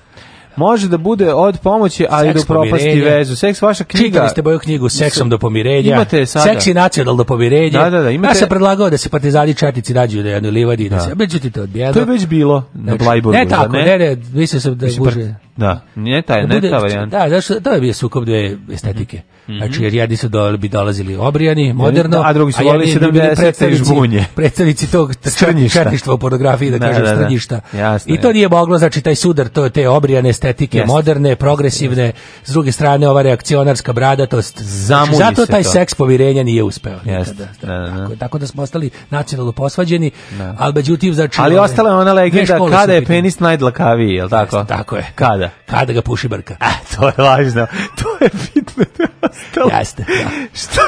E: Može da bude od pomoći, ali
G: Seks
E: do propasti
G: pomirenja.
E: vezu. Seks vaša knjiga.
G: Čitali ste moju knjigu Seksom do pomirenja.
E: Imate je sada.
G: Seks i nacional do pomirenja.
E: Da, da, da, imate-
G: Ja sam predlagao da se partizani četnici nađu na jednoj livadi. i Da.
E: Da.
G: se, Pa međutim, to je odbijeno.
E: To je već bilo na
G: Znači,
E: Blajburgu.
G: Ne
E: zar
G: tako, ne, ne, mislio sam da
E: Mislim,
G: guže.
E: par- Da, nije taj,
G: Da
E: ne
G: bude-
E: ta varijanta.
G: Da, zašto, to je bio sukob dve estetike.
E: Mhm.
G: Znači, jer jedni su do, bi dolazili obrijani, moderno,
E: a drugi su
G: jedni
E: volili
G: bi bili
E: 70-te
G: predstavnici-
E: žbunje.
G: Predstavnici tog
E: Strnjišta.
G: četništva u pornografiji, da,
E: Da,
G: kažem,
E: da, da.
G: strnjišta.
E: Jasno,
G: I to nije moglo, znači, taj sudar, to, te obrijane estetike,
E: Jeste.
G: moderne, progresivne, s druge strane, ova reakcionarska bradatost. Znači,
E: Zamulji
G: zato
E: se
G: taj
E: to.
G: seks pomirenja nije uspeo.
E: Jeste, da, da, da.
G: Tako da smo ostali nacionalno posvađeni,
E: Da.
G: ali međutim, znači...
E: Ali
G: ove,
E: ostala je ona
G: dve
E: legenda
G: škole su
E: kada
G: u
E: je
G: pitanju.
E: penis najdlakaviji, je li tako? Tako je. Kada?
G: Kada ga puši brka.
E: A, to je važno. To je bitno. To je ostalo.
G: Jeste, da.
E: Što?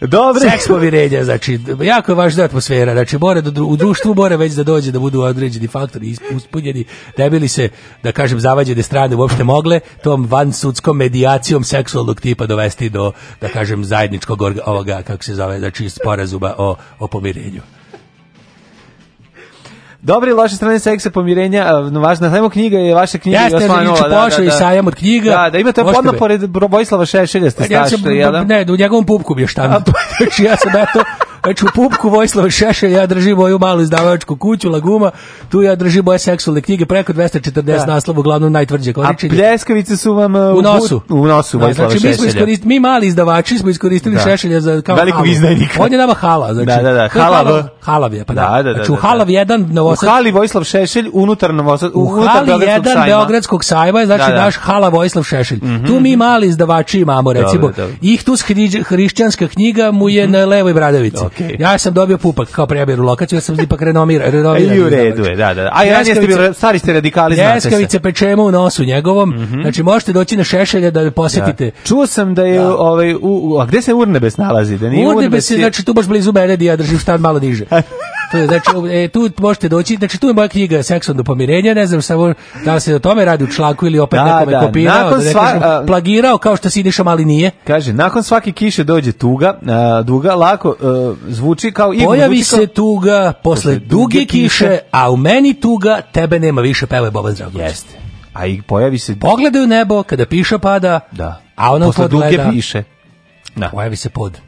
E: Dobre.
G: Seks pomirenja, znači, jako je važna atmosfera, znači, mora da, dru- u društvu mora već da dođe da budu određeni faktori is- ispunjeni, da bi li se, da kažem, zavađene strane uopšte mogle tom van sudskom medijacijom seksualnog tipa dovesti do, da kažem, zajedničkog orga- ovoga, kako se zove, znači, sporazuma o, o pomirenju.
E: Dobre i loše strane seksa pomirenja, a, no, važna samo knjiga je vaša knjiga
G: Jeste,
E: Josmanova,
G: Iliću Pošo i sajam od knjiga.
E: Da, da imate
G: Možete
E: odmah
G: me-
E: pored Bro- Vojislava Šešelja ste
G: Ja sam,
E: stašli, jel da? pa-
G: ne, u njegovom pupku bi je štand. Znači, ja sam eto, znači u pupku Vojislava Šešelj, ja držim moju malu izdavačku kuću, Laguma, tu ja držim moje seksualne knjige, preko 240
E: Da.
G: naslova, uglavnom najtvrđe
E: A
G: koričenje.
E: pljeskavice su vam a,
G: U
E: put-
G: nosu.
E: U nosu
G: Da,
E: Vojislava
G: znači, mi, smo
E: Šešelja.
G: iskoristili, mi mali izdavači smo iskoristili
E: Da.
G: Šešelja za kao
E: Velikog
G: halu.
E: izdajnika.
G: On je nama hala. Znači,
E: Da, da, da,
G: to je
E: hala V.
G: Halav je, pa da.
E: Da, da, da,
G: znači, u
E: da, da.
G: Halav 1
E: U
G: Novosadski
E: hali Vojislav Šešelj unutar Novosad,
G: u hali 1
E: Beograd.
G: Beogradskog sajma, je, znači
E: Da, da.
G: naš hala Vojislav Šešelj. Tu mi mali izdavači imamo, recimo,
E: Dobro, dobro.
G: Ihtus hriđ- hrišćanska knjiga mu je na levoj bradavici.
E: Okej.
G: Ja sam dobio pupak kao prebiru lokaciju, ja sam ipak renomira,
E: I
G: renomiran.
E: E, u redu je, da, da. da. A ja
G: Pljeskavice-
E: niste bili, stari ste radikali, znate se. Mhm.
G: Ljeskavice pečemo u nosu njegovom, znači možete doći na Šešelja da me posjetite.
E: Da. Čuo sam da je ovaj u, u- a gde se Urnebes nalazi? Da nije
G: Urnebes je, znači, tu baš blizu mene, gdje ja držim štan malo niže. To je, znači, e, tu možete doći, znači tu je moja knjiga Seksualno pomirenje, ne znam samo da li se o tome radi u članku ili opet
E: Da,
G: nekome
E: da,
G: kopirao, da
E: nakon
G: ne
E: sva-
G: kažem,
E: a-
G: plagirao kao što si ideš, ali nije.
E: Kaže, nakon svake kiše dođe tuga, a, duga, lako a, zvuči kao igru.
G: Pojavi
E: zvuči kao-
G: se tuga posle duge kiše, a u meni tuga, tebe nema više, peva je Boban Zdravković. Jeste.
E: A i pojavi se...
G: Pogledaj u nebo, kada piša pada,
E: Da.
G: a ona u
E: Posle
G: pod
E: duge
G: gleda.
E: piše. Da.
G: Pojavi se pod.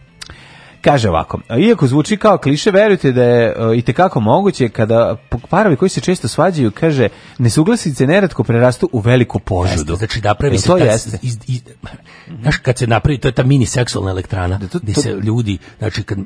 E: Kaže ovako, iako zvuči kao kliše, verujte da je i tekako moguće kada parovi koji se često svađaju, kaže, nesuglasice neretko prerastu u veliku požudu.
G: Znači, napravi
E: E,
G: se
E: to
G: ta-
E: jeste.
G: iz- iz- znaš, kad se napravi, to je ta mini seksualna elektrana, gdje
E: to-
G: se ljudi, znači, kad,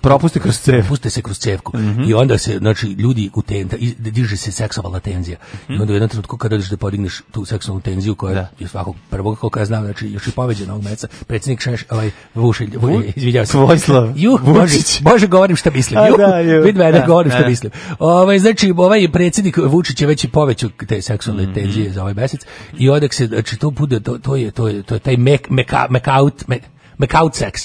E: Propuste kroz cev. Mhm.
G: Puste se kroz cevku. I onda se, znači, ljudi u ten, i- diže se seksualna tenzija.
E: Mhm.
G: I onda u jednom trenutku kada dođeš da podigneš tu seksualnu tenziju koja je svakog prvog, koliko ja znam, znači, još i poveđena ovog meca, predsjednik Šeš, ovaj, Vušelj, Vuj, izvinjavam se.
E: Vojislav
G: Ju, Bože,
E: Vučić.
G: Bože, govorim šta mislim.
E: A,
G: Ju,
E: da, ju.
G: vid mene,
E: Da,
G: govorim šta
E: da.
G: mislim. Ovaj, znači, ovaj predsjednik Vučić je već i povećao te seksualne
E: Mhm.
G: tenzije za ovaj mesec i odak se, znači, to bude, to, to je, to je, to je taj mek, meka, mekaut, me, mekaut seks.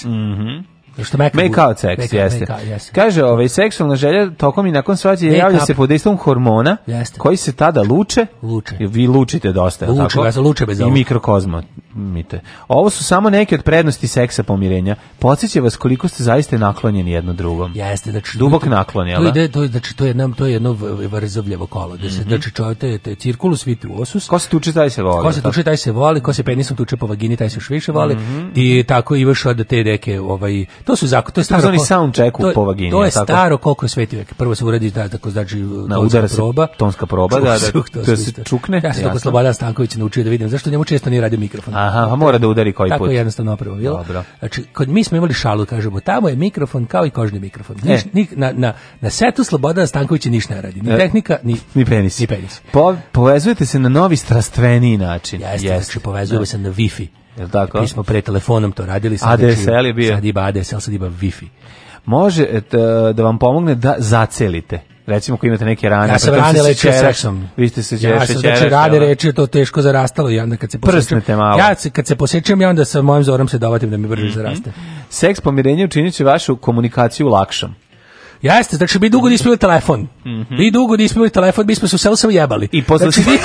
G: Što meka bude.
E: Make Mhm. out sex,
G: Meka-
E: jeste.
G: meka, jeste.
E: Kaže, ovaj, seksualna želja tokom i nakon svađe
G: Make
E: javlja
G: up.
E: se pod dejstvom hormona
G: Jeste.
E: koji se tada luče.
G: Luče.
E: I Vi lučite dosta, je li
G: Luče,
E: tako?
G: ja sam luče bez
E: I
G: ovog.
E: mikrokozma. Mite. Ovo su samo neke od prednosti seksa pomirenja. Podsjeća vas koliko ste zaista naklonjeni jedno drugom.
G: Jeste, znači
E: Dubok
G: to-
E: naklon, jel
G: To
E: da? Mhm.
G: ide, to je znači to je nam to je jedno v- vrzavljavo kolo, da se znači čovjek te, te cirkulus viti u osus.
E: Ko se tuče, taj se voli.
G: Ko se
E: tako?
G: tuče, taj se voli, ko se penisom tuče po vagini, taj se još više voli.
E: Mhm.
G: I tako i još od te neke, ovaj, to su zakon, to je staro.
E: Takozvani
G: ko-
E: soundcheck u
G: to-
E: po vagini,
G: To je
E: jel tako?
G: staro koliko je sveti vek. Prvo se uradi ta tako znači tonska
E: udara se
G: proba.
E: tonska proba, da, da,
G: Čuk,
E: da
G: su
E: se
G: isto.
E: čukne,
G: Ja sam
E: jasno.
G: tako Slobodan Stanković naučio da vidim zašto njemu često nije radio mikrofon.
E: Aha, pa mora da udari koji
G: Tako
E: put.
G: je jednostavno opravo bilo.
E: Dobro.
G: Znači, kod mi smo imali šalu, kažemo, tamo je mikrofon kao i kožni mikrofon. Niš,
E: E.
G: ni, na, na, na setu Slobodana Stankovića niš ne radi. Ni
E: E.
G: tehnika, ni,
E: Ni penis.
G: Ni penis.
E: Po, povezujete se na novi strastveniji način.
G: Jeste, znači povezujemo se na Wi-Fi.
E: Jel tako?
G: Mi smo pre telefonom to radili. sad
E: ADSL
G: znači,
E: je bio.
G: Sad ima ADSL, sad ima Wi-Fi.
E: Može et, e, da vam pomogne da zacelite. Recimo ako imate neke rane.
G: Ja sam
E: pritom
G: rane
E: pa se
G: lečio
E: šećeraš,
G: seksom.
E: Vi ste se
G: Ja sam znači rane rečio, to teško zarastalo. I onda kad se posjećam-
E: Prsnete malo.
G: Ja se, kad se posjećam, ja onda sa mojim zorom se dovatim da mi brže zaraste.
E: Mhm. Seks pomirenja učinit će vašu komunikaciju lakšom.
G: Jeste, znači mi dugo nismo imali telefon. Mi dugo nismo imali telefon, mi smo se u selu samo jebali.
E: Mhm. I posle
G: Znači,
E: se-
G: mi-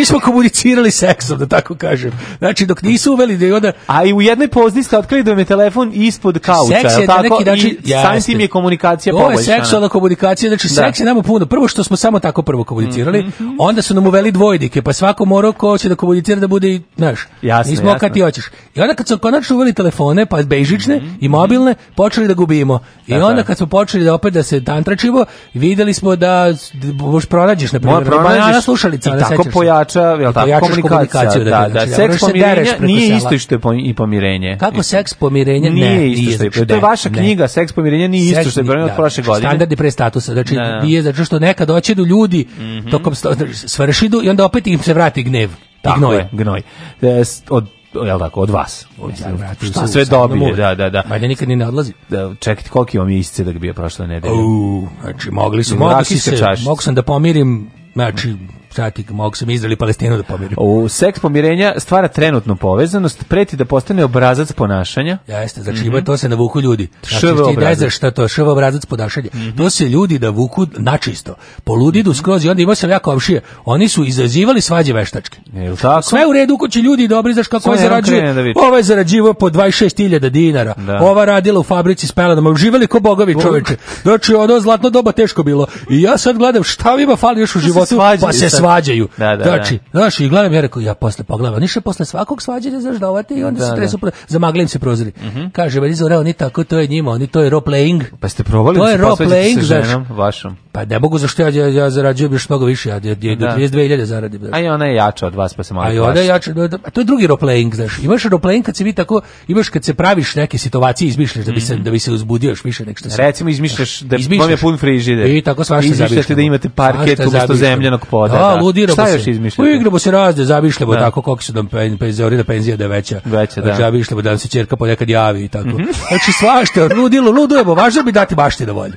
G: mi smo komunicirali seksom, da tako kažem. Znači, dok nisu uveli da je onda...
E: A i u jednoj pozdi ste otkrili da vam je telefon ispod kauča,
G: Seks
E: je
G: je
E: li
G: na
E: tako?
G: neki način...
E: I samim
G: jeste.
E: tim je komunikacija
G: Ovo je
E: poboljšana.
G: seksualna komunikacija, znači
E: Da. Mhm.
G: seks je nama puno. Prvo što smo samo tako prvo komunicirali, onda su nam uveli dvojdike, pa svako morao ko će da komunicira da bude i, znaš,
E: Jasno,
G: nismo
E: jasno. Mhm.
G: kad ti hoćeš. I onda kad su konačno uveli telefone, pa bežične i mobilne, počeli da gubimo. I
E: Da,
G: onda
E: da.
G: kad smo počeli da opet da se tantračivo, vidjeli smo da s- d- možeš pronađeš, na primjer,
E: Moja pronađeš
G: banana slušalica,
E: i
G: ne
E: tako
G: sećaš se.
E: pojača, jel
G: I
E: tako,
G: pojačaš
E: komunikacija.
G: komunikaciju,
E: da, da,
G: znači, ne
E: seks
G: moraš se
E: pomirenja
G: dereš preko
E: nije
G: sela.
E: isto što je po- i pomirenje.
G: Kako seks pomirenje?
E: Nije
G: ne,
E: isto što je-
G: znači,
E: to je
G: ne,
E: vaša
G: ne.
E: knjiga, seks pomirenja nije isto
G: Seks
E: što je
G: ni-
E: pomirenje od
G: da,
E: prošle godine.
G: Standardi pre statusa, znači
E: Da, da. Mhm.
G: nije zato što nekad oćedu ljudi tokom sta- svršidu i onda opet im se vrati gnev.
E: Tako
G: I gnoj.
E: je, gnoj. E, s- od jel tako, od vas.
G: da, vratim
E: Šta
G: se u
E: sve
G: samo
E: dobije,
G: more.
E: da, da, da.
G: Valjda nikad ni ne odlazi.
E: Da, čekajte, koliko imam iscedak bio prošle nedelje?
G: Au, znači, mogli su,
E: U
G: mogli
E: rakijske
G: se,
E: čašice.
G: mogu sam da pomirim, znači, sati, mogu sam Izrael i Palestinu da pomirim.
E: U seks pomirenja stvara trenutnu povezanost, preti da postane obrazac ponašanja.
G: Jeste, znači ima to se navuku ljudi. Znači,
E: Šv
G: ti ne
E: obrazac. Mhm.
G: znaš šta to je, šv obrazac ponašanja. To se ljudi navuku načisto. Poludidu skroz i onda imao sam ja komšije. Oni su izazivali svađe veštačke.
E: Jel tako?
G: Sve u redu, ko će ljudi dobri, znaš kako
E: Samo
G: je
E: jedan
G: zarađuje.
E: krene da viče.
G: Ova je zarađivao po 26.000 dinara.
E: Da.
G: Ova radila u fabrici s pelenama. Uživali ko bogovi čoveče. Znači, ono zlatno doba teško bilo. I ja sad gledam šta ima fali još u
E: se
G: životu,
E: svađaju
G: pa se
E: sad.
G: svađaju.
E: Da, da, da.
G: Znači, znaš, i gledam, ja rekao, ja posle pogledam. Oni še posle svakog svađanja zaždovate i onda
E: Da,
G: se
E: da.
G: tresu pro- zamagli im se prozori. Kaže, veli zore, oni tako, to je njima, oni to je role playing.
E: Pa ste probali
G: To
E: da
G: je
E: se posvađate
G: role-playing,
E: sa
G: znaš.
E: ženom vašom?
G: Pa ne mogu zašto ja, ja, ja zarađujem još mnogo više, ja, ja, ja do
E: Da.
G: 32.000 zaradim. znaš.
E: A i ona je jača od vas, pa se malo
G: A i
E: plaši.
G: onda ja ću, da- da- a to je drugi roleplaying, znaš. Imaš roleplaying kad se vi tako, imaš kad se praviš neke situacije, izmišljaš da bi
E: Mhm.
G: se da bi se uzbudio još više nego što se.
E: Recimo, izmišljaš da vam je pun frižider.
G: I tako svašta
E: Izmišljate
G: zavišljamo.
E: da imate parket
G: Svašta
E: umjesto
G: zavišljamo.
E: zemljanog poda,
G: Da,
E: da.
G: ludiramo
E: Šta
G: se.
E: još izmišljate?
G: Igramo se razne, zavišljamo
E: Da.
G: tako koliko su nam pen, penzioneri da penzija da je veća.
E: Veća, da. Mhm.
G: Zavišljamo da nam se ćerka ponekad javi i tako. Znači svašta, ludilo, ludujemo, važno bi dati baštine volju.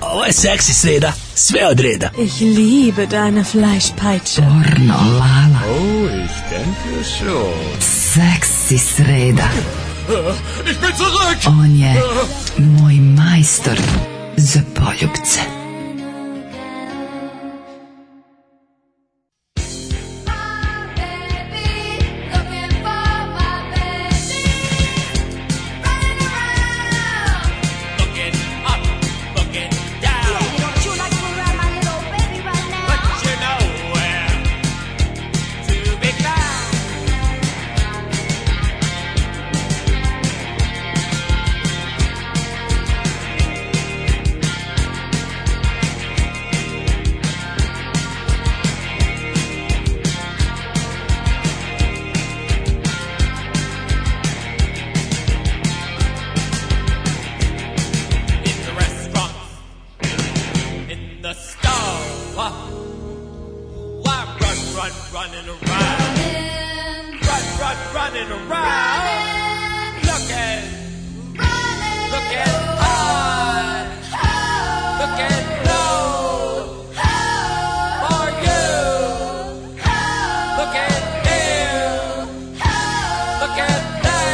S: Ovo je seksi sreda, sve od reda.
U: Ich liebe deine Fleischpeitsche.
S: Pornolala.
U: Oh, ich denke schon.
D: Seksi sreda.
U: Ich bin zurück!
D: On je moj majstor za poljubce.
M: in the restaurant, in the store. Why, why run, run, running around? Run, run, running around. Look at, look at I, look at no. For you, look at him, look at them.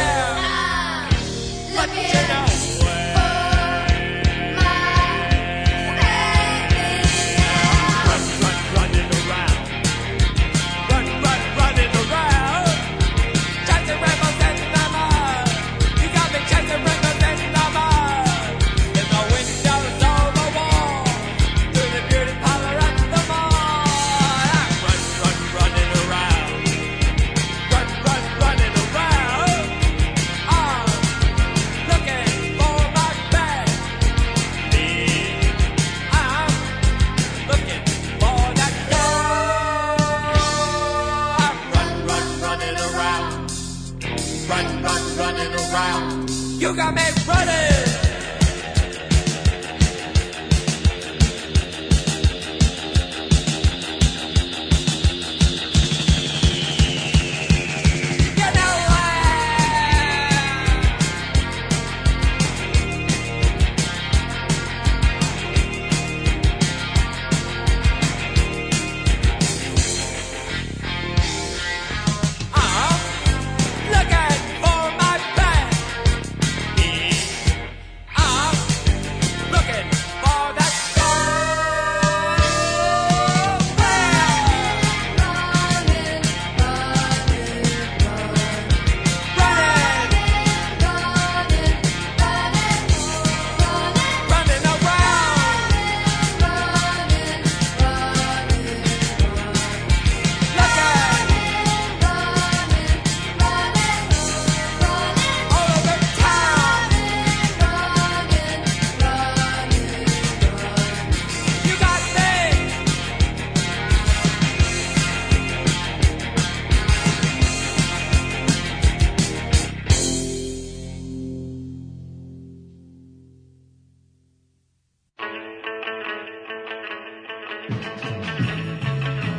M: But you know Ah. Ah. Run, run, running around. You got me running. Uh-huh. Look out for my back.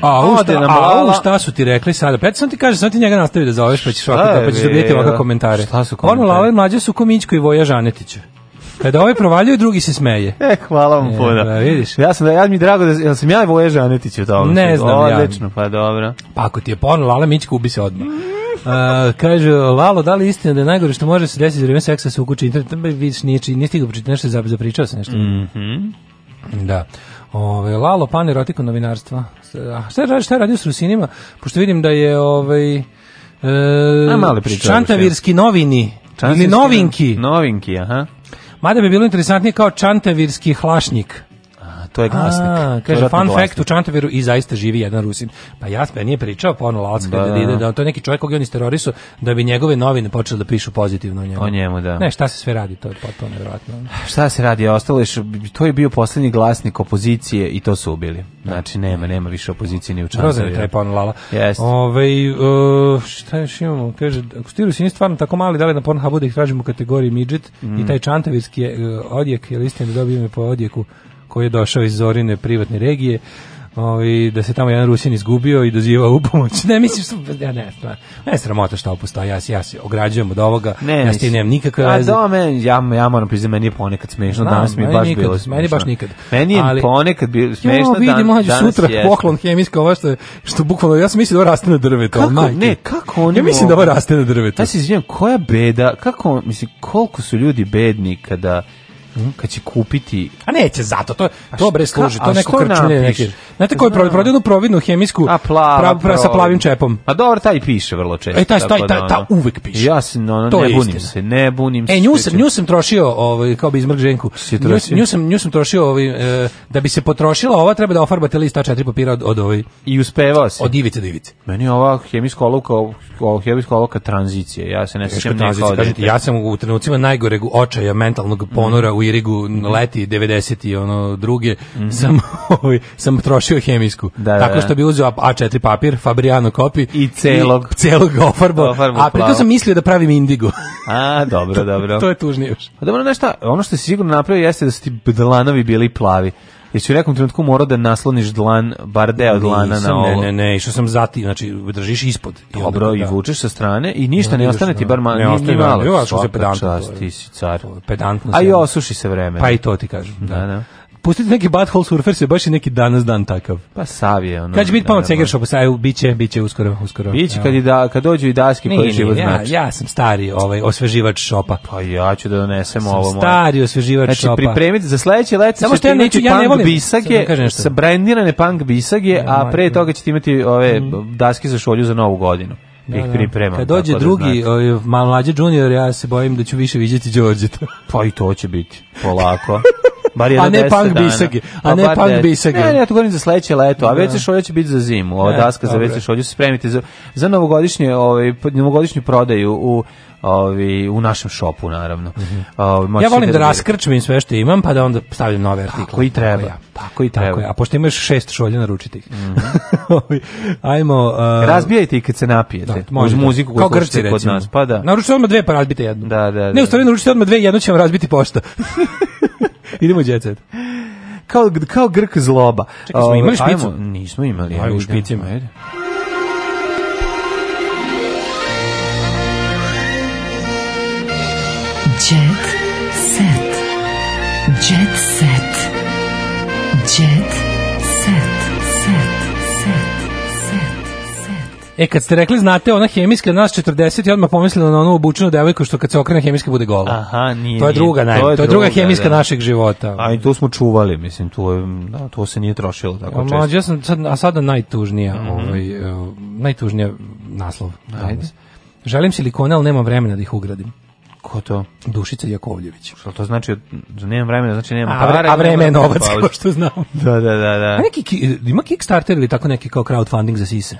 G: A, u,
E: Ode
G: šta,
E: nam
G: a, u,
E: lala.
G: šta su ti rekli sada? Pet sam ti kaže, sam ti njega nastavi da zoveš, pa ćeš, ovako,
E: je
G: pa ćeš
E: bilo?
G: dobijeti ovakve komentare.
E: Šta su
G: Ono,
E: komentari?
G: Lala i mlađe su Komićko i Voja Žanetića. Kada ovaj provaljuje, drugi se smeje.
E: E, hvala vam puno.
G: da, pa vidiš.
E: Ja sam, da- ja mi je drago da, jel sam ja Voježa Anetić u tom?
G: Ne znam ja.
E: Odlično, pa dobro.
G: Pa ako ti je porno, Lala Mićka ubi se odmah. Uh, kaže, Lalo, da li je istina da je najgore što može se desiti za vreme seksa se ukući internet? Ma, Vidiš, nije, či- nije stigao pročitati nešto, zap- zapričao sam nešto.
E: Mhm.
G: Da. Ove, Lalo, pan erotiku novinarstva. A šta je, ra- šta je radio s Rusinima? Pošto vidim da je ovaj, e,
E: A, male priče,
G: Čantavirski novini.
E: Čantavirski
G: ili novinki.
E: Novinki, aha.
G: Mada bi bilo interesantnije kao Čantavirski hlašnik.
E: A, to je glasnik.
G: A,
E: To je
G: kaže,
E: ratni
G: fun
E: glasnik.
G: fact, u Čantaviru i zaista živi jedan Rusin. Pa ja meni je pričao porno Lalac
E: Da,
G: kada
E: da.
G: da, ide, da to je neki čovjek kog je on isterorisu, da bi njegove novine počele da pišu pozitivno o njemu.
E: O njemu, da. Pa
G: Ne, šta se sve radi, to je potpuno nevjerojatno.
E: Šta se radi, ostalo je, š- to je bio poslednji glasnik opozicije i to su ubili. Znači, nema, nema više opozicije ni u čantaviru.
G: Grozan je taj porno Lala.
E: Jeste.
G: Ovaj, e, šta još imamo? Kaže, ako ste Rusini stvarno tako mali, da li na Pornhubu da ih tražimo u kategoriji midget
E: Mm.
G: i taj Čantavirski je, e, odjek, je li istina da dobio ime po odjeku koji je došao iz Zorine privatne regije, ovaj, da se tamo jedan Rusin izgubio i dozivao u pomoć. Ne, mislim što... Ja ne, stvarno. Ne, sramota šta postoji. Ja, se- ja se ograđujem od ovoga. ja s tim nemam nikakve
E: A
G: veze.
E: da, meni, ja, ja moram priznati, meni je ponekad smešno,
G: Znam,
E: danas mi je
G: meni
E: baš
G: nikad,
E: bilo
G: meni
E: smešno.
G: baš nikad.
E: Meni je
G: Ali-
E: ponekad bilo smešno,
G: Jo, vidi
E: dan-
G: mlađe,
E: danas
G: sutra
E: jeste.
G: poklon hemijska ova što, je- što bukvalno, ja sam mislio da ovo raste na drvetu. ali
E: Kako,
G: majke.
E: ne, kako oni
G: Ja mislim da ovo raste na drvetu.
E: Ja se izvinjam, koja beda, kako, mislim, koliko su ljudi bedni kada, kad će kupiti...
G: A neće zato, to, to bre služi,
E: Ka-
G: to
E: a
G: neko
E: što
G: krčmenje
E: napiše?
G: neki. Znate koji
E: Znam.
G: prodaje, prodaje jednu providnu hemijsku
E: A plava,
G: pra- pra- sa
E: prova.
G: plavim čepom.
E: A dobro, taj piše vrlo često.
G: E, taj- taj-
E: tako da,
G: taj- ta
E: ono,
G: uvek piše.
E: Ja se, no, no,
G: To
E: ne
G: je
E: bunim
G: istina.
E: se, ne bunim se.
G: E, nju
E: sve
G: sam, nju sam trošio, ovaj, kao bi izmrk ženku. Nju,
E: trošio?
G: nju sam, nju sam trošio, ovaj, e, da bi se potrošila, ova treba da ofarbate list A4 papira od, od ovaj.
E: I uspevao se.
G: Od ivice do ivice.
E: Meni je ova hemijska olovka, ova hemijska olovka tranzicije. Ja se ne
G: Teška
E: sjećam
G: tranzicija,
E: nekao
G: kažem ti,
E: dete.
G: ja sam u trenucima najgoreg očaja mentalnog ponora u Irigu
E: Mhm.
G: n- leti 90 i ono druge sam, ovaj, sam trošio hemijsku.
E: da, da.
G: Tako što bi uzeo A- A4 papir, Fabriano kopi
E: I celog.
G: i celog ga ofarbao,
E: Ofarbao
G: a pritom
E: plavo.
G: sam mislio da pravim indigo.
E: A, dobro, dobro.
G: to je tužnije još.
E: Pa dobro, znaš šta, ono što si sigurno napravio jeste da su ti dlanovi bili plavi. Jer si u nekom trenutku morao da nasloniš dlan, bar deo dlana
G: Nisam,
E: na ovo.
G: Ne, ne, ne, išao sam zati, znači držiš ispod. I onda
E: Dobro,
G: kad-
E: i
G: da.
E: vučeš sa strane i ništa
G: Da,
E: ne
G: ideš,
E: ostane ti
G: da.
E: bar ma,
G: Ne
E: ni- ni
G: ostane,
E: malo.
G: da, jo, što se
E: Svaka
G: pedantan, to
E: čast,
G: je.
E: ti si car.
G: Pedantnost.
E: A i
G: ja.
E: osuši se vreme.
G: Pa i to ti kažem. Da.
E: Da, da.
G: Pustite neki butthole surfer se baš i neki danas dan takav.
E: Pa sav je ono.
G: Kad će biti
E: da,
G: pomac
E: da,
G: Cegeršop, biće, biće uskoro, uskoro.
E: Biće
G: Evo.
E: kad, i da, kad dođu i daske
G: Nije,
E: koje
G: nije,
E: život
G: ja,
E: znači.
G: ja sam stari ovaj, osveživač šopa.
E: Pa ja ću da donesem ovo. moje.
G: stari osveživač
E: Znači,
G: šopa.
E: pripremiti za sledeće leto
G: Samo što
E: ćete
G: ja
E: imati
G: neću, ja ne
E: punk
G: volim- sad
E: bisage,
G: da kažem nešto.
E: sa brandirane punk bisage, a pre toga ćete imati ove daske za šolju za novu godinu. Da, ih
G: Mhm. Da, da.
E: pripremam.
G: Kad dođe
E: tako da znači.
G: drugi,
E: znate.
G: ovaj, malo mlađe junior, ja se bojim da ću više vidjeti Đorđeta.
E: Pa i to će biti, polako. Bar jedno
G: A ne
E: 10
G: punk
E: dana.
G: bisage, a
E: Pa
G: ne
E: bar
G: punk
E: 10.
G: bisage.
E: Ne, ne, ja to govorim za sledeće leto, a
G: Da.
E: WC šolja će biti za zimu. Ova
G: E,
E: daska za
G: dobro.
E: WC šolju se spremite za, za novogodišnje, ovaj, p- novogodišnju prodaju u, ovaj, u našem šopu, naravno. Ovaj, moći
G: Mhm. ja volim
E: ćete
G: da
E: vidite.
G: raskrčmim sve što imam, pa da onda stavljam nove artikle.
E: Tako i treba,
G: Tako ja.
E: tako i
G: Tako
E: treba. Mhm.
G: je. A pošto imaš šest šolja, naručite ih. Ovaj, Ajmo... Uh,
E: E, Razbijajte i kad se napijete.
G: Da, može
E: uz
G: da.
E: muziku koju
G: Kao Grci,
E: slušate kod
G: recimo.
E: nas. Pa da.
G: Naručite odmah dve, pa razbite jednu.
E: Da, da,
G: Ne,
E: da.
G: u stvari naručite odmah dve, jednu će vam razbiti pošta. Idemo u jet set.
E: Kao, kao Grk zloba.
G: Čekaj, smo imali
E: Ovaj,
G: špicu?
E: ajmo- nismo imali.
G: Ajmo
E: ajde,
G: u špicima.
E: ajde.
M: Jet set. Jet set. Jet set. Set. Set. Set.
G: E, kad ste rekli, znate, ona hemijska nas 40, ja odmah pomislila na onu obučenu devojku što kad se okrene hemijska bude gola.
E: Aha, nije.
G: to je
E: nije.
G: druga, naj, to je, druga hemijska
E: da.
G: našeg života.
E: A i to smo čuvali, mislim, to, je, da, to se nije trošilo tako
G: A
E: često. Mhm.
G: mlađe, ja sam sad, a sada najtužnija, ovaj, e, najtužnija naslov. danas. Želim silikone, ali nemam vremena da ih ugradim.
E: Ko to?
G: Dušica Jakovljević.
E: Što to znači, da nemam vremena, znači nemam
G: A, vre-
E: para.
G: a vreme je
E: nemam
G: novac,
E: pauze.
G: kao što znam.
E: Da, da, da. pa da.
G: A neki, ki- ima Kickstarter ili tako neki kao crowdfunding za sise?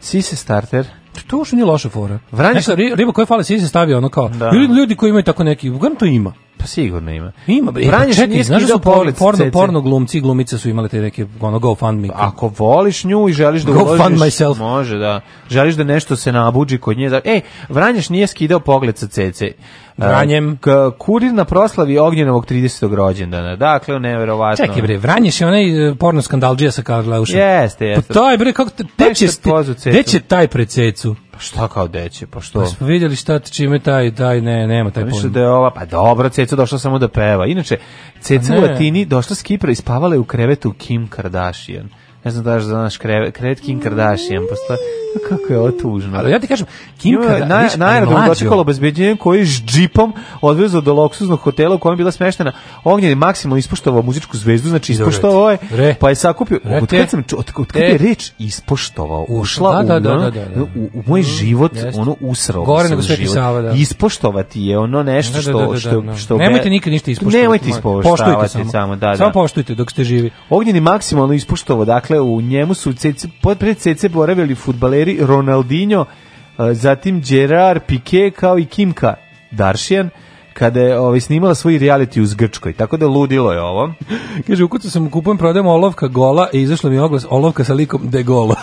E: Sise starter.
G: To uopšte nije loša fora.
E: Vranješ-
G: Neka ri- riba koja fale sise stavi ono kao,
E: Da.
G: ljudi, ljudi koji imaju tako neki, uglavnom to ima.
E: Pa sigurno ima.
G: Ima, bre,
E: Branješ
G: pa čekaj,
E: nije
G: znaš da
E: skidao
G: su porno,
E: pogled s
G: porno,
E: cece.
G: porno glumci i glumice su imali te neke ono, go fund me.
E: Ako voliš nju i želiš da
G: Go
E: uložiš,
G: fund myself.
E: može da. Želiš da nešto se nabuđi kod nje. E, da- Ej, Vranješ nije skidao pogled sa cece.
G: Vranjem.
E: E, K, kurir na proslavi Ognjenovog 30. rođendana. Dakle, neverovatno.
G: Čekaj bre, Vranješ je onaj e, porno skandalđija sa Karlaušem.
E: Jeste, jeste.
G: Pa to je bre, kako te, te će,
E: sad pozvao cecu.
G: te, će taj pred cecu?
E: Pa šta kao deće, pa što?
G: Pa smo vidjeli šta čime taj, taj, ne, nema taj
E: Mislim
G: pojma.
E: da je ova, pa dobro, Ceca došla samo da peva. Inače, Ceca
G: Pa
E: u
G: ne.
E: Latini došla s Kipra i spavala je u krevetu Kim Kardashian. Ne znam da li znaš krevet, krevet Kim Kardashian, postoje, kako je ovo tužno.
G: Ali ja ti kažem, Kim Kardashian,
E: Na,
G: vidiš,
E: na aerodromu
G: mlađo.
E: dočekalo obezbeđenje koji je s džipom odvezao do loksuznog hotela u kojem je bila smeštena. Ognjen je maksimalno ispoštovao muzičku zvezdu, znači
G: Dobro,
E: ispoštovao je,
G: re. Re.
E: pa je sakupio.
G: Re,
E: Od
G: te.
E: kad sam ču- od, od kad je
G: Te.
E: reč ispoštovao,
G: Da,
E: ušla
G: da,
E: u,
G: da, da,
E: ono,
G: da, da.
E: u, u moj život,
G: jeste.
E: ono usrao.
G: Gore
E: mi se
G: nego
E: u
G: Sveti
E: život.
G: Sava, da.
E: Ispoštovati je ono nešto
G: Da, da,
E: što...
G: da, da,
E: što,
G: da.
E: što Pa
G: Nemojte nikad ništa ispoštovati.
E: Nemojte
G: molim.
E: ispoštovati
G: Poštujte
E: samo. da, da.
G: Samo poštujte dok ste živi.
E: Ognjen je maksimalno ispuštovao, dakle u njemu su CC, pod- pred CC boravili futbaleri Ronaldinho, eh, zatim Gerard Piqué kao i Kimka Daršian, kada je ovaj, snimala svoj reality uz Grčkoj, tako da ludilo je ovo.
G: Kaže, ukucao sam, kupujem, prodajem olovka gola i izašlo mi je oglas olovka sa likom de gola.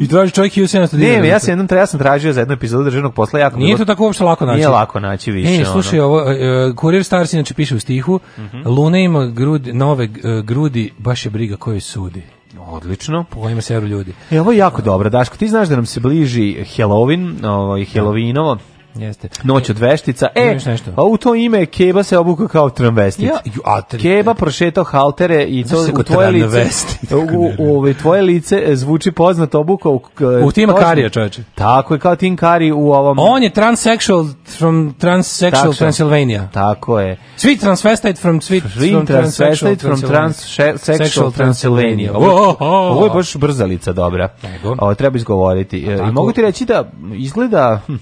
G: I traži čovjek 1700 dinara.
E: Ne, ja sam, jednom, tra- ja sam tražio za jednu epizodu državnog posla jako
G: Nije
E: Pa bilo-
G: to tako uopšte lako naći.
E: Nije lako naći više.
G: E, slušaj,
E: ono. Mhm.
G: ovo, e, Kurir Stars inače piše u stihu, Luna ima grudi, nove e, grudi, baš je briga koji sudi.
E: Odlično.
G: Pojma se evro ljudi.
E: E, ovo je jako dobro, Daško, ti znaš da nam se bliži Halloween, ovaj, Halloweenovo,
G: Jeste.
E: Noć od veštica. E,
G: Imaš nešto?
E: a u to ime Keba se obuka kao tramvestic.
G: Ja, ju, a tri-
E: Keba prošetao haltere i to
G: Znaš kako
E: u tvoje lice.
G: tramvestic?
E: U, u, ovaj, tvoje lice e, zvuči poznato obuka u, k-
G: U Tima
E: kožnu-
G: Karija, čoveče.
E: Tako je kao Tim Kari u ovom
G: On je transsexual from transsexual
E: Tako.
G: Transylvania.
E: Tako je.
G: Sweet transvestite from sweet
E: Dream Transvestite from Transsexual Transylvania. Ovo,
G: Oh, oh.
E: ovo je baš brzalica dobra.
G: Nego.
E: Ovo treba izgovoriti. E, I
G: tako.
E: mogu ti reći da izgleda hm,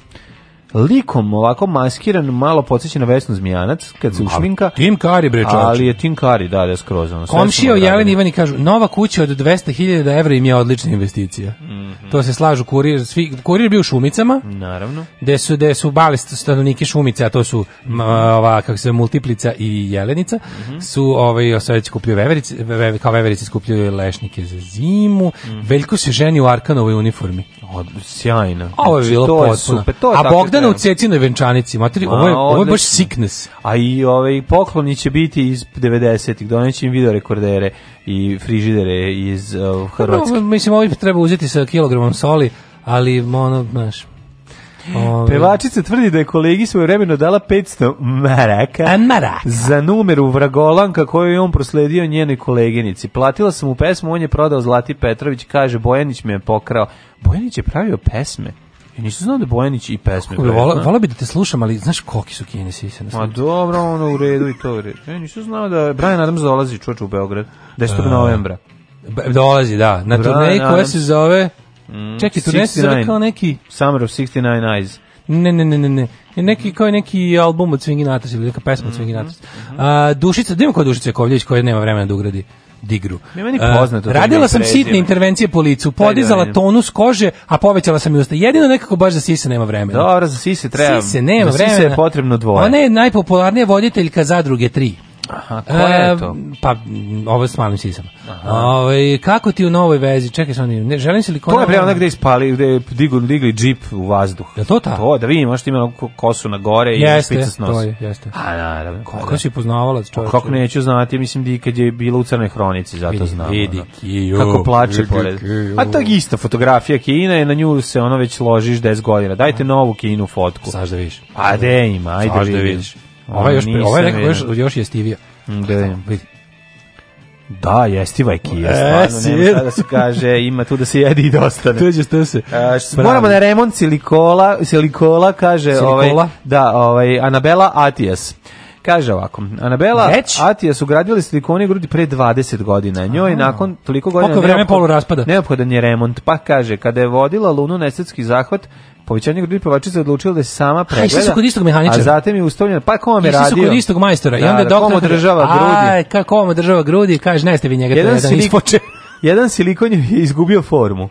E: likom ovako maskiran, malo podsjeća na Vesnu Zmijanac, kad se ušminka.
G: Tim Kari bre čoveče.
E: Ali je Tim Kari, da, da, skroz. Ono, sve
G: Komšija
E: smo
G: Jelen
E: odradili.
G: Jeleni Ivani kažu, nova kuća od 200.000 evra im je odlična investicija. To se slažu kurir, svi, kurir je bio u Šumicama,
E: Mhm. Naravno.
G: gde su, gde su bali st- stanovnike Šumice, a to su m, ova, kako se zove, Multiplica i Jelenica,
E: Mhm.
G: su ovaj, sad već kupljaju veverice, veve- kao veverice skupljuju lešnike za zimu, Veljko se ženi u Arkanovoj uniformi.
E: Mhm. Od, sjajno.
G: Ovo je
E: Znači,
G: bilo
E: to je
G: potpuno.
E: super, to je
G: a
E: tako
G: Bogdana u
E: treba.
G: Cecinoj venčanici, materi,
E: Ma,
G: ovo je, ovo je baš
E: odlično.
G: sickness.
E: A i ovaj pokloni će biti iz 90-ih, doneće im video rekordere i frižidere iz uh, Hrvatske.
G: Pa Dobro, mislim, ovo treba uzeti sa kilogramom soli, ali, ono, znaš... ovaj,
E: Pevačica tvrdi da je kolegi svoje vremeno dala 500 maraka
G: Maraka.
E: za numeru Vragolanka koju je on prosledio njenoj koleginici. Platila sam mu pesmu, on je prodao Zlati Petrović, kaže Bojanić me je pokrao. Bojanić je pravio pesme. Ja nisam znao da Bojanić i pesme pravi.
G: Vola, vola bi da te slušam, ali znaš koliki su kine sise na
E: Ma
G: snu?
E: dobro, ono u redu i to u redu. Ja nisam znao da je Brian Adams dolazi čoč u Beograd 10. novembra.
G: Ba- Dolazi, da. Na
E: Bra,
G: turneji
E: da,
G: koja
E: da.
G: se zove... Čekaj, turneja se zove
E: 69.
G: kao neki...
E: Mm, Summer of 69 Eyes.
G: Ne, ne, ne, ne, ne. Je Neki, kao je neki album od Swingin' Atas ili neka pesma od
E: Mhm,
G: Swingin' Atas. A, Dušica, da imam kao Dušica Jakovljević koja nema vremena da ugradi digru.
E: Mi je meni
G: A,
E: poznato to ime
G: radila
E: i
G: sam
E: prezime.
G: sitne intervencije po licu, podizala
E: da,
G: tonus kože, a povećala sam i usta. Jedino nekako baš za sise nema vremena.
E: Dobro, za sise treba.
G: Sise nema
E: za
G: vremena.
E: Sise je potrebno dvoje.
G: Ona je najpopularnija voditeljka zadruge 3.
E: Aha, koja je to?
G: Pa, m, ovo je s malim sisama. Ovaj, kako ti u novoj vezi? Čekaj, sam, ne, želim se li
E: To je pre ona gde ispali, gde je digli, digli džip u vazduh.
G: Je to ta?
E: To, da vidimo, što ima onako ko- kosu na gore i
G: Jeste,
E: špica s nosa.
G: to je, jeste.
E: A, naravno.
G: Kako
E: da. Pa
G: si poznavala čovječe?
E: Kako neću znati, mislim da i kad je bila u Crnoj hronici, zato
G: Vidi,
E: znam.
G: vidi,
E: ono.
G: kiju,
E: Kako plače
G: vidi,
E: pored.
G: kiju.
E: A to je ista fotografija Kina je, na nju se ono već ložiš 10 godina. Dajte novu Kinu fotku.
G: Saš da vidiš.
E: A de ima, ajde
G: Saš da
E: vidim.
G: vidiš. Ova je još,
E: Ono,
G: ova je
E: nisam
G: nekako još,
E: vidio.
G: još jestivija.
E: Mm, Da, vidim.
G: Vidi.
E: da, jestiva je Kija,
G: E,
E: stvarno, nema
G: sjed.
E: šta da se kaže, ima tu da se jedi i dostane.
G: Tuđe što se.
E: A, š-
G: Pravi.
E: Moramo na remont silikola, silikola kaže
G: Silikola?
E: ovaj da, ovaj Anabela Atijas. Kaže ovako, Anabela
G: Već?
E: Atijas ugradili silikone u grudi pre 20 godina. Njoj je nakon toliko godina
G: Koliko vreme
E: neophod-
G: poluraspada?
E: Neophodan je remont. Pa kaže, kada je vodila Lunu na estetski zahvat, povećanje grudi pevačica je odlučila da se sama
G: A, išli
E: pregleda.
G: su kod istog mehaničara?
E: A zatim je ustavljena, pa ko vam je
G: Išli su
E: radio?
G: kod istog majstora. I
E: Da,
G: onda
E: da,
G: doktor...
E: ko mu
G: kaže,
E: održava
G: Aj,
E: grudi?
G: kako ovo država grudi? Kaže, ne ste vi njega, to je
E: Jedan,
G: jedan
E: silik,
G: ispoče.
E: jedan silikon je izgubio formu.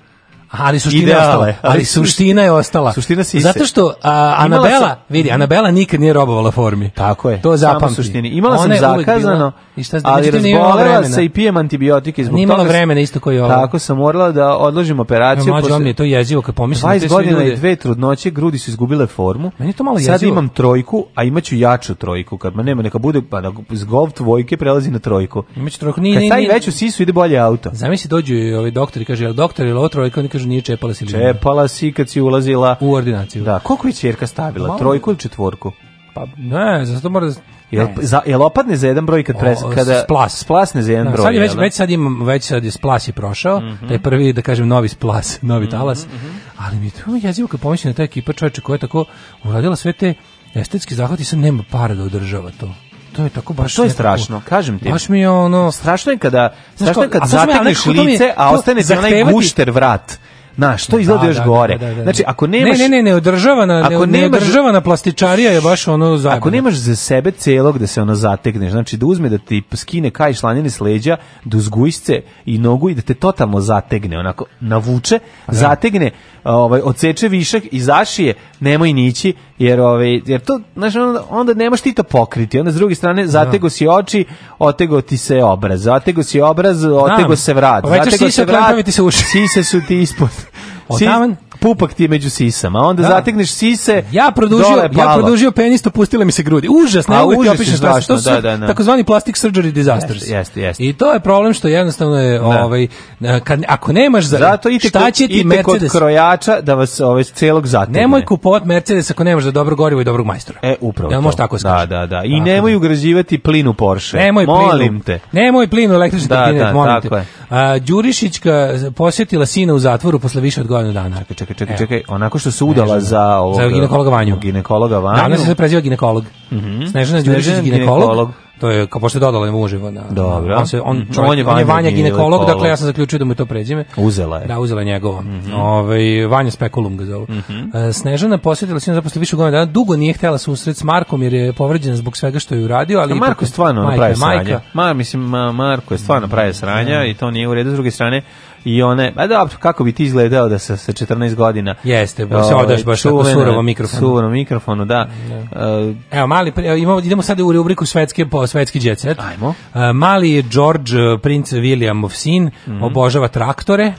G: Ali E, suština
E: Ideale,
G: je ostala.
E: ali
G: Ali suština je ostala.
E: Suština sise.
G: Zato što a,
E: Imala
G: Anabela,
E: sam-
G: vidi, Anabela nikad nije robovala formi. Tako je. To
E: Samo
G: zapamti.
E: suštini. Imala sam
G: Ona je uvek
E: zakazano,
G: bila- I šta,
E: ali
G: međutim, nije imala
E: razbolela
G: vremena.
E: se i pijem antibiotike zbog
G: Nije imala
E: toga sam-
G: vremena isto kao i ova.
E: Tako sam morala da odložim operaciju.
G: Mlađe,
E: posle-
G: ovo mi je to jezivo kad pomislim na te
E: 20
G: sve
E: godina
G: ljude.
E: i dve trudnoće, grudi su izgubile formu.
G: Meni je to malo
E: Sad
G: jezivo.
E: imam trojku, a imaću jaču trojku. Kad ma nema, neka bude, pa na, iz gov dvojke prelazi na trojku.
G: Imaću trojku, nije,
E: Kad
G: nije,
E: stavi
G: nije.
E: veću sisu ide bolje auto.
G: Zamisli dođu i ovi doktori, kaže, jel doktor ili ovo trojka, oni kažu, nije čepala si linija.
E: Čepala si kad si ulazila
G: u ordinaciju.
E: Da, koliko je ćerka stavila?
G: Malo.
E: Trojku ili četvorku?
G: Pa, ne, zato mora da...
E: Jel,
G: ne.
E: za, jel opadne za jedan broj kad pres,
G: O,
E: kada
G: splas.
E: splasne za jedan
G: Da,
E: broj?
G: sad je već,
E: jel da? Mhm.
G: već sad imam, već sad je splas je prošao, taj prvi, da kažem, novi splas, novi talas, ali mi je to jezivo kad pomislim na ta ekipa čoveča koja je tako uradila sve te estetski zahvati, sad nema para da održava to. To je tako baš...
E: Pa To je
G: nekako-
E: strašno, kažem ti.
G: Baš mi je ono...
E: Strašno je kada, strašno je
G: kao,
E: kad
G: a sad sam ja
E: zatekneš
G: nekako, to mi je-
E: lice, a
G: to
E: ostane ti onaj
G: zahtevati-
E: gušter vrat. Znaš, to izgleda još gore. Znači, ako nemaš...
G: Ne, ne, ne, neodržavana,
E: Ako
G: ako
E: nemaš-
G: neodržavana plastičarija je baš ono zajebano.
E: Ako nemaš za sebe celog da se ono zategneš, znači da uzme da ti skine kaj šlanjeni s leđa, da uzgujsce i nogu i da te totalno zategne, onako navuče, zategne, ovaj, odseče višak i zašije, nemoj nići, jer, ovaj, jer to, znaš, onda, onda nemaš ti to pokriti. Onda s druge strane, zatego si oči, otego ti se obraz, zatego si obraz, otego se vrat,
G: Povećaš
E: zatego
G: sise,
E: se vrat,
G: otpravi Pa ti se uši.
E: sise su ti ispod.
G: O,
E: Sis-
G: taman.
E: pupak ti je među sisama, onda
G: Da.
E: zategneš sise,
G: Ja
E: dole
G: produžio, ja
E: palo.
G: produžio penis, opustile mi se grudi. Užas, ne
E: A,
G: mogu ti
E: užas je
G: opišem šta
E: strašno,
G: se- to su
E: da, da, da.
G: takozvani plastic surgery disasters.
E: Jeste, jeste, jeste.
G: I to je problem što jednostavno je ovaj na- kad ako nemaš za
E: Zato idite,
G: šta
E: kod,
G: će ti
E: idite kod
G: Mercedes?
E: krojača da vas ovaj celog zategne.
G: Nemoj kupovat Mercedes ako nemaš za dobro gorivo i dobrog majstora.
E: E, upravo.
G: Ja
E: to.
G: može tako se
E: da,
G: kaže.
E: da, da. I
G: Tako
E: nemoj ugrađivati plin u Porsche.
G: Nemoj plinu.
E: Molim te.
G: Nemoj plinu električni
E: Da,
G: da,
E: da,
G: molim
E: tako
G: te.
E: je.
G: A, Đurišićka posjetila sina u zatvoru posle više od godinu dana. Čekaj,
E: Čekaj, čekaj, čekaj. Onako što se udala za ovog...
G: Za ginekologa Vanju.
E: Ginekologa Vanju.
G: Danas se preziva ginekolog.
E: Mhm.
G: Snežana
E: Snežana
G: Đurišić ginekolog.
E: ginekolog.
G: To je kao pošto je dodala mu uživo na.
E: Dobro.
G: On, se, on,
E: Mhm.
G: čovjek-
E: On je
G: on je
E: Vanja
G: Vanja ginekolog,
E: ginekolog.
G: dakle ja sam zaključio da mu je to prezime.
E: Uzela je. Mhm.
G: Da, uzela je njegovo. Ovaj Vanja Spekulum ga zovu. E, Snežana posjetila sina zaposle više od godinu dana, dugo nije htjela susret s Markom jer je povređena zbog svega što je uradio, ali
E: A Marko je
G: ipak-
E: stvarno
G: majka je
E: napravi
G: majka. Mm,
E: sranja. Ma, mislim, ma, Marko je stvarno napravi sranja i to nije u redu. S druge strane, i one, a da, kako bi ti izgledao da se sa 14 godina...
G: Jeste, bo se
E: ovaj,
G: odaš baš tako
E: čuvena-
G: surovom mikrofonu.
E: Surovom mikrofonu, da. E,
G: Evo, mali, pri- evo, imamo, idemo sada u rubriku svetske, po, svetski jet set. Ajmo. mali je George, e, princ Williamov sin,
E: Mhm.
G: obožava traktore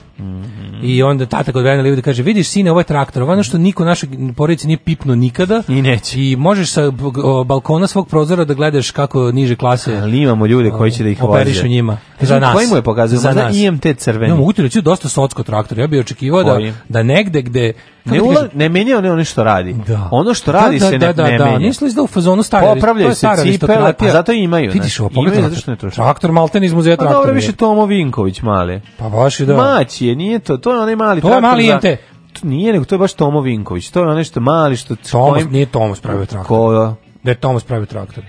G: i onda tata kod Vene Livode kaže, vidiš sine, ovo je traktor, ovo je ono što niko u našoj porodici nije pipno nikada. I neće. I možeš sa b- o, balkona svog prozora da gledaš kako niže klase
E: ali imamo ljude koji će da ih
G: operišu
E: voze.
G: njima.
E: E,
G: Za nas.
E: Koji mu je pokazao?
G: Za
E: Možda
G: nas.
E: IMT crveni.
G: Ja mogu ti reći dosta socko traktor. Ja bih očekivao da,
E: Koji?
G: da negde gde... kako
E: Ne,
G: ti
E: ula,
G: kažem,
E: ne menja one ono što radi. Ono što radi
G: da,
E: se
G: da,
E: ne,
G: da,
E: ne
G: da,
E: menja.
G: Nisam li da u fazonu stari.
E: Popravljaju
G: to je
E: se
G: stara
E: cipele,
G: aristokratija.
E: pa zato i imaju,
G: Vidiš,
E: znači,
G: ovo pogledaj.
E: imaju
G: na
E: zato što ne troše.
G: Traktor Malten iz muzeja
E: Pa
G: traktora.
E: dobro,
G: je.
E: više Tomo Vinković mali.
G: Pa baš i da.
E: Maći je, nije to. To je onaj mali
G: To je
E: traktor
G: mali
E: za-
G: IMT.
E: To Nije, nego to je baš Tomo Vinković. To je onaj što mali što...
G: Tomas,
E: kojim-
G: nije Tomas pravio traktor.
E: Ko,
G: Da je Tomas pravio traktor.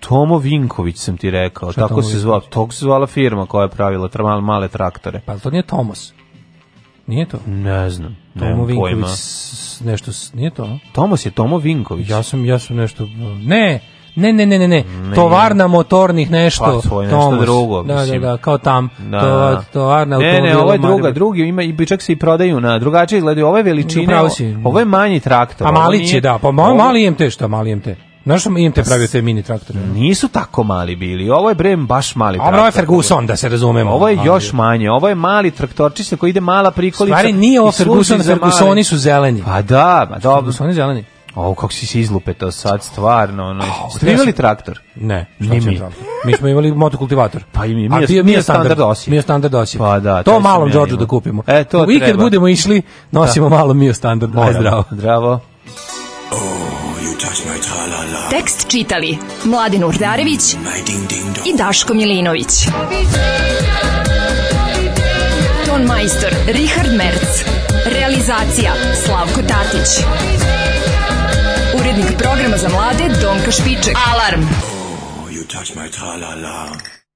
E: Tomo Vinković sam ti rekao.
G: Šta je
E: Tako
G: Tomo
E: se
G: Vinković?
E: zvala, tako se zvala firma koja je pravila tra- male- male traktore.
G: Pa to nije Tomas. Nije to?
E: Ne znam.
G: Tomo
E: Nemam
G: Vinković,
E: pojma.
G: s- nešto, s- nije to? a?
E: Tomos je Tomo Vinković.
G: Ja sam, ja sam nešto... Ne, ne, ne, ne, ne, ne. Tovarna motornih nešto.
E: Pa, to je nešto
G: Tomos.
E: drugo,
G: Da, da,
E: mislim.
G: da, kao tam.
E: Da.
G: To, tovarna
E: ne, ne,
G: automobila
E: ovo je druga,
G: Maribor.
E: drugi ima i čak se i prodaju na drugačije izgledaju. Ovo je veličina,
G: Upravo si.
E: ovo je manji traktor.
G: A
E: ovo
G: mali
E: nije-
G: će, da. Pa mali,
E: ovo- Pa
G: mali IMT, šta mali IMT? Znaš što IMT pravio te mini traktore?
E: Mm. Nisu tako mali bili. Ovo je brem baš mali
G: Ovo ono je
E: traktor.
G: Ferguson, da se razumemo.
E: Ovo je
G: Ali-
E: još manje. Ovo je mali traktorčić na koji ide mala prikolica.
G: Stvari nije ovo
E: i služi
G: Ferguson,
E: za male-
G: Fergusoni su zeleni.
E: Pa da, ma dobro.
G: Fergusoni zeleni.
E: O, kako si se izlupe to sad, stvarno. Ono. Ste vi imali traktor?
G: Ne,
E: Ni
G: šta će
E: mi.
G: mi. mi smo imali motokultivator.
E: Pa i mi,
G: A
E: mi, je,
G: ti-
E: mi je standard osje.
G: Mi je standard osje.
E: Pa da,
G: to
E: taj sam
G: malom
E: ja
G: Đorđu
E: imao.
G: da kupimo.
E: E, to
G: I kad
E: treba.
G: budemo išli, nosimo malo Mio standard. Aj,
E: Moramo.
G: zdravo.
E: Zdravo.
D: Tekst čitali Mladin Urdarević i Daško Milinović. Ton majstor Richard Merc. Realizacija Slavko Tatić. Urednik programa za mlade Donka Špiček. Alarm!
V: You touch my tra-la-la.